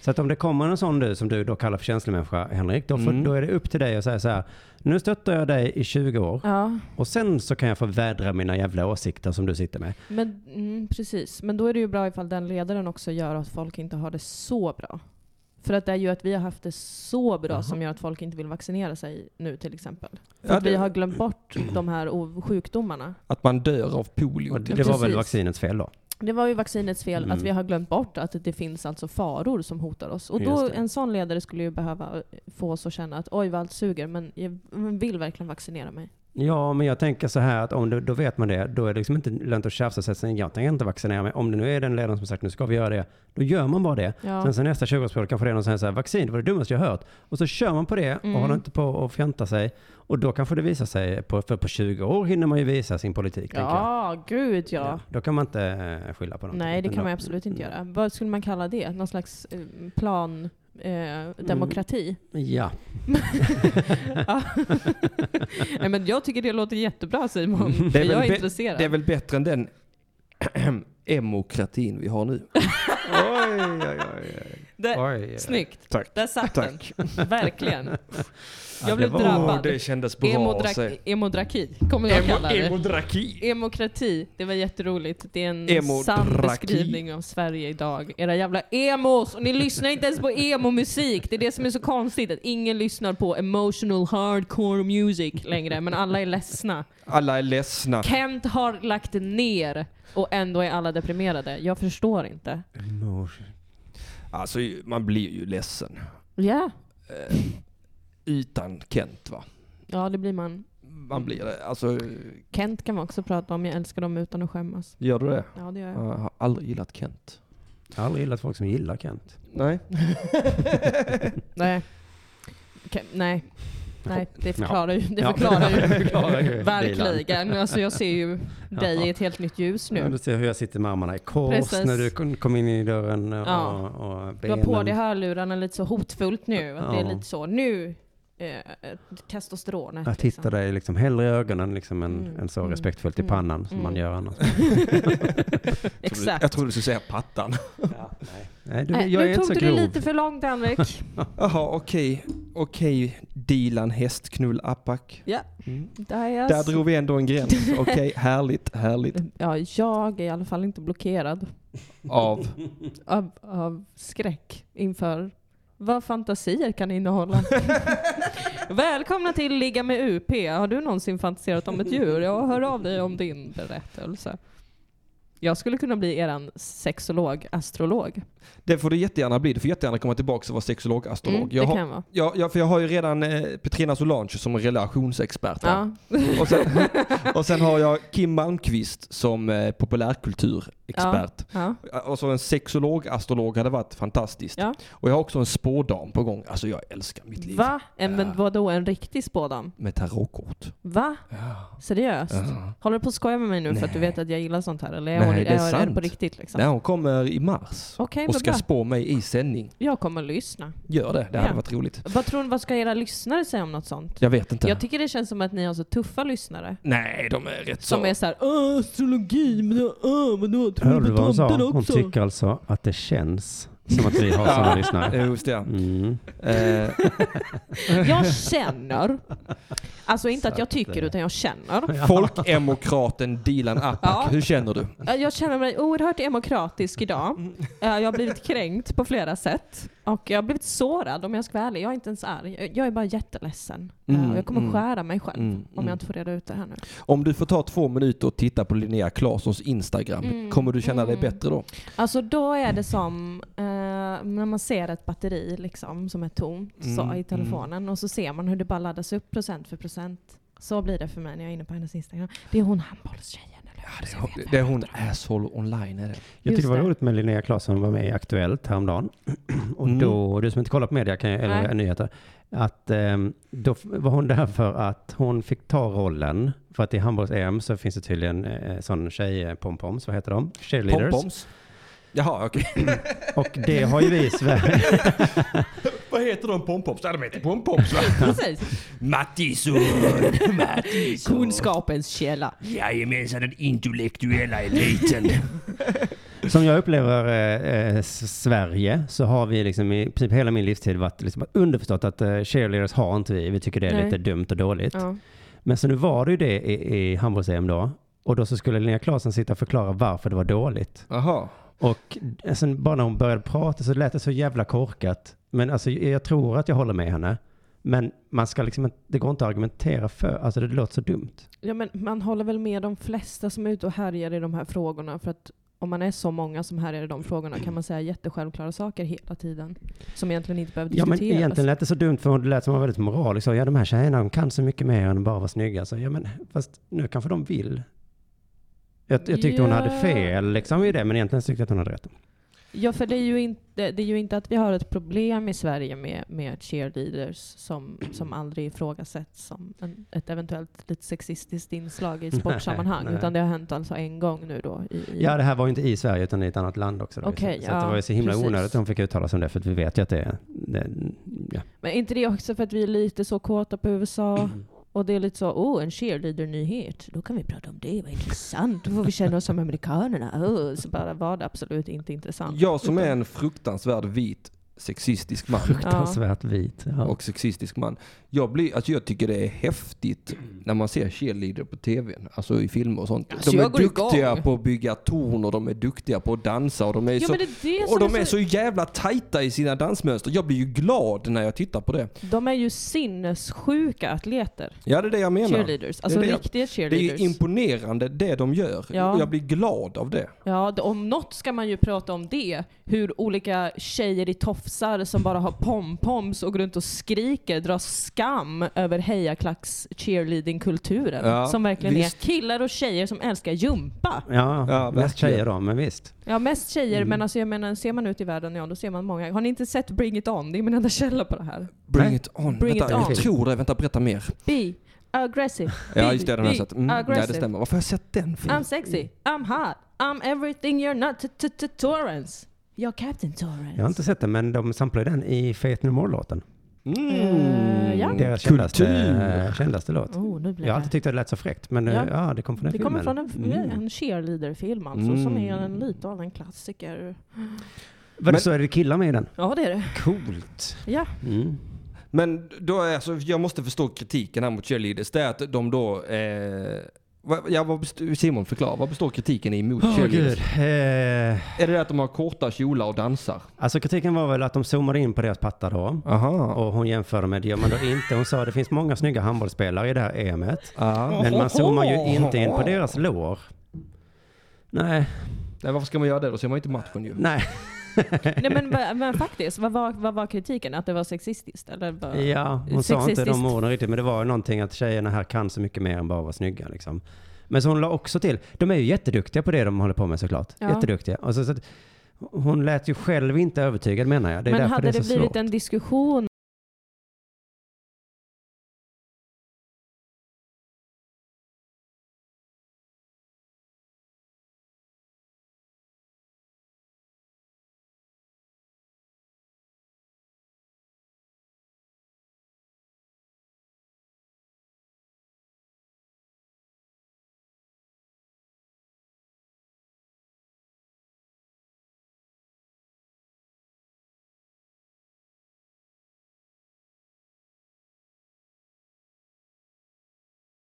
S7: Så att om det kommer en sån du, som du då kallar för känslomänniska, Henrik, då, får,
S1: Mm.
S7: då är det upp till dig att säga så här. Nu stöttar jag dig i 20 år.
S2: ja.
S7: Och sen så kan jag få vädra mina jävla åsikter som du sitter med.
S2: Men, mm, precis. Men då är det ju bra ifall den ledaren också gör att folk inte har det så bra. För att det är ju att vi har haft det så bra som gör att folk inte vill vaccinera sig nu till exempel. För
S1: Ja,
S2: att
S1: det-
S2: vi har glömt bort de här o- sjukdomarna.
S1: Att man dör av polio.
S7: Och det,
S1: till
S7: det var väl
S2: precis.
S7: vaccinets fel då?
S2: Det var ju vaccinets fel
S7: Mm.
S2: att vi har glömt bort att det finns alltså faror som hotar oss. Och
S7: Just
S2: då,
S7: det.
S2: en sån ledare skulle ju behöva eh, få oss att känna att oj vad allt suger men jag vill verkligen vaccinera mig.
S7: Ja, men jag tänker så här att om det, då vet man det, då är det liksom inte lönt att tjafsa och säga "Sen, jag tänker inte vaccinera mig. Om det nu är den ledaren som sagt nu ska vi göra det, då gör man bara det.
S2: Ja.
S7: Sen så nästa 20-årsperiod kanske det är någon som säger så här, vaccin det var det dummaste jag hört. Och så kör man på det och
S2: Mm.
S7: håller inte på och fjanta sig. Och då kanske det visar sig, på, för på 20 år hinner man ju visa sin politik. tänker jag.
S2: Ja, gud ja.
S7: Då kan man inte eh, skylla på något.
S2: Nej, det
S7: Utan
S2: kan
S7: då-
S2: man absolut inte
S1: Mm.
S2: göra. Vad skulle man kalla det? Någon slags eh, plan...
S1: Mm.
S2: Eh, demokrati.
S7: Ja,
S2: Ja. Nej, men jag tycker det låter jättebra Simon, för
S1: är väl
S2: jag är
S1: be-
S2: intresserad.
S1: Mm. Det är väl bättre än den emokratin vi har nu.
S7: oj, oj, oj.
S2: Där-
S7: oj.
S2: Snyggt.
S1: Tack.
S2: Där satt
S1: Tack.
S2: den. Verkligen.
S7: det
S2: Jag blev
S7: var-
S1: Åh,
S2: drabbad.
S1: det kändes bra att
S2: Emodra-
S1: säga.
S2: emodraki kommer jag kalla det.
S1: Emodraki.
S2: Emokrati, det var jätteroligt. Det är en
S1: Emodraki.
S2: sann beskrivning av Sverige idag. Era jävla emos! Och ni lyssnar inte ens på emo-musik. Det är det som är så konstigt, att ingen lyssnar på emotional hardcore music längre, men alla är ledsna.
S1: Alla är ledsna.
S2: Kent har lagt ner och ändå är alla deprimerade. Jag förstår inte.
S1: Alltså, man blir ju ledsen.
S2: Ja,
S1: Utan Kent va?
S2: ja det blir man.
S1: man blir det. Alltså,
S2: Kent kan man också prata om, jag älskar dem utan att skämmas.
S1: gör du det?
S2: Ja det gör jag.
S1: Jag har aldrig gillat Kent.
S7: Jag har aldrig gillat folk som gillar Kent.
S1: Nej.
S2: Nej. Okej, nej. Nej, det förklarar ju, det
S7: Ja.
S2: förklarar ju,
S7: Det förklarar ju
S2: verkligen. Alltså jag ser ju dig
S7: Ja.
S2: i ett helt nytt ljus
S7: Ja,
S2: nu.
S7: du ser hur jag sitter med armarna i kors
S2: Precis.
S7: när du kom- kom in i dörren och,
S2: Ja.
S7: och
S2: Du har
S7: benen.
S2: på dig hörlurarna lite så hotfullt nu. Att Det
S7: Ja.
S2: är lite så, nu eh, testosteronet.
S7: jag tittar dig liksom hellre i ögonen liksom än,
S2: Mm,
S7: än så
S2: mm,
S7: respektfullt i
S2: mm,
S7: pannan som
S2: mm.
S7: man gör annars.
S2: Exakt.
S1: Jag trodde du skulle säga pattan.
S7: Nej, du,
S2: Nej,
S7: jag är
S2: nu
S7: inte så
S2: tog du
S7: grov.
S2: det lite för långt Henrik.
S1: Jaha, okej. Okej, Dilan Hästknull Apak.
S2: Ja.
S1: Mm.
S2: Där, jag
S1: Där drog vi ändå en gräns. Okej, härligt, härligt.
S2: ja, jag är i alla fall inte blockerad
S1: Av.
S2: av, av skräck inför vad fantasier kan innehålla. Välkomna till Ligga med UP. Har du någonsin fantiserat om ett djur? Jag hör av dig om din berättelse. Jag skulle kunna bli eran sexolog, astrolog.
S1: Det får du jättegärna bli. Du får jättegärna komma tillbaka och vara sexolog, astrolog.
S2: Mm, det
S1: jag,
S2: kan
S1: har,
S2: jag vara.
S1: ja, ja, för jag har ju redan eh, Petrina Solange som relationsexpert. här.
S2: Ja.
S1: Och, sen, och sen har jag Kim Malmqvist som eh, populärkulturexpert.
S2: Ja.
S1: Och så en sexolog, astrolog hade varit fantastiskt.
S2: Ja.
S1: Och jag har också en spådam på gång. Alltså jag älskar mitt liv.
S2: Va? En,
S1: Ja.
S2: men vadå, en riktig spådam?
S1: Med tarotkort.
S2: Va?
S1: Ja.
S2: Seriöst?
S1: Ja.
S2: Håller du på att skoja med mig nu för att du
S1: Nej.
S2: vet att jag gillar sånt här? Eller är,
S1: Nej,
S2: hon,
S1: det är
S2: jag
S1: sant.
S2: på riktigt liksom?
S1: Nej, hon kommer i mars.
S2: Okej,
S1: Och
S2: vad
S1: ska
S2: bra.
S1: spå mig i sändning.
S2: Jag kommer att lyssna.
S1: Gör det, det hade
S2: Ja.
S1: varit roligt.
S2: Vad tror ni, vad ska era lyssnare säga om något sånt?
S1: Jag vet inte.
S2: Jag tycker det känns som att ni har så tuffa lyssnare.
S1: Nej, de är rätt
S2: Som
S1: så...
S2: är såhär Åh, astrologi, men åh, men då tror
S7: Hörde
S2: du
S7: du vad
S2: på
S7: hon sa?
S2: tomten
S7: Hon
S2: också?
S7: tycker alltså att det känns som att vi har
S1: Ja.
S7: sådana lyssnare.
S1: Eh, Just det.
S7: Mm.
S1: Eh,
S2: Jag känner. Alltså inte att jag tycker,
S7: eh,
S2: utan jag känner.
S1: Folkdemokraten Dilan Apak,
S2: Ja.
S1: hur känner du?
S2: Eh, Jag känner mig oerhört demokratisk idag. Eh, Jag har blivit kränkt på flera sätt. Och jag har blivit sårad om jag ska vara ärlig. Jag är inte ens arg. Jag- Jag är bara jätteledsen. Eh,
S1: Mm,
S2: och Jag kommer
S1: mm.
S2: skära mig själv
S1: Mm,
S2: om
S1: mm.
S2: jag inte får reda ut det här nu.
S1: Om du får ta två minuter och titta på Linnea Claessons Instagram,
S2: Mm,
S1: kommer du känna dig
S2: mm.
S1: bättre då?
S2: Alltså då är det som eh, när man ser ett batteri liksom, som är tomt så,
S1: Mm,
S2: i telefonen och så ser man hur det bara laddas upp procent för procent. Så blir det för mig när jag är inne på hennes Instagram. Det är hon handbollstjejen, eller hur? Så jag vet vad
S1: Det är
S2: jag
S1: hon
S2: pratar om.
S1: asshole online är det.
S7: Jag
S2: Just
S7: tyckte det var
S2: det.
S7: roligt med Linnea Claesson var med i Aktuellt häromdagen. Och
S1: Mm.
S7: då, du som inte kollar på media kan jag, eller
S2: Nej.
S7: nyheter, att ehm, då f- var hon där för att hon fick ta rollen. För att i handbolls-EM så finns det tydligen eh, sån tjej, pompoms, vad heter de? Cheerleaders.
S1: Pompoms. Jaha, okej.
S7: Och det har ju vi i Sverige.
S1: Vad heter de pompoms? Ja, de heter pompoms va?
S2: Precis.
S1: Mattisson!
S2: Kunskapens källa.
S1: Jajamensan, den intellektuella eliten.
S7: Som jag upplever eh, eh, s- Sverige så har vi liksom i princip hela min livstid varit liksom underförstått att eh, cheerleaders har inte vi. Vi tycker det är
S2: Nej.
S7: lite dumt och dåligt.
S2: Ja.
S7: Men så nu var det ju det i, i handbolls-EM då. Och då så skulle Linnea Claesson sitta och förklara varför det var dåligt.
S1: Jaha.
S7: Och eh, sen bara när hon började prata så lät det så jävla korkat. Men alltså jag tror att jag håller med henne. Men man ska liksom, inte- det går inte att argumentera för. Alltså det låter så dumt.
S2: Ja, men man håller väl med de flesta som är ute och härjar i de här frågorna. För att om man är så många som härjar i de frågorna kan man säga jättesjälvklara saker hela tiden. Som egentligen inte behöver
S7: Ja men
S2: diskuteras.
S7: egentligen lät det så dumt för hon det lät som hon var väldigt moralisk. Så, ja de här tjejerna de kan så mycket mer än att bara vara snygga. Så, ja men fast nu kanske de vill. Jag, jag tyckte hon
S2: Ja. Mm.
S7: hade fel liksom i det men egentligen tyckte jag att hon hade rätt.
S2: Ja, för det är ju inte, det är ju inte att vi har ett problem i Sverige med, med cheerleaders som, som aldrig ifrågasätts som en, ett eventuellt lite sexistiskt inslag i sportsammanhang.
S7: nej.
S2: Utan det har hänt alltså en gång nu då. I, i,
S7: Ja, det här var ju inte i Sverige utan i ett annat land också. Då,
S2: Okej,
S7: så att det
S2: ja,
S7: var ju så himla
S2: precis.
S7: onödigt att de fick uttala sig om det, för att vi vet ju att det är... Det, ja.
S2: Men är inte det också för att vi är lite så kåta på USA? Och det är lite så, oh, en cheerleader-nyhet. Då kan vi prata om det, vad intressant. Då får vi känna oss som amerikanerna. Oh, så bara var det absolut inte intressant.
S1: Jag som är en fruktansvärd vit sexistisk man.
S7: Fruktansvärt vit. Ja.
S1: och sexistisk man. Jag, blir, alltså jag tycker det är häftigt när man ser cheerleader på tv, alltså i filmer och sånt.
S2: Alltså,
S1: de är
S2: jag går
S1: duktiga
S2: igång.
S1: på att bygga torn och de är duktiga på att dansa och de är,
S2: Ja,
S1: så,
S2: men det är det
S1: och
S2: som
S1: de är så jävla tajta i sina dansmönster. Jag blir ju glad när jag tittar på det.
S2: De är ju sinnessjuka atleter.
S1: Ja, det är det jag menar.
S2: Cheerleaders. Alltså
S1: det jag-
S2: riktiga
S1: Det är ju
S2: cheerleaders.
S1: imponerande det de gör.
S2: Ja.
S1: Och jag blir glad av det.
S2: ja, d- om något ska man ju prata om det. Hur olika tjejer i tjafsar som bara har pompoms och går runt och skriker, drar skam över hejaklacks cheerleading-kulturen.
S1: Ja,
S2: som verkligen
S1: visst.
S2: är killar och tjejer som älskar jumpa.
S7: Ja,
S1: Ja,
S7: mest
S1: verkligen.
S7: tjejer då, men visst.
S2: Ja, mest tjejer,
S1: Mm.
S2: men alltså jag menar, ser man ut i världen, ja då ser man många. Har ni inte sett Bring It On? Det är min enda källa på det här.
S1: Bring
S7: Nej.
S1: it on.
S2: Bring
S1: vänta,
S2: it
S1: jag
S2: on.
S1: tror det. Vänta, berätta mer.
S2: Be aggressive.
S1: Ja, just det. Den har jag
S2: Be
S1: sett. Mm, ja, det
S2: aggressive.
S1: stämmer. Varför har jag sett den
S2: I'm
S1: filmen?
S2: sexy. I'm hot. I'm everything you're not. T- t- t- Torrance. You're Captain Torrance.
S7: Jag har inte sett den, men de samplar ju den i Faith No More-låten.
S1: Mm.
S2: Eh, ja.
S7: Mm. Deras kändaste,
S1: Kultur.
S7: kändaste låt.
S2: Oh, nu blir
S7: Jag har alltid
S2: det.
S7: tyckt att det lät så fräckt, men eh,
S2: Ja.
S7: ja, det kom från den
S2: Det
S7: filmen.
S2: kommer från en,
S1: Mm.
S2: en cheerleader-film alltså, som är en
S1: Mm.
S2: lite av en klassiker.
S7: Var
S1: Men-
S7: det så är det killar med i den?
S2: Ja, det är det.
S7: Coolt.
S2: Ja.
S7: Mm.
S1: Men då är alltså, jag måste förstå kritiken här mot cheerleaders. Det är att de då... Eh, vad- Ja, vad best- Simon förklara, vad består kritiken i mot
S7: Åh
S1: cheerleaders?
S7: gud. Eh,
S1: Är det det att de har korta kjolar och dansar?
S7: alltså kritiken var väl att de zoomade in på deras patta då.
S1: Aha.
S7: Och hon jämförde med, det gör man då inte. Hon sa det finns många snygga handbollsspelare i det här EMet.
S1: Ja.
S7: Men man zoomar ju inte in på deras lår. Nej,
S1: Nej, varför ska man göra det? Då ser man ju inte matchen ju.
S7: nej.
S2: Nej, men, va- men faktiskt, vad var, vad var kritiken? Att det var sexistiskt? Eller vad?
S7: Ja, hon sa inte de
S2: Eh, Sexistiskt.
S7: orden riktigt, men det var ju någonting att tjejerna här kan så mycket mer än bara vara snygga liksom. Men så hon la också till, de är ju jätteduktiga på det de håller på med såklart.
S2: Ja.
S7: Jätteduktiga. Och så, så att, hon lät ju själv inte övertygad menar jag. Det är
S2: Men
S7: därför
S2: hade
S7: det
S2: det,
S7: är så
S2: blivit
S7: svårt.
S2: en diskussion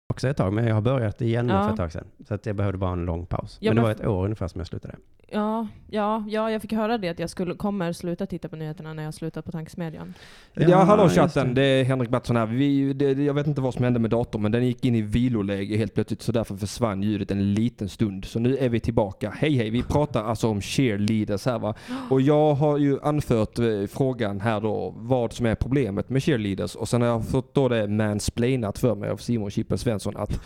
S7: också ett tag, men jag har börjat igen nu
S2: Ja.
S7: för ett tag sedan. Så att jag behövde bara en lång paus.
S2: Ja,
S7: men det
S2: men-
S7: var ett år ungefär som jag slutade.
S2: Ja, ja, ja, jag fick höra det att jag skulle, kommer sluta titta på nyheterna när jag slutar på tankesmedjan.
S1: Ja, hallå chatten. Det är Henrik Mattsson här. Vi, det, det- jag vet inte vad som hände med datorn, men den gick in i viloläge helt plötsligt, så därför försvann ljudet en liten stund. Så nu är vi tillbaka. Hej hej, vi pratar alltså om cheerleaders här va. Och jag har ju anfört eh, frågan här då, vad som är problemet med cheerleaders. Och sen har jag fått då det mansplainat för mig av Simon Chippen Svensson att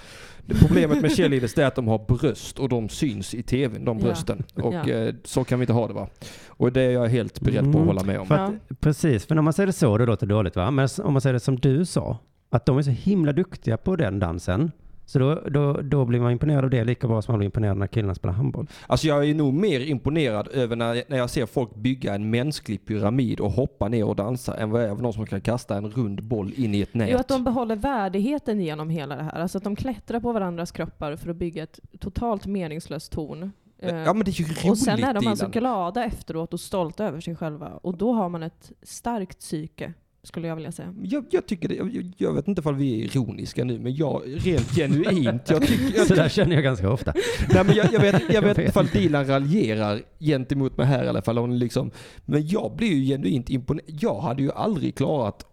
S1: det problemet med cheerleaders det är att de har bröst och de syns i tvn, de
S2: Ja.
S1: brösten. Och
S2: Ja.
S1: eh, så kan vi inte ha det va. Och det är jag helt beredd på att
S7: Mm.
S1: hålla med om.
S7: För att, Precis, för när man säger det så, det låter dåligt va? Men om man säger det som du sa, att de är så himla duktiga på den dansen. Så då, då, då blir man imponerad av det lika bra som man blir imponerad när killarna spelar handboll.
S1: Alltså jag är nog mer imponerad över när, när jag ser folk bygga en mänsklig pyramid och hoppa ner och dansa än vad jag är av någon som kan kasta en rund boll in i ett nät.
S2: Jo, att de behåller värdigheten genom hela det här. Alltså att de klättrar på varandras kroppar för att bygga ett totalt meningslöst torn. Eh,
S1: ja men det är ju roligt
S2: och sen är de alltså
S1: Dilan.
S2: glada efteråt och stolta över sig själva. Och då har man ett starkt psyke, skulle jag vilja säga.
S1: jag, jag tycker det, jag, jag vet inte ifall vi är ironiska nu men jag, rent genuint, jag tycker... Jag,
S7: Så där känner jag ganska ofta.
S1: nej men jag, jag vet, jag vet
S7: vet.
S1: inte ifall Dilan raljerar gentemot mig här i alla fall. Hon liksom, men jag blir ju genuint imponerad. Jag hade ju aldrig klarat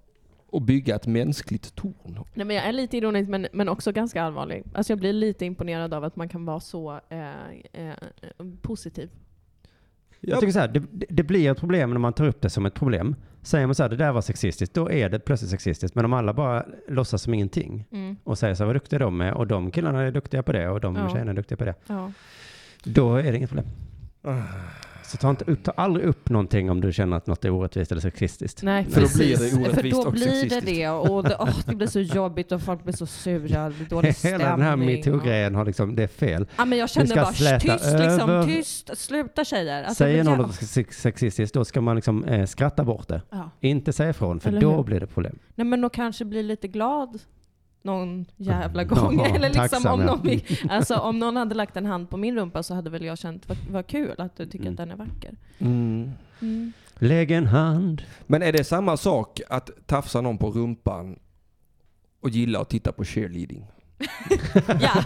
S1: att bygga ett mänskligt torn.
S2: Nej, men jag är lite ironisk, men, men också ganska allvarlig. Alltså jag blir lite imponerad av att man kan vara så eh, eh, positiv.
S7: Jag tycker så här, det, det blir ett problem när man tar upp det som ett problem. Säger man så här, det där var sexistiskt, då är det plötsligt sexistiskt. Men om alla bara låtsas som ingenting och säger så här, vad duktiga de är och de killarna är duktiga på det och de
S2: Ja.
S7: tjejerna är duktiga på det.
S2: Ja.
S7: Då är det inget problem.
S1: Ah.
S7: Så ta, inte upp, ta aldrig upp någonting om du känner att något är orättvist eller sexistiskt.
S2: Nej,
S1: För då
S2: precis.
S1: blir det orättvist
S2: För då
S1: och
S2: blir
S1: sexistiskt.
S2: det det. Och det, åh, det blir så jobbigt och folk blir så sura. Det blir dålig stämning.
S7: Hela den här
S2: Ja.
S7: metoo-grejen har liksom, det är fel.
S2: Ja, men jag känner
S7: ska
S2: bara
S7: släta
S2: tyst, liksom,
S7: över."
S2: tyst, sluta tjejer. Alltså,
S7: Säger
S2: men
S7: någon
S2: ja.
S7: något sex- sexistiskt, då ska man liksom eh, skratta bort det.
S2: Ja.
S7: Inte säga ifrån, för
S2: Eller
S7: då
S2: hur?
S7: blir det problem.
S2: Nej men då kanske blir lite glad någon jävla gång.
S7: Ja,
S2: Eller liksom
S7: tacksam,
S2: om,
S7: ja.
S2: någon, fick- alltså, om någon hade lagt en hand på min rumpa så hade väl jag känt, vad, vad kul att du tycker
S7: Mm.
S2: att den är vacker.
S1: Mm.
S2: Mm.
S7: Lägg en hand.
S1: Men är det samma sak att tafsa någon på rumpan och gilla att titta på cheerleading?
S2: Ja,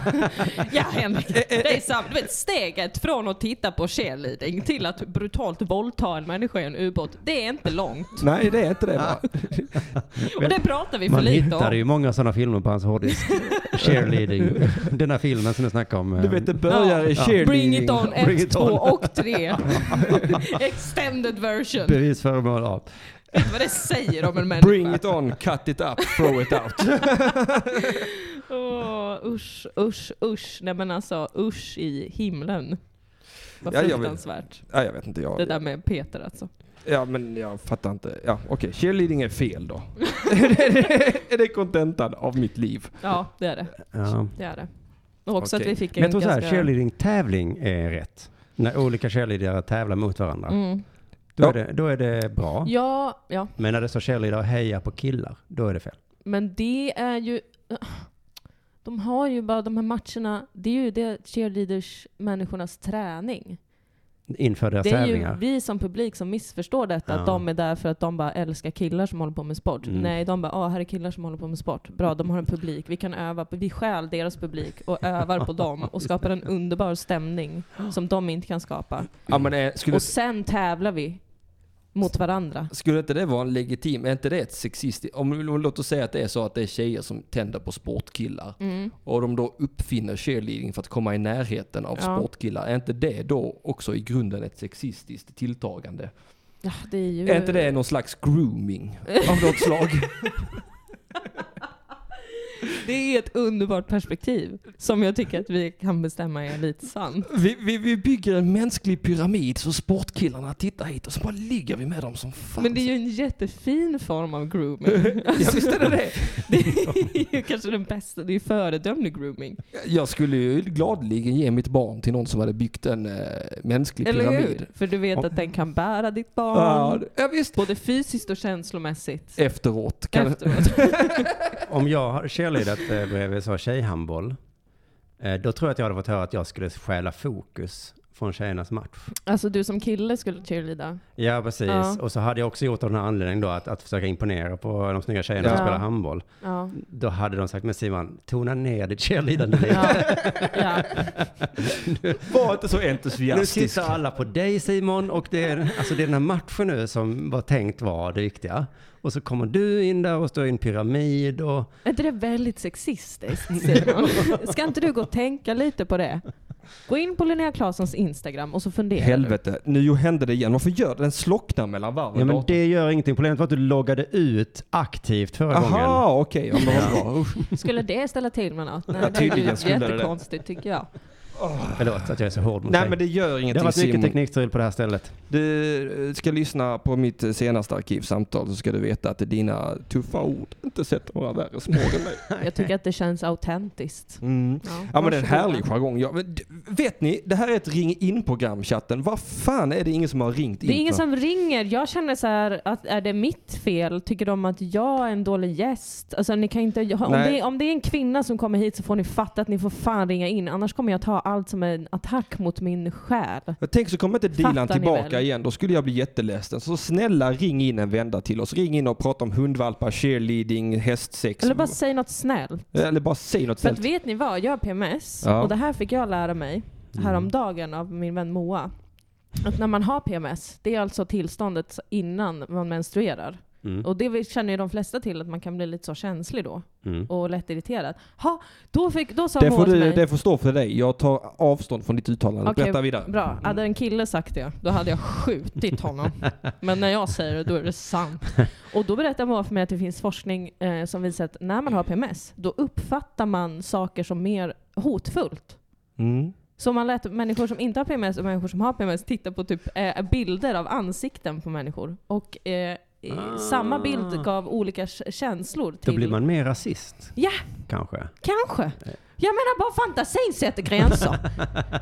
S2: ja Henrik.
S7: Eh,
S2: Det är sant. Du vet, steget från att titta på cheerleading till att brutalt våldta en människa i en ubåt, det är inte långt.
S1: Nej, det är inte det va?
S2: Och det pratar vi för
S7: Man
S2: lite om.
S7: hittade ju många sådana filmer på hans hårddisk. Cheerleading. Den här filmen som du snackade om.
S1: Du
S7: eh,
S1: vet, det börjar i
S2: Ja.
S1: cheerleading.
S2: Bring it on
S7: Bring
S2: 1,
S7: it
S2: 2
S7: on.
S2: och 3. Extended version. Vet
S7: Bevisföremål av.
S2: du vad det säger om en människa?
S1: Bring it on, cut it up, throw it out.
S2: Åh, usch, usch, usch. Nej men alltså usch i himlen. Vad
S1: Ja, jag vet.
S2: fruktansvärt.
S1: ja, jag vet inte. Jag,
S2: Det där med Peter alltså.
S1: Ja, men jag fattar inte. Ja, okej. Cheerleading är fel då. Är det- är det kontentan av mitt liv?
S2: Ja, det är det.
S7: Ja.
S2: Det är det. Och också
S1: Okej.
S2: att vi fick en
S7: Men jag tror såhär,
S2: ganska...
S7: cheerleading-tävling är rätt. När olika cheerleadare tävlar mot varandra.
S2: Mm.
S7: Då,
S1: Ja.
S7: är det, då är det bra.
S2: Ja, ja.
S7: Men när det står cheerleadare och hejar på killar, då är det fel.
S2: Men det är ju... De har ju bara de här matcherna, det är ju det cheerleaders-människornas träning.
S7: Inför deras
S2: Det är ju
S7: tävlingar.
S2: vi som publik som missförstår detta,
S7: Ja.
S2: att de är där för att de bara älskar killar som håller på med sport.
S7: Mm.
S2: Nej, de bara ah, här är killar som håller på med sport. Bra, de har en publik. Vi kan öva på, vi stjäl deras publik och övar på dem och skapar en underbar stämning som de inte kan skapa.
S1: Ja, men eh, skulle,
S2: Och sen tävlar vi mot varandra.
S1: skulle inte det vara en legitim, är inte det ett sexistiskt, om om- låt oss säga att det är så att det är tjejer som tänder på sportkillar
S2: Mm.
S1: och de då uppfinner cheerleading för att komma i närheten av
S2: Ja.
S1: sportkillar, är inte det då också i grunden ett sexistiskt tilltagande?
S2: Ja, det är ju...
S1: Är inte det någon slags grooming av något slag?
S2: Det är ett underbart perspektiv som jag tycker att vi kan bestämma är lite sant.
S1: Vi, vi, vi bygger en mänsklig pyramid så sportkillarna tittar hit och så bara ligger vi med dem som fan.
S2: Men det är ju en jättefin form av grooming. Alltså,
S1: Ja, visst är det det.
S2: Det är ju kanske den bästa, det är ju föredömlig grooming.
S1: Jag skulle ju gladeligen ge mitt barn till någon som hade byggt en eh, mänsklig
S2: Eller
S1: pyramid.
S2: hur? För du vet att den kan bära ditt
S1: Ja,
S2: barn.
S1: ja, visst.
S2: Både fysiskt och känslomässigt.
S1: Efteråt. Kan
S2: Efteråt.
S7: Om jag har cheerleadat eh, bredvid så tjejhandboll, eh, då tror jag att jag hade fått höra att jag skulle stjäla fokus från tjejernas match.
S2: Alltså du som kille skulle cheerleada.
S7: Ja, precis.
S2: Ja.
S7: Och så hade jag också gjort av den här anledningen då att, att försöka imponera på de snygga tjejerna som
S2: Ja.
S7: spelar handboll.
S2: Ja.
S7: Då hade de sagt, men Simon, tona ner ditt cheerleadande lite.
S2: Ja. ja.
S1: Var inte så
S7: Nu
S1: entusiastisk.
S7: tittar alla på dig Simon och det är, alltså det är den här matchen nu som var tänkt vara det viktiga. Och så kommer du in där och står i en pyramid och
S2: Är inte det väldigt sexistiskt Simon? Ska inte du gå och tänka lite på det? Gå in på Linnea Claessons Instagram och så fundera.
S1: Helvete, nu hände det igen. Varför gör det? Den slocknar mellan varven.
S7: Ja men det gör ingenting. Problemet var att du loggade ut aktivt förra gången.
S1: Aha, okej. Ja, men vad bra. Usch.
S2: Skulle det ställa till med något? Nej,
S1: Ja,
S2: det är ju
S1: tydligen skulle det det.
S2: jättekonstigt tycker jag.
S7: Förlåt att jag är så hård mot
S1: Nej
S7: dig.
S1: men det gör
S7: det har
S1: ingenting
S7: varit mycket
S1: Simon.
S7: teknikstrul på det här stället.
S1: Du eh, ska lyssna på mitt eh, senaste arkivsamtal så ska du veta att dina tuffa ord inte sätter några värre spår än mig.
S2: Jag tycker att det känns autentiskt.
S1: Mm. Ja men det är en härlig jargong. Ja, men d- vet ni, det här är ett ring in-program chatten. Vad fan är det ingen som har ringt in
S2: Det är ingen
S1: för?
S2: som ringer. Jag känner så här att är det mitt fel? Tycker de att jag är en dålig gäst? Alltså, ni kan inte, om,
S1: Nej.
S2: det, om det är en kvinna som kommer hit så får ni fatta att ni får fan ringa in. Annars kommer jag ta allt som en attack mot min själ.
S1: Jag tänker så kommer inte Dilan
S2: Fattar ni
S1: tillbaka
S2: väl?
S1: igen. Då skulle jag bli jätteledsen. Så snälla ring in en vända till oss. Ring in och prata om hundvalpar, cheerleading, hästsex.
S2: Eller bara säg något snällt.
S1: Eller bara säg något
S2: För att
S1: snällt.
S2: vet ni vad? Jag har PMS
S1: Ja.
S2: och det här fick jag lära mig häromdagen av min vän Moa. Att när man har PMS, det är alltså tillståndet innan man menstruerar.
S7: Mm.
S2: Och det vi- känner ju de flesta till, att man kan bli lite så känslig då.
S7: Mm.
S2: och lätt irriterad. Ha, då, fick, då sa
S1: Det
S2: Moa
S1: får,
S2: till
S1: du,
S2: mig.
S1: det får stå för dig. Jag tar avstånd från ditt uttalande.
S2: Okej,
S1: Berätta vidare.
S2: Bra, hade en kille sagt det, då hade jag skjutit honom. Men när jag säger det, då är det sant. Och då berättar Moa för mig att det finns forskning eh, som visar att när man har PMS, då uppfattar man saker som mer hotfullt.
S1: Mm.
S2: Så man lät människor som inte har PMS och människor som har PMS titta på typ, eh, bilder av ansikten på människor. Och eh, i-
S7: Ah.
S2: samma bild gav olika k- känslor till...
S7: Då blir man mer rasist.
S2: Ja.
S7: Kanske.
S2: Kanske.
S1: Eh.
S2: Jag menar bara fantasin sätter gränser.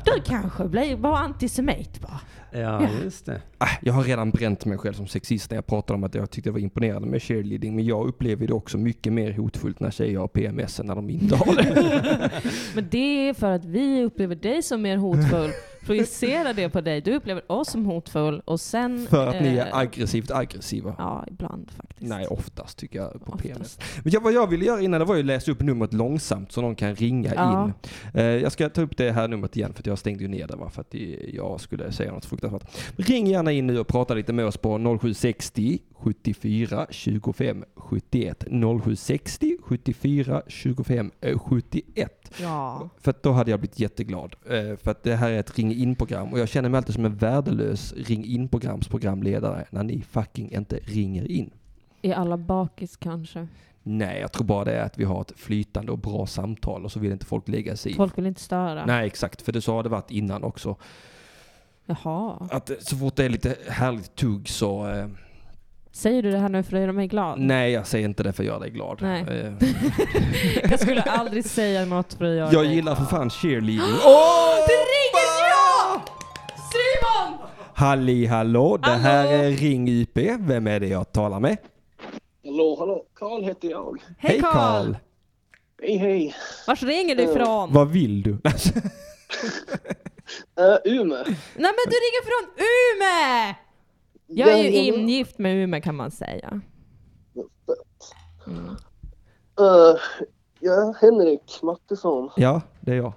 S2: Du kanske blir bara antisemit bara.
S7: Ja, just det.
S1: Ah, Jag har redan bränt mig själv som sexist när jag pratade om att jag tyckte det var imponerande med cheerleading. Men jag upplever det också mycket mer hotfullt när tjejer har PMS än när de inte har det.
S2: Men det är för att vi upplever dig som mer hotfull projicera det på dig. Du upplever oss som hotfull och sen...
S1: För att ni är
S2: eh,
S1: aggressivt aggressiva.
S2: Ja, ibland faktiskt.
S1: Nej, oftast tycker jag på PMS.
S2: Oftast.
S1: Men jag, vad jag ville göra innan det var ju läsa upp numret långsamt så någon kan ringa
S2: Ja.
S1: in. Eh, jag ska ta upp det här numret igen för att jag stängde ju ner det va, för att det- jag skulle säga något fruktansvärt. Ring gärna in nu och prata lite med oss på 0760 74 25 71. 0760 74 25 71.
S2: Ja.
S1: För att då hade jag blivit jätteglad. Eh, För att det här är ett ring in-program och jag känner mig alltid som en värdelös ring in-programsprogramledare när ni fucking inte ringer in.
S2: Är alla bakis kanske?
S1: Nej, jag tror bara det är att vi har ett flytande och bra samtal och så vill inte folk lägga sig i.
S2: Folk vill inte störa.
S1: Nej, exakt. För det så har det varit innan också.
S2: Jaha.
S1: Att eh, så fort det är lite härligt tugg så... Eh,
S2: Säger du det här nu för att göra mig glad?
S1: nej, jag säger inte det för att göra dig glad.
S2: Nej.
S1: Eh,
S2: jag skulle aldrig säga något för att göra
S1: jag
S2: dig
S1: gillar för
S2: glad.
S1: fan cheerleading.
S2: Det ringer jag! Simon!
S1: Halli hallå, det här
S2: Hallå!
S1: är Ring IP. Vem är det jag talar med?
S8: Hallå, hallå. Karl heter jag.
S2: Hej Karl!
S8: Hej, hej.
S2: Vars ringer du ifrån?
S1: Vad vill du?
S8: Uh, Umeå.
S2: Nej men du ringer från Umeå! Jag är ju ingift med Umeå kan man säga.
S8: Eh, ja, Henrik Mattisson.
S1: ja, det är jag.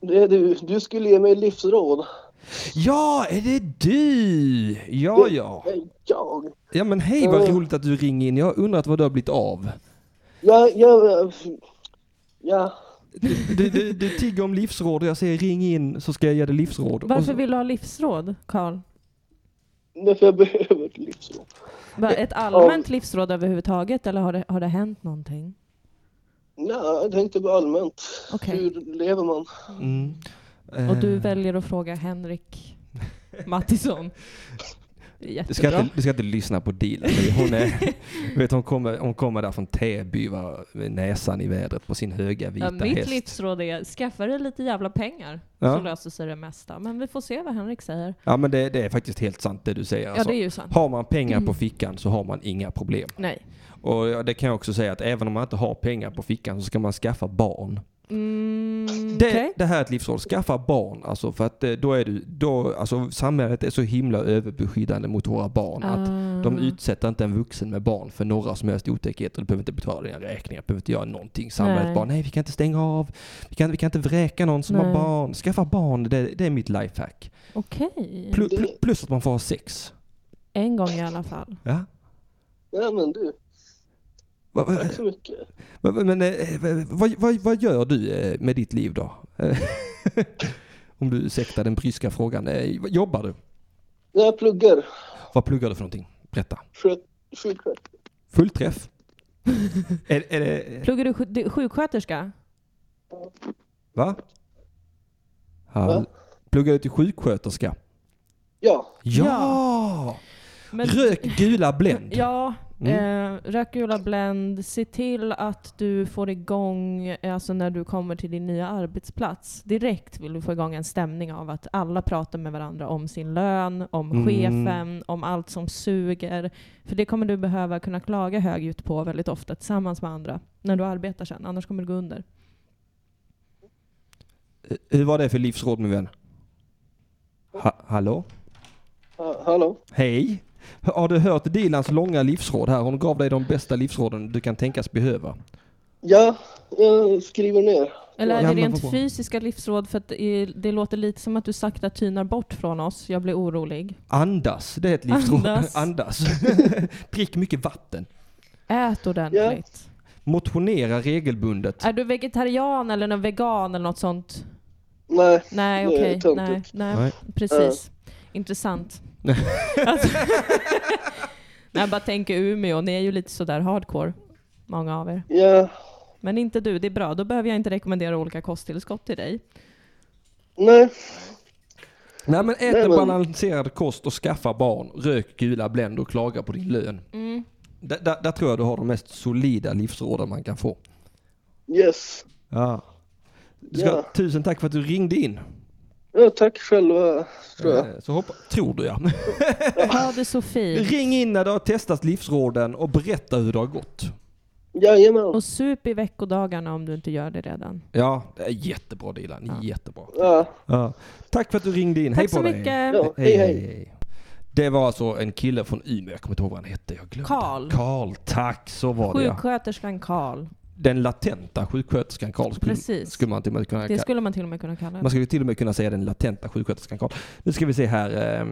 S8: Det är du. Du skulle ge mig livsråd.
S1: Ja, är det du? Ja, ja.
S8: Hej, Jag.
S1: Ja men hej vad
S8: Eh.
S1: roligt att du ringer in. Jag har undrat vad du har blivit av.
S8: Ja, ja, eh, ja.
S1: Du, du, du tigger om livsråd och jag säger ring in så ska jag ge dig livsråd. Och
S2: Varför
S1: så,
S2: vill du ha livsråd, Karl?
S8: Därför jag behöver ett livsråd.
S2: Bara Ett allmänt livsråd överhuvudtaget eller har det, har det hänt någonting?
S8: Nej, jag tänkte bara allmänt.
S2: Okej.
S8: Hur lever man?
S1: mm, eh,
S2: Och du väljer att fråga Henrik Mattisson.
S1: du ska,
S2: Jättebra.
S1: inte, du ska inte lyssna på dealen. men Hon, är, vet, hon, kommer, hon kommer där från Täby va, med näsan i vädret på sin höga vita
S2: Ja, mitt
S1: häst.
S2: livsråd är skaffa dig lite jävla pengar
S1: Ja.
S2: så löser sig det mesta. Men vi får se vad Henrik säger.
S1: Ja men det, det är faktiskt helt sant det du säger.
S2: Ja
S1: Alltså,
S2: det är Mm. ju sant.
S1: Har man pengar på fickan så har man inga problem.
S2: Nej.
S1: Och ja, det kan jag också säga att även om man inte har pengar på fickan så ska man skaffa barn.
S2: Mm,
S1: Det,
S2: okej.
S1: det här är ett livsråd. Skaffa barn. Alltså för att eh, då är du, då, alltså samhället är så himla överbeskyddande mot våra barn. Att de
S2: Ah.
S1: utsätter inte en vuxen med barn för några som helst otäckheter. Du behöver inte betala dina räkningar, behöver inte göra någonting. Samhället
S2: Nej.
S1: bara, nej vi kan inte stänga av. Vi kan, vi kan inte vräka någon som har
S2: Nej.
S1: barn. Skaffa barn, det, det är mitt lifehack.
S2: Okej.
S1: Plus, plus att man får ha sex.
S2: En gång i alla fall.
S1: Ja?
S8: Ja, men du.
S1: Va- va-
S8: Tack så mycket.
S1: va- va- Men eh, va- vad, vad, vad gör du eh, med ditt liv då? Om du ursäktar den bryska frågan. Eh, Jobbar du?
S8: Nej, jag pluggar.
S1: Vad pluggar du för någonting? Berätta.
S8: Sköt- Sjuksköterska.
S1: Full träff. är, är det...
S2: Pluggar du sju- du sjuksköterska?
S1: Va? Hall...
S8: Va?
S1: Pluggar du till sjuksköterska?
S8: Ja.
S1: Ja!
S2: Men-
S1: Rök gula Blend.
S2: Ja,
S1: Mm.
S2: eh, rök gula Blend. Se till att du får igång, eh, alltså när du kommer till din nya arbetsplats, direkt vill du få igång en stämning av att alla pratar med varandra om sin lön, om
S1: Mm.
S2: chefen, om allt som suger. För det kommer du behöva kunna klaga högljutt på väldigt ofta tillsammans med andra när du arbetar sen, annars kommer du gå under.
S1: Hur var det för livsråd min vän? Ha hallå?
S8: Ha- hallå?
S1: Hej? Har du hört Dilans långa livsråd här? Hon gav dig de bästa livsråden du kan tänkas behöva.
S8: Ja, jag skriver ner.
S2: Eller är
S1: Ja,
S2: det
S1: men vad
S2: rent
S1: bra.
S2: fysiska livsråd? För att eh, det låter lite som att du sakta tynar bort från oss. Jag blir orolig.
S1: Andas, det är ett livsråd.
S2: Andas.
S1: Andas. Drick mycket vatten.
S2: Ät ordentligt.
S1: Motionera regelbundet.
S2: Är du vegetarian eller någon vegan eller något sånt?
S8: Nej,
S2: Nej,
S8: Det är
S2: okej.
S8: töntigt.
S2: Nej, nej,
S1: Nej.
S2: precis. Intressant. alltså, när jag bara tänker Umeå, ni är ju lite sådär hardcore. Många av er.
S8: ja.
S2: Men inte du, det är bra. Då behöver jag inte rekommendera olika kosttillskott till dig.
S8: Nej.
S1: Nej men ät
S8: Nej,
S1: en
S8: men-
S1: balanserad kost och skaffa barn. Rök gula Blend och klaga på din lön.
S2: Mm.
S1: Där, där, där tror jag du har de mest solida livsråden man kan få.
S8: Yes.
S1: Ja. Du ska,
S8: Ja.
S1: Tusen tack för att du ringde in.
S8: Ja, tack själva, tror jag.
S1: Eh, Så hoppa, tror du ja.
S2: Mm. Ha det så fint.
S1: Ring in när du har testat livsråden och berätta hur det har gått.
S8: Jajamän.
S2: Och sup i veckodagarna om du inte gör det redan.
S1: Ja, det är jättebra Dilan.
S2: Ja.
S1: Jättebra.
S8: Ja,
S1: Ja. Tack för att du ringde in. hej
S2: Tack
S1: på
S2: så
S1: dig.
S2: mycket.
S8: ja, hej hej.
S1: Det var alltså en kille från Umeå, jag kommer inte ihåg vad han hette. Jag glömde.
S2: Karl.
S1: Karl, tack. Så var det ja.
S2: Sjuksköterskan Karl.
S1: Den latenta sjuksköterskan Karl skulle,
S2: Precis.
S1: Mm. skulle man till och med kunna
S2: Det skulle man till och med kunna kalla
S1: Man
S2: det.
S1: skulle till och med kunna säga den latenta sjuksköterskan Karl. Nu ska vi se här. eh,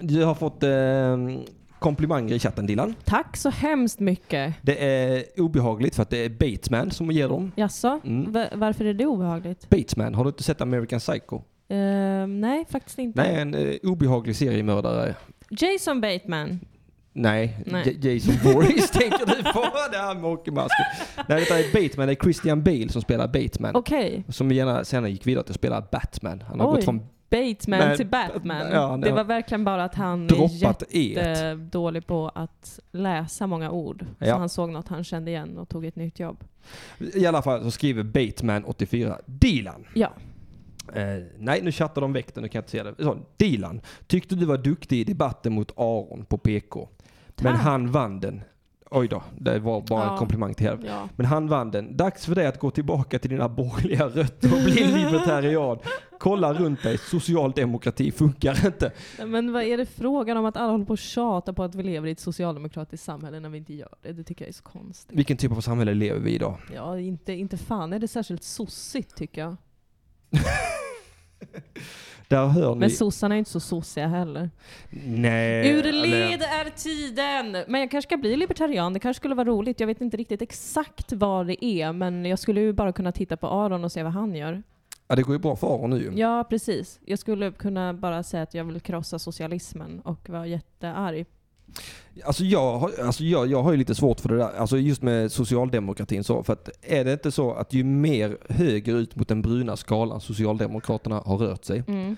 S1: Du har fått eh, komplimanger i chatten Dilan.
S2: Tack så hemskt mycket.
S1: Det är obehagligt för att det är Batman som ger dem.
S2: Jaså?
S1: Mm.
S2: Va- Varför är det obehagligt?
S1: Batman, har du inte sett American Psycho?
S2: Ehm, nej, faktiskt inte.
S1: Nej, en eh, obehaglig seriemördare.
S2: Jason Bateman.
S1: Nej,
S2: Nej.
S1: J- Jason Voorhees tänker du på. Det här med hockeymasken. Nej, detta är Batman. Det är Christian Bale som spelar Batman.
S2: Okej.
S1: Som gärna senare gick vidare till att spela Batman. Han har
S2: Oj.
S1: gått från
S2: Bateman
S1: Nej,
S2: till Batman.
S1: ja, nej.
S2: det var verkligen bara att han är
S1: droppat E.
S2: jättedålig på att läsa många ord.
S1: Ja.
S2: Så han såg något han kände igen och tog ett nytt jobb.
S1: I alla fall så skriver Batman 84. Dilan.
S2: Ja.
S1: Eh, nej, nu chattar de väck det, nu kan jag inte säga det. Så, Dilan, tyckte du var duktig i debatten mot Aron på PK. Men
S2: Tack.
S1: han vann den. Oj då, det var bara en
S2: Ja.
S1: komplimang till henne.
S2: Ja.
S1: Men han vann den. Dags för dig att gå tillbaka till dina borgerliga rötter och bli libertarian. Kolla runt dig, socialdemokrati funkar inte.
S2: Nej, Men vad är det frågan om att alla håller på och tjatar på att vi lever i ett socialdemokratiskt samhälle när vi inte gör det? Det tycker jag är så konstigt.
S1: Vilken typ av samhälle lever vi i idag?
S2: Ja, inte, inte fan är det särskilt sossigt tycker jag.
S1: Där hör ni...
S2: Men sossarna är inte så sossiga heller.
S1: Nej.
S2: Ur
S1: Eh, eller-
S2: led är tiden! Men jag kanske ska bli libertarian, det kanske skulle vara roligt. Jag vet inte riktigt exakt vad det är, men jag skulle ju bara kunna titta på Aron och se vad han gör.
S1: Ja, det går ju bra för Aron nu.
S2: Ja, precis. Jag skulle kunna bara säga att jag vill krossa socialismen och vara jättearg.
S1: Alltså, jag har, alltså jag, jag har ju lite svårt för det där, alltså just med socialdemokratin. Så, för att är det inte så att ju mer höger ut mot den bruna skalan Socialdemokraterna har rört sig,
S2: Mm.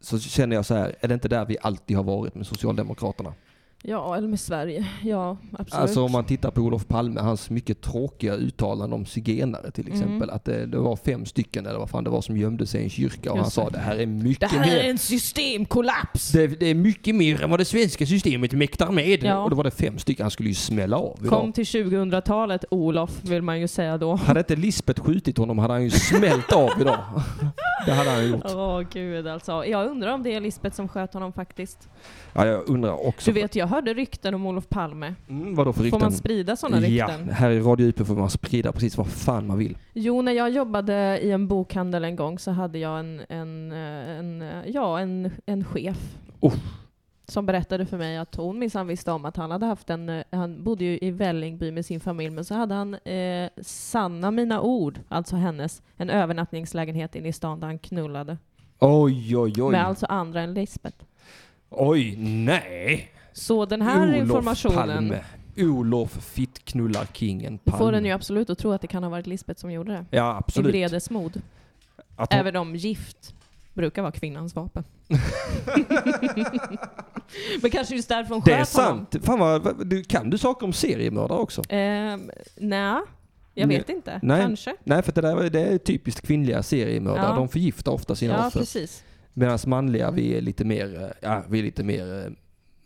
S1: så känner jag så här, är det inte där vi alltid har varit med Socialdemokraterna?
S2: Ja, eller med Sverige. Ja, absolut.
S1: Alltså om man tittar på Olof Palme, hans mycket tråkiga uttalanden om zigenare till
S2: Mm.
S1: exempel. Att det, det var fem stycken eller vad fan det var som gömde sig i en kyrka och
S2: Just
S1: han sa
S2: det.
S1: det här är
S2: det
S1: mycket
S2: här är
S1: mer.
S2: en systemkollaps!
S1: Det, det är mycket mer än vad det svenska systemet mäktar med.
S2: Ja.
S1: Och då var det fem stycken, han skulle ju smälla av.
S2: Kom
S1: idag.
S2: till 2000-talet, Olof, vill man ju säga då.
S1: Hade inte Lisbeth skjutit honom hade han ju smält av idag. Det hade han gjort.
S2: Åh gud alltså. Jag undrar om det är Lisbeth som sköt honom faktiskt.
S1: Ja, jag undrar också.
S2: Du vet, jag hörde rykten om Olof Palme.
S1: mm, vadå för rykten?
S2: Får man sprida sådana rykten?
S1: Ja, här i Radio UP får man sprida precis vad fan man vill.
S2: Jo, när jag jobbade i en bokhandel en gång så hade jag en, en, eh, en, eh, ja, en, en chef.
S1: Oh.
S2: Som berättade för mig att hon minsann visste om att han hade haft en, eh, han bodde ju i Vällingby med sin familj, men så hade han, eh, sanna mina ord, alltså hennes, en övernattningslägenhet inne i stan där han knullade.
S1: Oj, oj, oj.
S2: Med alltså andra än Lisbeth.
S1: Oj, nej.
S2: Så den här
S1: Olof
S2: informationen
S1: Palme. Olof Fittknullarkingen
S2: Du
S1: Palme.
S2: får den ju absolut att tro att det kan ha varit Lisbeth som gjorde det.
S1: Ja,
S2: I
S1: absolut.
S2: vredesmod.
S1: Att hon,
S2: Även om gift brukar vara kvinnans vapen. Men kanske just därför hon
S1: det är
S2: sköt honom.
S1: sant. Fan vad, vad- du, kan du saker om seriemördare också?
S2: Ehm, nej, jag
S1: Nej.
S2: vet inte.
S1: Nej.
S2: Kanske.
S1: Nej, för det, där, det är typiskt kvinnliga seriemördare.
S2: Ja.
S1: De förgiftar ofta sina
S2: Ja,
S1: offer.
S2: precis.
S1: Medan manliga, vi är lite mer, eh, ja, vi är lite mer eh,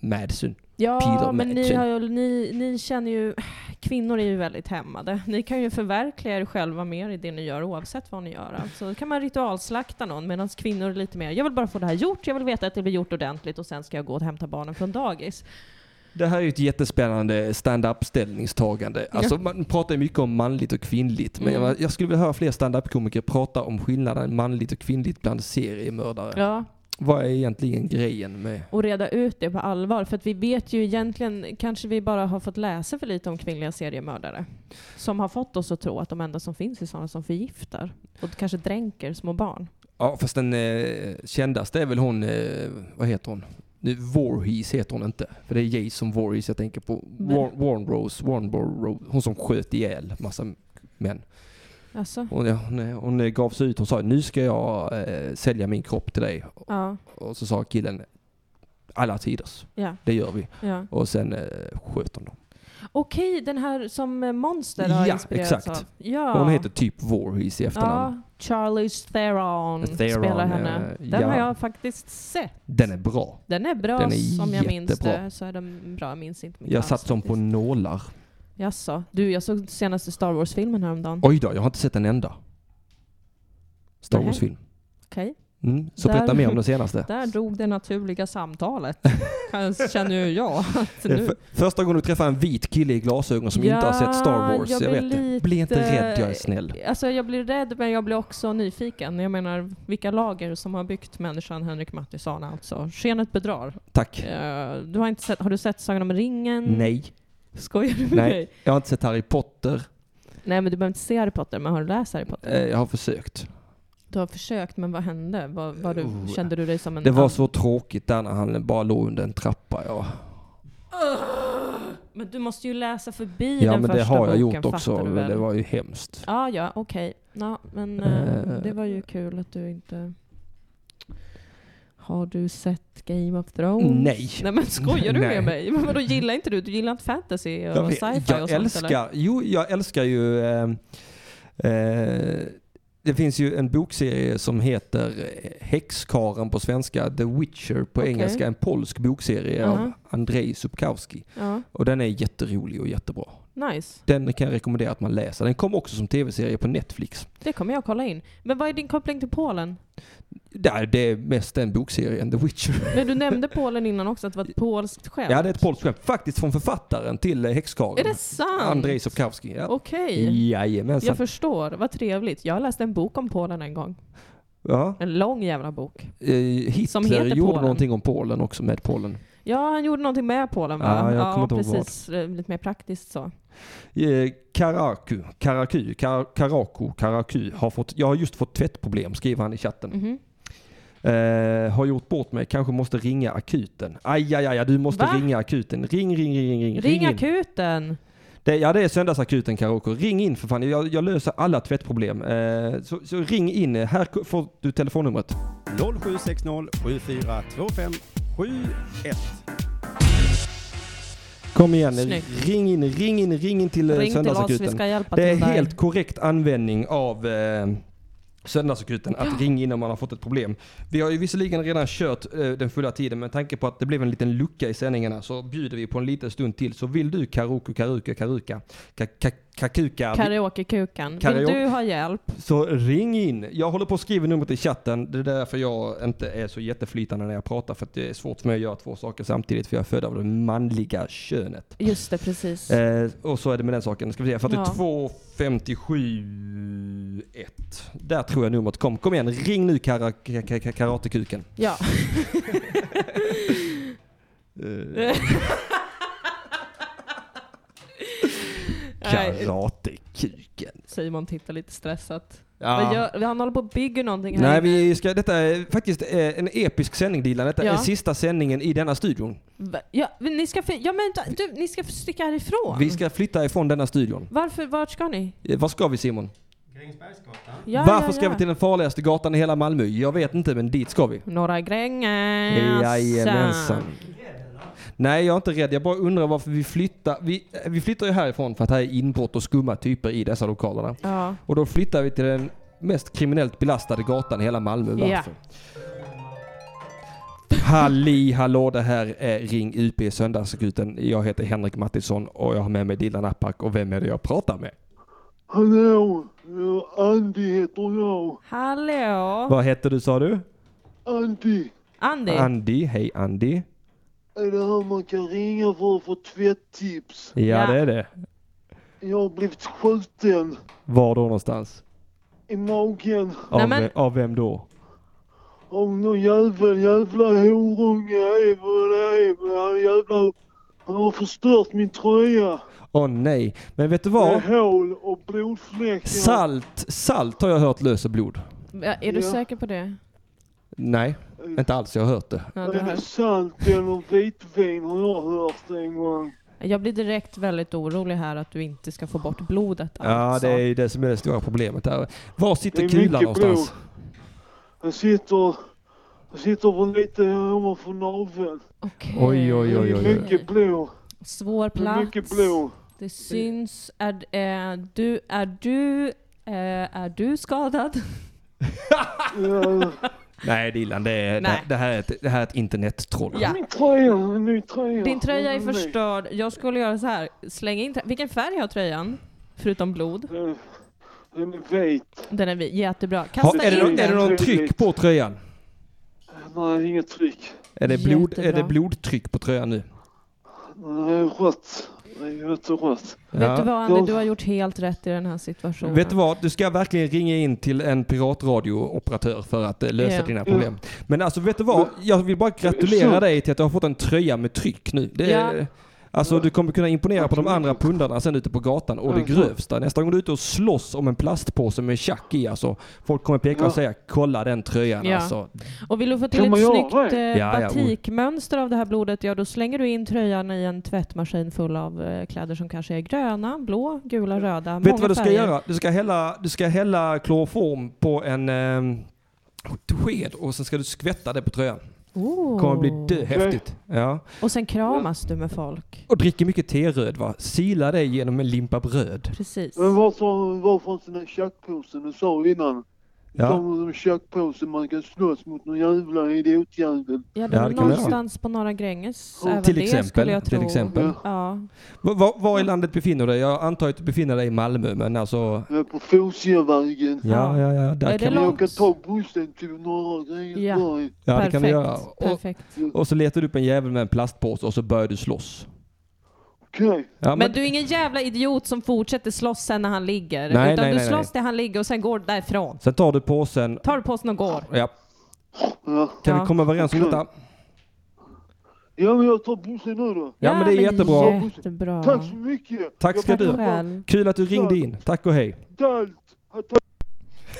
S1: madsyn. Peter
S2: Ja, men ni,
S1: Madsen.
S2: har ju, ni, ni känner ju... Kvinnor är ju väldigt hämmade. Ni kan ju förverkliga er själva mer i det ni gör oavsett vad ni gör. Alltså, då kan man ritualslakta någon medan kvinnor är lite mer, jag vill bara få det här gjort, jag vill veta att det blir gjort ordentligt och sen ska jag gå och hämta barnen från dagis.
S1: Det här är ju ett jättespännande stand-up ställningstagande. Alltså, Man pratar ju mycket om manligt och kvinnligt. Men
S2: Mm.
S1: jag, jag skulle vilja höra fler stand-up komiker prata om skillnaden manligt och kvinnligt bland seriemördare.
S2: Ja,
S1: Vad är egentligen grejen med
S2: och reda ut det på allvar. För att vi vet ju egentligen, kanske vi bara har fått läsa för lite om kvinnliga seriemördare. Som har fått oss att tro att de enda som finns är sådana som förgiftar. Och kanske dränker små barn.
S1: Ja, fast den eh, kändaste är väl hon, eh, vad heter hon? Nu, Voorhees heter hon inte. För det är Jason Voorhees jag tänker på.
S2: Men-
S1: War, Warnrose, Warnborough. Hon som sköt ihjäl massa män.
S2: Alltså,
S1: Hon, ja, hon, eh, hon eh, gav sig ut, hon sa nu ska jag eh, sälja min kropp till dig.
S2: ja,
S1: Och så sa killen, alla tiders,
S2: ja,
S1: det gör vi.
S2: ja.
S1: Och sen eh, sköt hon dem.
S2: Okej, den här som eh, Monster har
S1: Ja,
S2: inspirerats
S1: exakt.
S2: av. Ja,
S1: Hon heter typ Voorhees i efternamn.
S2: Ja, Charlize Theron,
S1: Theron,
S2: spelar henne.
S1: eh,
S2: Den
S1: ja.
S2: har jag faktiskt sett.
S1: Den är bra.
S2: Den är bra
S1: Den är
S2: som jag minns
S1: jättebra.
S2: det. Så är den bra, jag minns inte mycket
S1: Jag
S2: alls
S1: satt som på
S2: faktiskt.
S1: nålar.
S2: Jaså? Du, jag såg senaste Star Wars-filmen häromdagen.
S1: Oj då, jag har inte sett en enda Star
S2: Nej.
S1: Wars-film.
S2: Okej.
S1: Mm, så
S2: Där-
S1: berätta mer om den senaste.
S2: Där drog det naturliga samtalet. Kan- Känner ju jag. Att
S1: Eh,
S2: nu.
S1: för- Första gången du träffar en vit kille i glasögon som inte har sett Star
S2: Ja,
S1: Wars.
S2: jag
S1: Jag,
S2: blir
S1: vet det.
S2: lite-
S1: Bli inte rädd, jag är snäll.
S2: Alltså jag blir rädd men jag blir också nyfiken. Jag menar vilka lager som har byggt människan Henrik Mattisson alltså. Skenet bedrar.
S1: Tack.
S2: Eh, Du har, inte sett, har du sett Sagan om ringen?
S1: Nej,
S2: Skojar du med
S1: Nej.
S2: mig?
S1: jag har inte sett Harry Potter.
S2: Nej men du behöver inte se Harry Potter, men har du läst Harry Potter?
S1: Eh, Jag har försökt.
S2: Du har försökt, men vad hände? Vad, vad du,
S1: Oh.
S2: kände du dig som en...
S1: Det var så tråkigt där när han bara låg under en trappa. Ja,
S2: Men du måste ju läsa förbi
S1: ja
S2: den
S1: men
S2: första
S1: det har jag
S2: boken,
S1: gjort också.
S2: fattar du
S1: Men
S2: väl?
S1: det var ju hemskt.
S2: Ja, Ah, ja, okej. Ja, men eh,
S1: Typ. Eh.
S2: det var ju kul att du inte... Har du sett Game of Thrones?
S1: Nej.
S2: Nej men skojar du
S1: Nej.
S2: med mig? Men vadå, gillar inte du? Du gillar inte fantasy och
S1: Jag, vet,
S2: sci-fi
S1: jag
S2: och sånt eller?
S1: älskar, jo, jag älskar ju... Eh, eh, det finns ju en bokserie som heter eh, Häxkaren på svenska, The Witcher på
S2: Okej.
S1: engelska. En polsk bokserie av
S2: Aha.
S1: Andrzej Sapkowski.
S2: Ja,
S1: Och den är jätterolig och jättebra.
S2: nice.
S1: Den kan jag rekommendera att man läser. Den kom också som tv-serie på Netflix.
S2: Det kommer jag kolla in. Men vad är din koppling till Polen?
S1: Där det är mest den bokserien, The Witcher.
S2: Men du nämnde Polen innan också, att det var ett polskt skämt.
S1: Ja, det är ett polskt skämt. Faktiskt från författaren till eh, Häxkaren.
S2: Är det sant?
S1: Andrzej Sapkowski. Ja.
S2: Okej.
S1: Jajamensan.
S2: Jag förstår, vad trevligt. Jag läste en bok om Polen en gång.
S1: Ja.
S2: En lång jävla bok.
S1: Eh, Hitler
S2: Som heter
S1: gjorde
S2: Polen.
S1: någonting om Polen också med Polen.
S2: Ja, han gjorde någonting med Polen va?
S1: Ja, jag kommer inte ihåg
S2: precis. Eh, Lite mer praktiskt så.
S1: Eh, Karaku, Karaku, Kar- Karaku, Karaku har fått, jag har just fått tvättproblem, skriver han i chatten.
S2: Mhm. Mm.
S1: Eh, har gjort bort mig, kanske måste ringa akuten. Aj, aj, aj, du måste
S2: Va?
S1: ringa akuten. Ring, ring, ring, ring, ring. Eh,
S2: Ring
S1: in.
S2: akuten!
S1: Det, ja, det är söndagsakuten Karaku. Ring in för fan, jag, jag löser alla tvättproblem. Eh, så, så ring in, här k- får du telefonnumret.
S6: 0760 7425 71.
S1: Kom igen,
S2: Snyggt.
S1: ring in, ring in, ring in till eh,
S2: Ring till oss, vi
S1: söndagsakuten.
S2: ska hjälpa
S1: Det är
S2: till där.
S1: helt korrekt användning av eh, söndagsakuten att ringa in om man har fått ett problem. Vi har ju visserligen redan kört eh, den fulla tiden men med tanke på att det blev en liten lucka i sändningarna så bjuder vi på en liten stund till. Så vill du Karuku, Karuka, Karuka, ka- ka- Kakuka,
S2: Karaokekukan. Vill
S1: Karaoke-
S2: du ha hjälp?
S1: så ring in. Jag håller på att skriva numret i chatten. Det är därför jag inte är så jätteflytande när jag pratar för att det är svårt för mig att göra två saker samtidigt för jag är född av det manliga könet.
S2: Just det, precis.
S1: Eh, och så är det med den saken. Ska vi se, 42 57 1. Där tror jag numret kom. Kom igen, ring nu kara, ka- ka- ka- karatekuken.
S2: Ja.
S1: Eh,
S2: Nej,
S1: karatekuken.
S2: Simon tittar lite stressat.
S1: Ja.
S2: Vad gör, han håller på och bygger någonting här
S1: Nej,
S2: inne.
S1: vi ska, detta är faktiskt eh, en episk sändning Dilan. Detta är
S2: Ja.
S1: sista sändningen i denna studion.
S2: Va- Ja, men ni ska, för, ja, men, du, ni ska sticka härifrån.
S1: Vi ska flytta ifrån denna studion.
S2: Varför, vart ska ni?
S1: Eh, Vad ska vi Simon?
S2: Ja,
S1: Varför
S2: ja,
S1: ska
S2: ja.
S1: vi till den farligaste gatan i hela Malmö? Jag vet inte, men dit ska vi.
S2: Norra Gränges.
S1: Jajamensan. Nej, jag är inte rädd. Jag bara undrar varför vi flyttar. Vi, eh, vi flyttar ju härifrån för att här är inbrott och skumma typer i dessa lokalerna.
S2: Ja.
S1: Och då flyttar vi till den mest kriminellt belastade gatan i hela Malmö. Varför? Halli hallå, det här är Ring UP Söndagsakuten. Jag heter Henrik Mattisson och jag har med mig Dilan Apak och vem är det jag pratar med?
S8: Hallå, eh, Andy heter jag.
S2: Hallå?
S1: Vad heter du sa du?
S8: Andy,
S2: Andy?
S1: Andy, hej Andy.
S8: är det här man kan ringa för att få tvätttips?
S1: Ja,
S2: Ja.
S1: det är det.
S8: Jag har blivit skjuten
S1: Var då någonstans?
S8: i magen
S1: Av,
S2: Nej, men-
S1: ve- av vem då?
S8: av någon jävel, jävla horunge. Hej vad det är, men Han jävla... Han har förstört min tröja.
S1: Åh nej, men vet du vad?
S8: Med hål och blodfläckar.
S1: Salt, salt har jag hört löser blod.
S2: Ja, Är du
S8: Ja.
S2: säker på det?
S1: Nej, inte alls. Jag har hört det.
S2: Ja, du
S8: Är det
S2: hör.
S8: sant eller vitvin har jag hört en gång.
S2: Jag blir direkt väldigt orolig här att du inte ska få bort blodet
S1: Ja,
S2: alltså.
S1: det är ju det som är det stora problemet här. Var
S8: Det
S1: sitter
S8: är
S1: kulan
S8: mycket
S1: någonstans?
S8: Den sitter... Den sitter på lite ovanför naveln.
S2: Okej.
S1: Oj, oj,
S8: Det
S1: oj,
S8: är
S1: oj, oj.
S8: mycket blod.
S2: Svår
S8: Det är
S2: plats.
S8: mycket blod.
S2: Det syns. Är, är du... eh, Är du... eh, Är du skadad?
S8: Ja,
S1: Nej Dilan, det, är,
S2: Nej.
S1: Det, det, här är ett, det här är ett internettroll.
S2: Ja.
S8: Min tröja, en ny tröja.
S2: Din tröja är
S8: En ny.
S2: förstörd. Jag skulle göra så här. Släng in trä- Vilken färg har tröjan? Förutom blod.
S8: Den- Den är vit.
S2: Den är vi- jättebra.
S1: Har,
S2: Kasta
S1: är, det,
S2: in
S1: nå- är det
S2: den.
S1: någon tryck på tröjan?
S8: Nej, inget tryck.
S1: Är det, blod, är
S2: Jättebra.
S1: det blodtryck på tröjan nu?
S8: Den är rött. Den är jätterött.
S2: Vet du
S1: Ja.
S2: vad Andy, du har gjort helt rätt i den här situationen.
S1: Vet du vad? Du ska verkligen ringa in till en piratradiooperatör för att eh, lösa
S2: Ja.
S1: dina problem. Men alltså vet du vad? Jag vill bara gratulera dig till att du har fått en tröja med tryck nu. Det är,
S2: Ja.
S1: Alltså du kommer kunna imponera på de andra pundarna sen ute på gatan och det
S2: Mm.
S1: grövsta. Nästa gång du är ute och slåss om en plastpåse med tjack i alltså. Folk kommer peka och säga kolla den tröjan
S2: Ja.
S1: alltså.
S2: Och vill du få till
S8: Kan
S2: ett
S8: man göra
S2: snyggt eh,
S8: det?
S1: Ja, ja, och-
S2: batikmönster av det här blodet, ja då slänger du in tröjan i en tvättmaskin full av eh, kläder som kanske är gröna, blå, gula, röda.
S1: Vet
S2: många
S1: du vad du ska
S2: färger.
S1: göra? Du ska hälla, du ska hälla kloroform på en eh, sked och sen ska du skvätta det på tröjan.
S2: Oh.
S1: Det kommer bli döhäftigt. Ja.
S2: Och sen kramas du med folk.
S1: Och dricker mycket teröd va? Sila dig genom en limpa bröd.
S2: Precis.
S8: Men varför, varför inte den här tjackpåsen du sa innan?
S1: Ja.
S8: Som en tjackpåse man kan slåss mot någon jävla idiotjävel.
S2: Ja, det
S1: Ja,
S2: var
S1: det kan man göra.
S2: någonstans på Norra Gränges.
S8: Ja.
S2: Även
S1: Till
S2: det
S1: exempel,
S2: skulle jag tro.
S1: till exempel.
S2: Ja.
S1: Var, var, var i landet befinner du dig? Jag antar att du befinner dig i Malmö men alltså...
S8: Jag är på Fosievägen.
S1: Ja, ja, ja.
S2: Är
S1: Där
S2: det
S1: kan vi,
S2: långt?
S8: Jag kan ta bussen till norra Grängesberg.
S1: ja det
S2: Perfekt.
S1: kan vi göra. Och,
S2: Perfekt.
S1: och så letar du upp en jävel med en plastpåse och så börjar du slåss.
S8: Okej.
S1: Ja,
S2: Men, du är ingen jävla idiot som fortsätter slåss sen när han ligger.
S1: Nej,
S2: utan
S1: nej,
S2: du
S1: nej,
S2: slåss där han ligger och sen går du därifrån.
S1: Sen tar du påsen.
S2: Tar du påsen och går.
S1: Ja.
S8: Ja.
S1: Kan
S2: Ja.
S1: vi komma överens om detta?
S8: ja, men jag tar bussen nu då.
S1: Ja, men det är jättebra.
S2: jättebra.
S8: Tack så mycket.
S1: Tack ska
S8: Jag får
S1: du
S2: Tack
S1: ha.
S8: tacka
S2: själv.
S1: Kul att du ringde in. Tack och hej.
S8: för allt.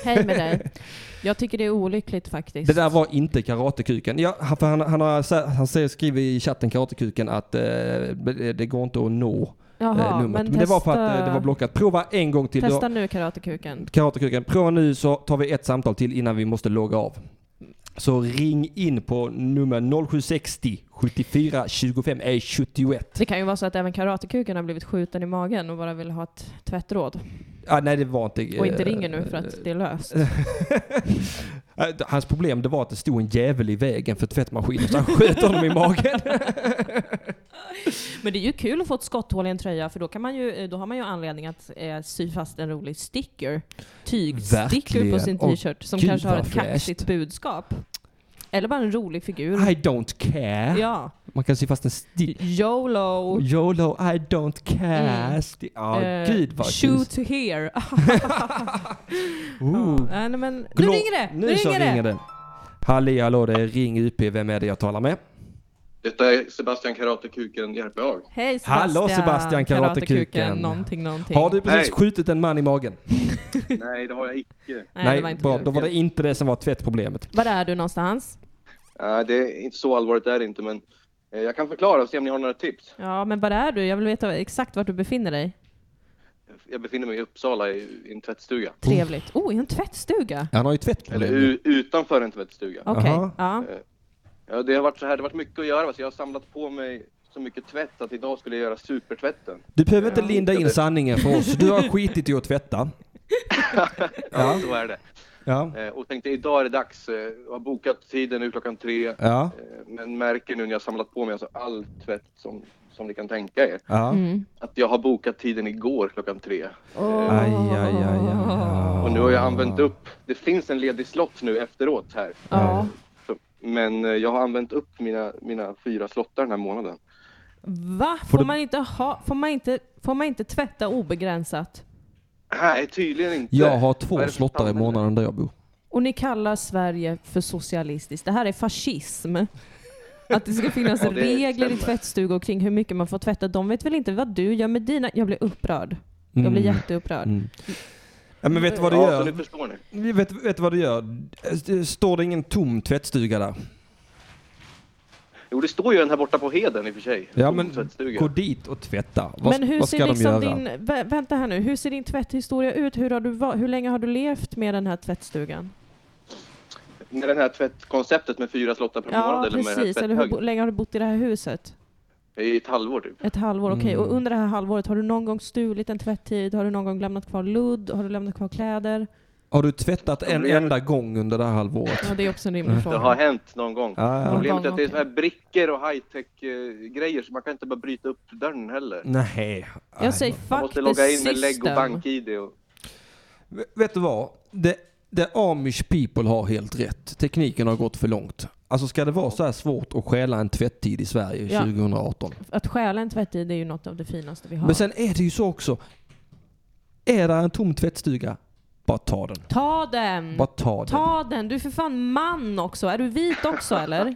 S2: Hej med dig. Jag tycker det är olyckligt faktiskt.
S1: Det där var inte karatekuken. Ja, han- för han, han, har, sä- han säger, skriver i chatten karatekuken att eh, det går inte att nå
S2: Jaha,
S1: eh, numret. Men,
S2: men
S1: det var för
S2: testa-
S1: att eh, det var blockat. Prova en gång till.
S2: Testa nu karatekuken.
S1: Karatekuken. Prova nu så tar vi ett samtal till innan vi måste logga av. Så ring in på nummer 0760 74 25 är 71.
S2: Det kan ju vara så att även karatekuken har blivit skjuten i magen och bara vill ha ett tvättråd.
S1: Ah, nej, det var inte...
S2: Och
S1: eh,
S2: inte ringer nu för att det är löst.
S1: Eh, Hans problem det var att det stod en jävel i vägen för tvättmaskinen så han sköt honom i magen.
S2: Men det är ju kul att få ett skotthål i en tröja för då, kan man ju, eh, då har man ju anledning att eh, sy fast en rolig sticker. Tygsticker på
S1: Verkligen.
S2: sin
S1: Åh,
S2: t-shirt som
S1: gud,
S2: kanske har
S1: vad
S2: ett
S1: fräscht.
S2: kaxigt budskap. Eller bara en rolig figur.
S1: I don't care.
S2: Ja.
S1: Man kan se fast en stick.
S2: YOLO.
S1: YOLO, I don't
S2: Mm.
S1: care. Sti- Ja,
S2: Eh,
S1: gud vad
S2: Shoot
S1: tjus-
S2: to here.
S1: Ooh.
S2: Ja, nej, men, nu
S1: Oh. Glo-
S2: ringer det! Nu,
S1: Nu så
S2: ringer det!
S1: ringer det. Halli hallå, det är Ring UP. Vem är det jag talar med?
S9: Detta är Sebastian Karatekuken Järpehag.
S2: Hej Sebastian!
S1: Hallå, Sebastian, karatekuken.
S2: Någonting, någonting.
S1: Har du precis
S9: Hej.
S1: skjutit en man i magen?
S9: Nej, det har jag icke.
S2: Nej, det var inte
S1: bra.
S2: du.
S1: Då var det inte det som var tvättproblemet.
S2: Var är du någonstans?
S9: Nej, det är inte så allvarligt är det inte, men eh, jag kan förklara och se om ni har några tips.
S2: Ja, men var är du? Jag vill veta exakt vart du befinner dig.
S9: Jag befinner mig i Uppsala i, i en tvättstuga.
S2: Trevligt. Oh, i en tvättstuga?
S1: Han har ju
S9: Eller
S1: tvättproblem.
S9: u- utanför en tvättstuga.
S2: Okej.
S1: Jaha.
S2: Ja.
S9: Ja, det har varit så här, det har varit mycket att göra, va, så jag har samlat på mig så mycket tvätt att idag skulle jag göra supertvätten.
S1: Du behöver inte linda in sanningen för oss. Du har skitit i att tvätta.
S9: Ja, så är det.
S1: Ja.
S9: Eh, Och tänkte idag är det dags. eh, Jag har bokat tiden nu klockan tre.
S1: Ja.
S9: Eh, Men märker nu när jag har samlat på mig alltså all tvätt som, som ni kan tänka er.
S1: Ja.
S2: Mm.
S9: Att jag har bokat tiden igår klockan tre.
S1: Aj, aj, aj, aj.
S9: Och nu har jag
S1: Ah.
S9: använt upp, det finns en ledig slott nu efteråt här.
S2: Ja.
S9: Så- Men eh, jag har använt upp mina, mina fyra slottar den här månaden.
S2: Va? Får,
S1: du-
S2: man inte ha, får, man inte, får man inte tvätta obegränsat?
S9: Nej, tydligen inte.
S1: Jag har
S9: Vad är
S1: två
S9: det för
S1: slottar i
S9: samhälle?
S1: månaden där jag bor.
S2: Och ni kallar Sverige för socialistiskt. Det här är fascism. Att det ska finnas
S9: Ja, det
S2: regler i
S9: stämmer.
S2: tvättstugor kring hur mycket man får tvätta. De vet väl inte vad du gör med dina... Jag blir upprörd. Jag
S1: Mm.
S2: blir
S9: Mm.
S2: jätteupprörd.
S1: Ja, men vet du vad du
S9: Ja, så nu
S1: gör?
S9: förstår ni.
S1: Vet, vet du vad du gör? Står det ingen tom tvättstuga där?
S9: Jo, det står ju en här borta på Heden i och för sig.
S1: Ja,
S9: Tom
S1: men
S9: tvättstuga.
S1: gå dit och tvätta. Vad,
S2: Men hur
S1: vad
S2: ser
S1: ska de
S2: liksom
S1: göra?
S2: din... vä- Vänta här nu. Hur ser din tvätthistoria ut? Hur, har du, va- hur länge har du levt med den här tvättstugan?
S9: Med det här tvättkonceptet med fyra slottar per månad
S2: Ja,
S9: eller med
S2: precis.
S9: den
S2: Eller
S9: här
S2: hur bo-
S9: tvätthögen.
S2: länge har du bott i det här huset?
S9: I ett halvår typ.
S2: Ett halvår, okej. Och under det här halvåret, har du någon gång stulit en tvätttid? Har du någon gång lämnat kvar ludd? Har du lämnat kvar kläder?
S1: Har du tvättat en enda gång under det här halvåret?
S2: Ja, det är också en rimlig
S9: Det
S2: fråga.
S9: har hänt någon gång.
S1: Ja, ja.
S9: Problemet är att det är så här brickor och high-tech-grejer så man kan inte bara bryta upp dörren heller.
S1: Ah, Nej.
S2: Jag säger
S1: Ah.
S9: Man
S2: fuck
S9: måste
S2: the
S9: logga in med lägg och
S2: system.
S9: bank-id. Och...
S1: V- Vet du vad? Det, det Amish people har helt rätt. Tekniken har gått för långt. Alltså ska det vara så här svårt att stjäla en tvättid i Sverige
S2: Ja.
S1: 2018?
S2: Att stjäla en tvättid är ju något av det finaste vi har.
S1: Men sen är det ju så också. Är det en tom tvättstuga, bara ta den.
S2: Ta den!
S1: Bara ta den.
S2: Mm. Ta den! Du är för fan man också. Är du vit också eller?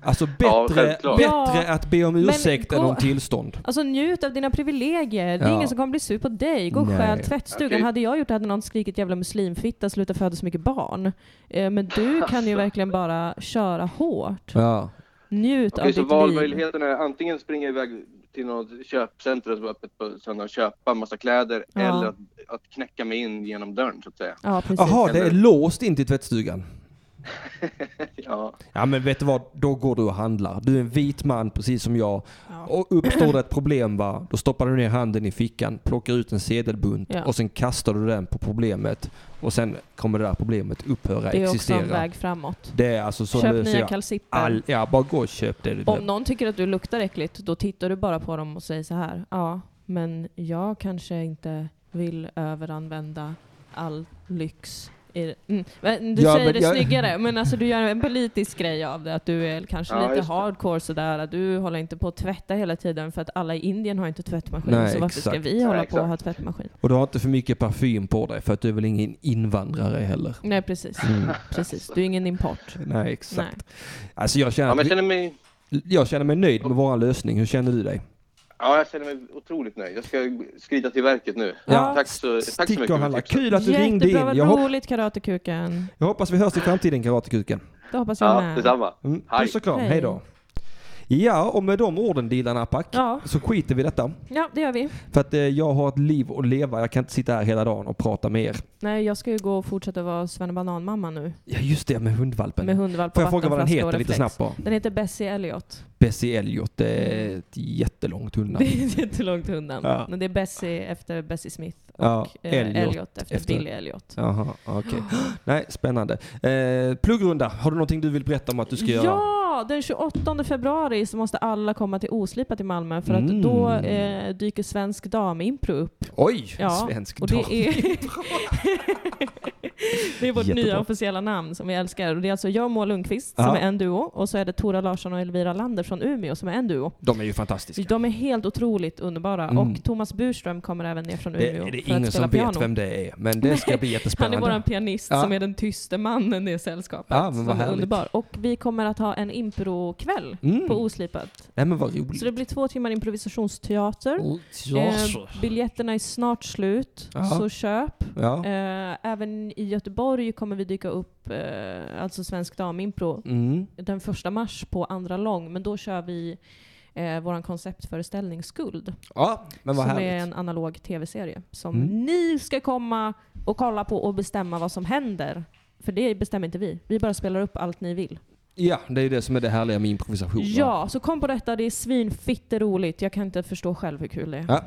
S1: Alltså
S9: Ja,
S1: bättre,
S9: självklart.
S1: bättre att be om
S2: Men
S1: ursäkt än
S2: gå-
S1: om tillstånd.
S2: Alltså njut av dina privilegier. Det är
S1: Ja.
S2: ingen som kommer bli sur på dig. Gå och
S1: Nej.
S2: stjäl tvättstugan.
S9: Okej.
S2: Hade jag gjort det hade någon skrikit jävla muslimfitta, sluta föda så mycket barn. Eh, Men du kan
S9: Alltså.
S2: ju verkligen bara köra hårt.
S1: Ja.
S2: Njut
S9: Okej, så
S2: av ditt liv.
S9: valmöjligheten är antingen springa iväg till något köpcenter som är öppet på söndagen och köpa en massa kläder
S2: Ja.
S9: eller att, att knäcka mig in genom dörren så att säga.
S2: Ja, precis.
S1: Jaha, det är låst in till tvättstugan.
S9: Ja.
S1: Ja men vet du vad, då går du och handlar. Du är en vit man precis som jag. Och uppstår det ett problem va, då stoppar du ner handen i fickan, plockar ut en sedelbunt
S2: Ja.
S1: och sen kastar du den på problemet. Och sen kommer det där problemet upphöra,
S2: Det är också en
S1: existera.
S2: väg framåt.
S1: Det är alltså så
S2: Köp
S1: löser
S2: nya
S1: jag
S2: kalsipper.
S1: all, Ja, bara gå och köp det du
S2: Om
S1: behöver.
S2: någon tycker att du luktar äckligt, då tittar du bara på dem och säger så här. Ja, men jag kanske inte vill överanvända all lyx. i- Mm. men Du
S1: Ja,
S2: säger
S1: men
S2: det
S1: jag-
S2: snyggare, men alltså du gör en politisk grej av det. Att du är kanske
S9: Ja,
S2: lite
S9: just det.
S2: hardcore sådär. Att du håller inte på att tvätta hela tiden för att alla i Indien har inte tvättmaskin.
S1: Nej,
S2: så varför ska
S1: exakt.
S2: vi hålla
S9: Nej,
S2: på att ha
S9: exakt.
S2: tvättmaskin?
S1: Och du har inte för mycket parfym på dig för att du är väl ingen invandrare heller.
S2: Nej precis.
S1: Mm.
S2: precis. Du är ingen import.
S1: Nej exakt.
S2: Nej.
S1: Alltså jag känner,
S9: ja, men
S1: att
S9: jag känner mig...
S1: vi- jag känner mig nöjd med vår lösning. Hur känner du dig?
S9: Ja, jag känner mig otroligt nöjd. Jag ska skrida till verket nu.
S2: Ja.
S9: Tack, så, tack så
S1: Stick
S9: mycket.
S1: och
S9: för
S1: handla.
S9: tipsen.
S1: Kul att du ringde in.
S2: Jättebra,
S1: Jag,
S2: vad
S1: hop-
S2: roligt Karatekuken.
S1: jag hoppas vi hörs i framtiden Karatekuken.
S2: Det hoppas jag
S9: Ja,
S2: med.
S9: detsamma.
S1: Mm,
S9: Hej.
S1: Puss och kram,
S2: Hej.
S1: hej då. Ja, och med de orden Dilan Apak
S2: Ja.
S1: så skiter vi i detta.
S2: Ja, det gör vi.
S1: För att eh, jag har ett liv att leva, jag kan inte sitta här hela dagen och prata med er.
S2: Nej, jag ska ju gå och fortsätta vara Svennebananmamma nu.
S1: Ja just det, med hundvalpen.
S2: Med hundvalp
S1: Får
S2: på
S1: jag fråga vad den
S2: vattenflaska och
S1: heter lite
S2: reflex.
S1: snabbt bara?
S2: Den heter Bessie Elliot.
S1: Bessie Elliot, det är ett jättelångt
S2: Det
S1: hundnamn.
S2: är ett jättelångt hundnamn.
S1: Ja.
S2: Men det är Bessie efter Bessie Smith och
S1: Ja,
S2: eh, Elliot,
S1: Elliot
S2: efter,
S1: efter-
S2: Billy Elliot.
S1: Jaha, okej. Nej, spännande. Eh, pluggrunda, har du någonting du vill berätta om att du ska göra?
S2: Ja, den 28 februari så måste alla komma till Oslipat i Malmö för att
S1: Mm.
S2: då eh, dyker Svensk Damimpro upp.
S1: Oj,
S2: Ja,
S1: svensk
S2: och det
S1: dag.
S2: är, det är vårt nya
S1: Jättebra.
S2: officiella namn som vi älskar. Och det är alltså jag och Moa Lundqvist som
S1: Ja.
S2: är en duo och så är det Tora Larsson och Elvira Lander från Umeå som är en duo.
S1: De är ju fantastiska.
S2: De är helt otroligt underbara.
S1: Mm.
S2: Och Thomas Burström kommer även ner från
S1: Det
S2: Umeå
S1: är det
S2: för
S1: ingen
S2: att spela
S1: som
S2: piano.
S1: vet vem det är, men det ska bli
S2: Han är
S1: jättespännande.
S2: vår pianist
S1: Ja.
S2: som är den tyste mannen i sällskapet.
S1: Ja, men vad
S2: som är
S1: härligt.
S2: underbar. Och vi kommer att ha en improkväll
S1: Mm.
S2: på Oslipat.
S1: Nej men vad roligt.
S2: Så det blir två timmar improvisationsteater.
S1: Oh, jaså.
S2: Eh, biljetterna är snart slut,
S1: Ja.
S2: så köp.
S1: ja.
S2: Eh, även i Göteborg kommer vi dyka upp, eh, alltså Svensk Damimpro,
S1: Mm.
S2: den första mars på Andra Lång. Men då kör vi eh, vår konceptföreställning Skuld.
S1: Ja, men vad
S2: som
S1: härligt.
S2: är en analog tv-serie som
S1: Mm.
S2: ni ska komma och kolla på och bestämma vad som händer. För det bestämmer inte vi. Vi bara spelar upp allt ni vill.
S1: Ja, det är det som är det härliga med improvisation. va?
S2: Ja, så kom på detta. Det är svinfitte roligt. Jag kan inte förstå själv hur kul det är.
S1: Ja.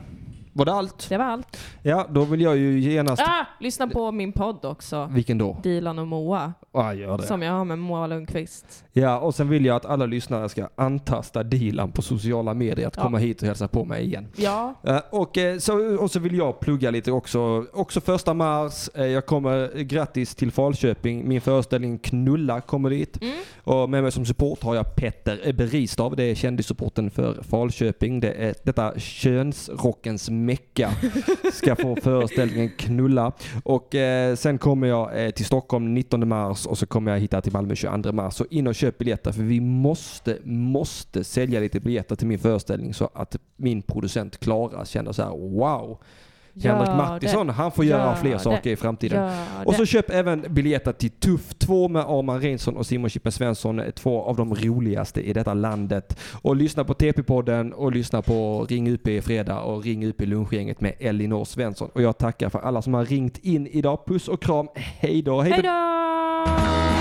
S1: Var det allt?
S2: Det var allt.
S1: Ja, då vill jag ju genast...
S2: Ah, lyssna på min podd också.
S1: Vilken då?
S2: Dilan och Moa,
S1: Mm. Ja, gör det.
S2: som jag har med Moa Lundqvist.
S1: Ja, och sen vill jag att alla lyssnare ska antasta Dilan på sociala medier att
S2: Ja.
S1: komma hit och hälsa på mig igen.
S2: Ja,
S1: Eh, Och, eh, så, och så vill jag plugga lite också. Också första mars. eh, Jag kommer, grattis till Falköping. Min föreställning Knulla kommer dit. Och med mig som support har jag Petter Beristav. Det är kändissupporten för Falköping. Det är detta könsrockens mecka ska få föreställningen Knulla. Och eh, sen kommer jag eh, till Stockholm 19 mars och så kommer jag hitta till Malmö 22 mars. Så in och köp biljetter för vi måste, måste sälja lite biljetter till min föreställning så att min producent Klara känner så här wow. Henrik
S2: Gör
S1: Mattisson, han får
S2: Gör
S1: göra fler
S2: det.
S1: saker i framtiden.
S2: gör
S1: Och
S2: det.
S1: så köp även biljetter till Tuff 2 med Arman Reinsson och Simon Chippen Svensson. Två av de roligaste i detta landet. Och lyssna på TP-podden och lyssna på Ring UP i fredag och Ring UP i lunchgänget med Elinor Svensson. Och jag tackar för alla som har ringt in idag. Puss och kram. Hej då.
S2: Hej då!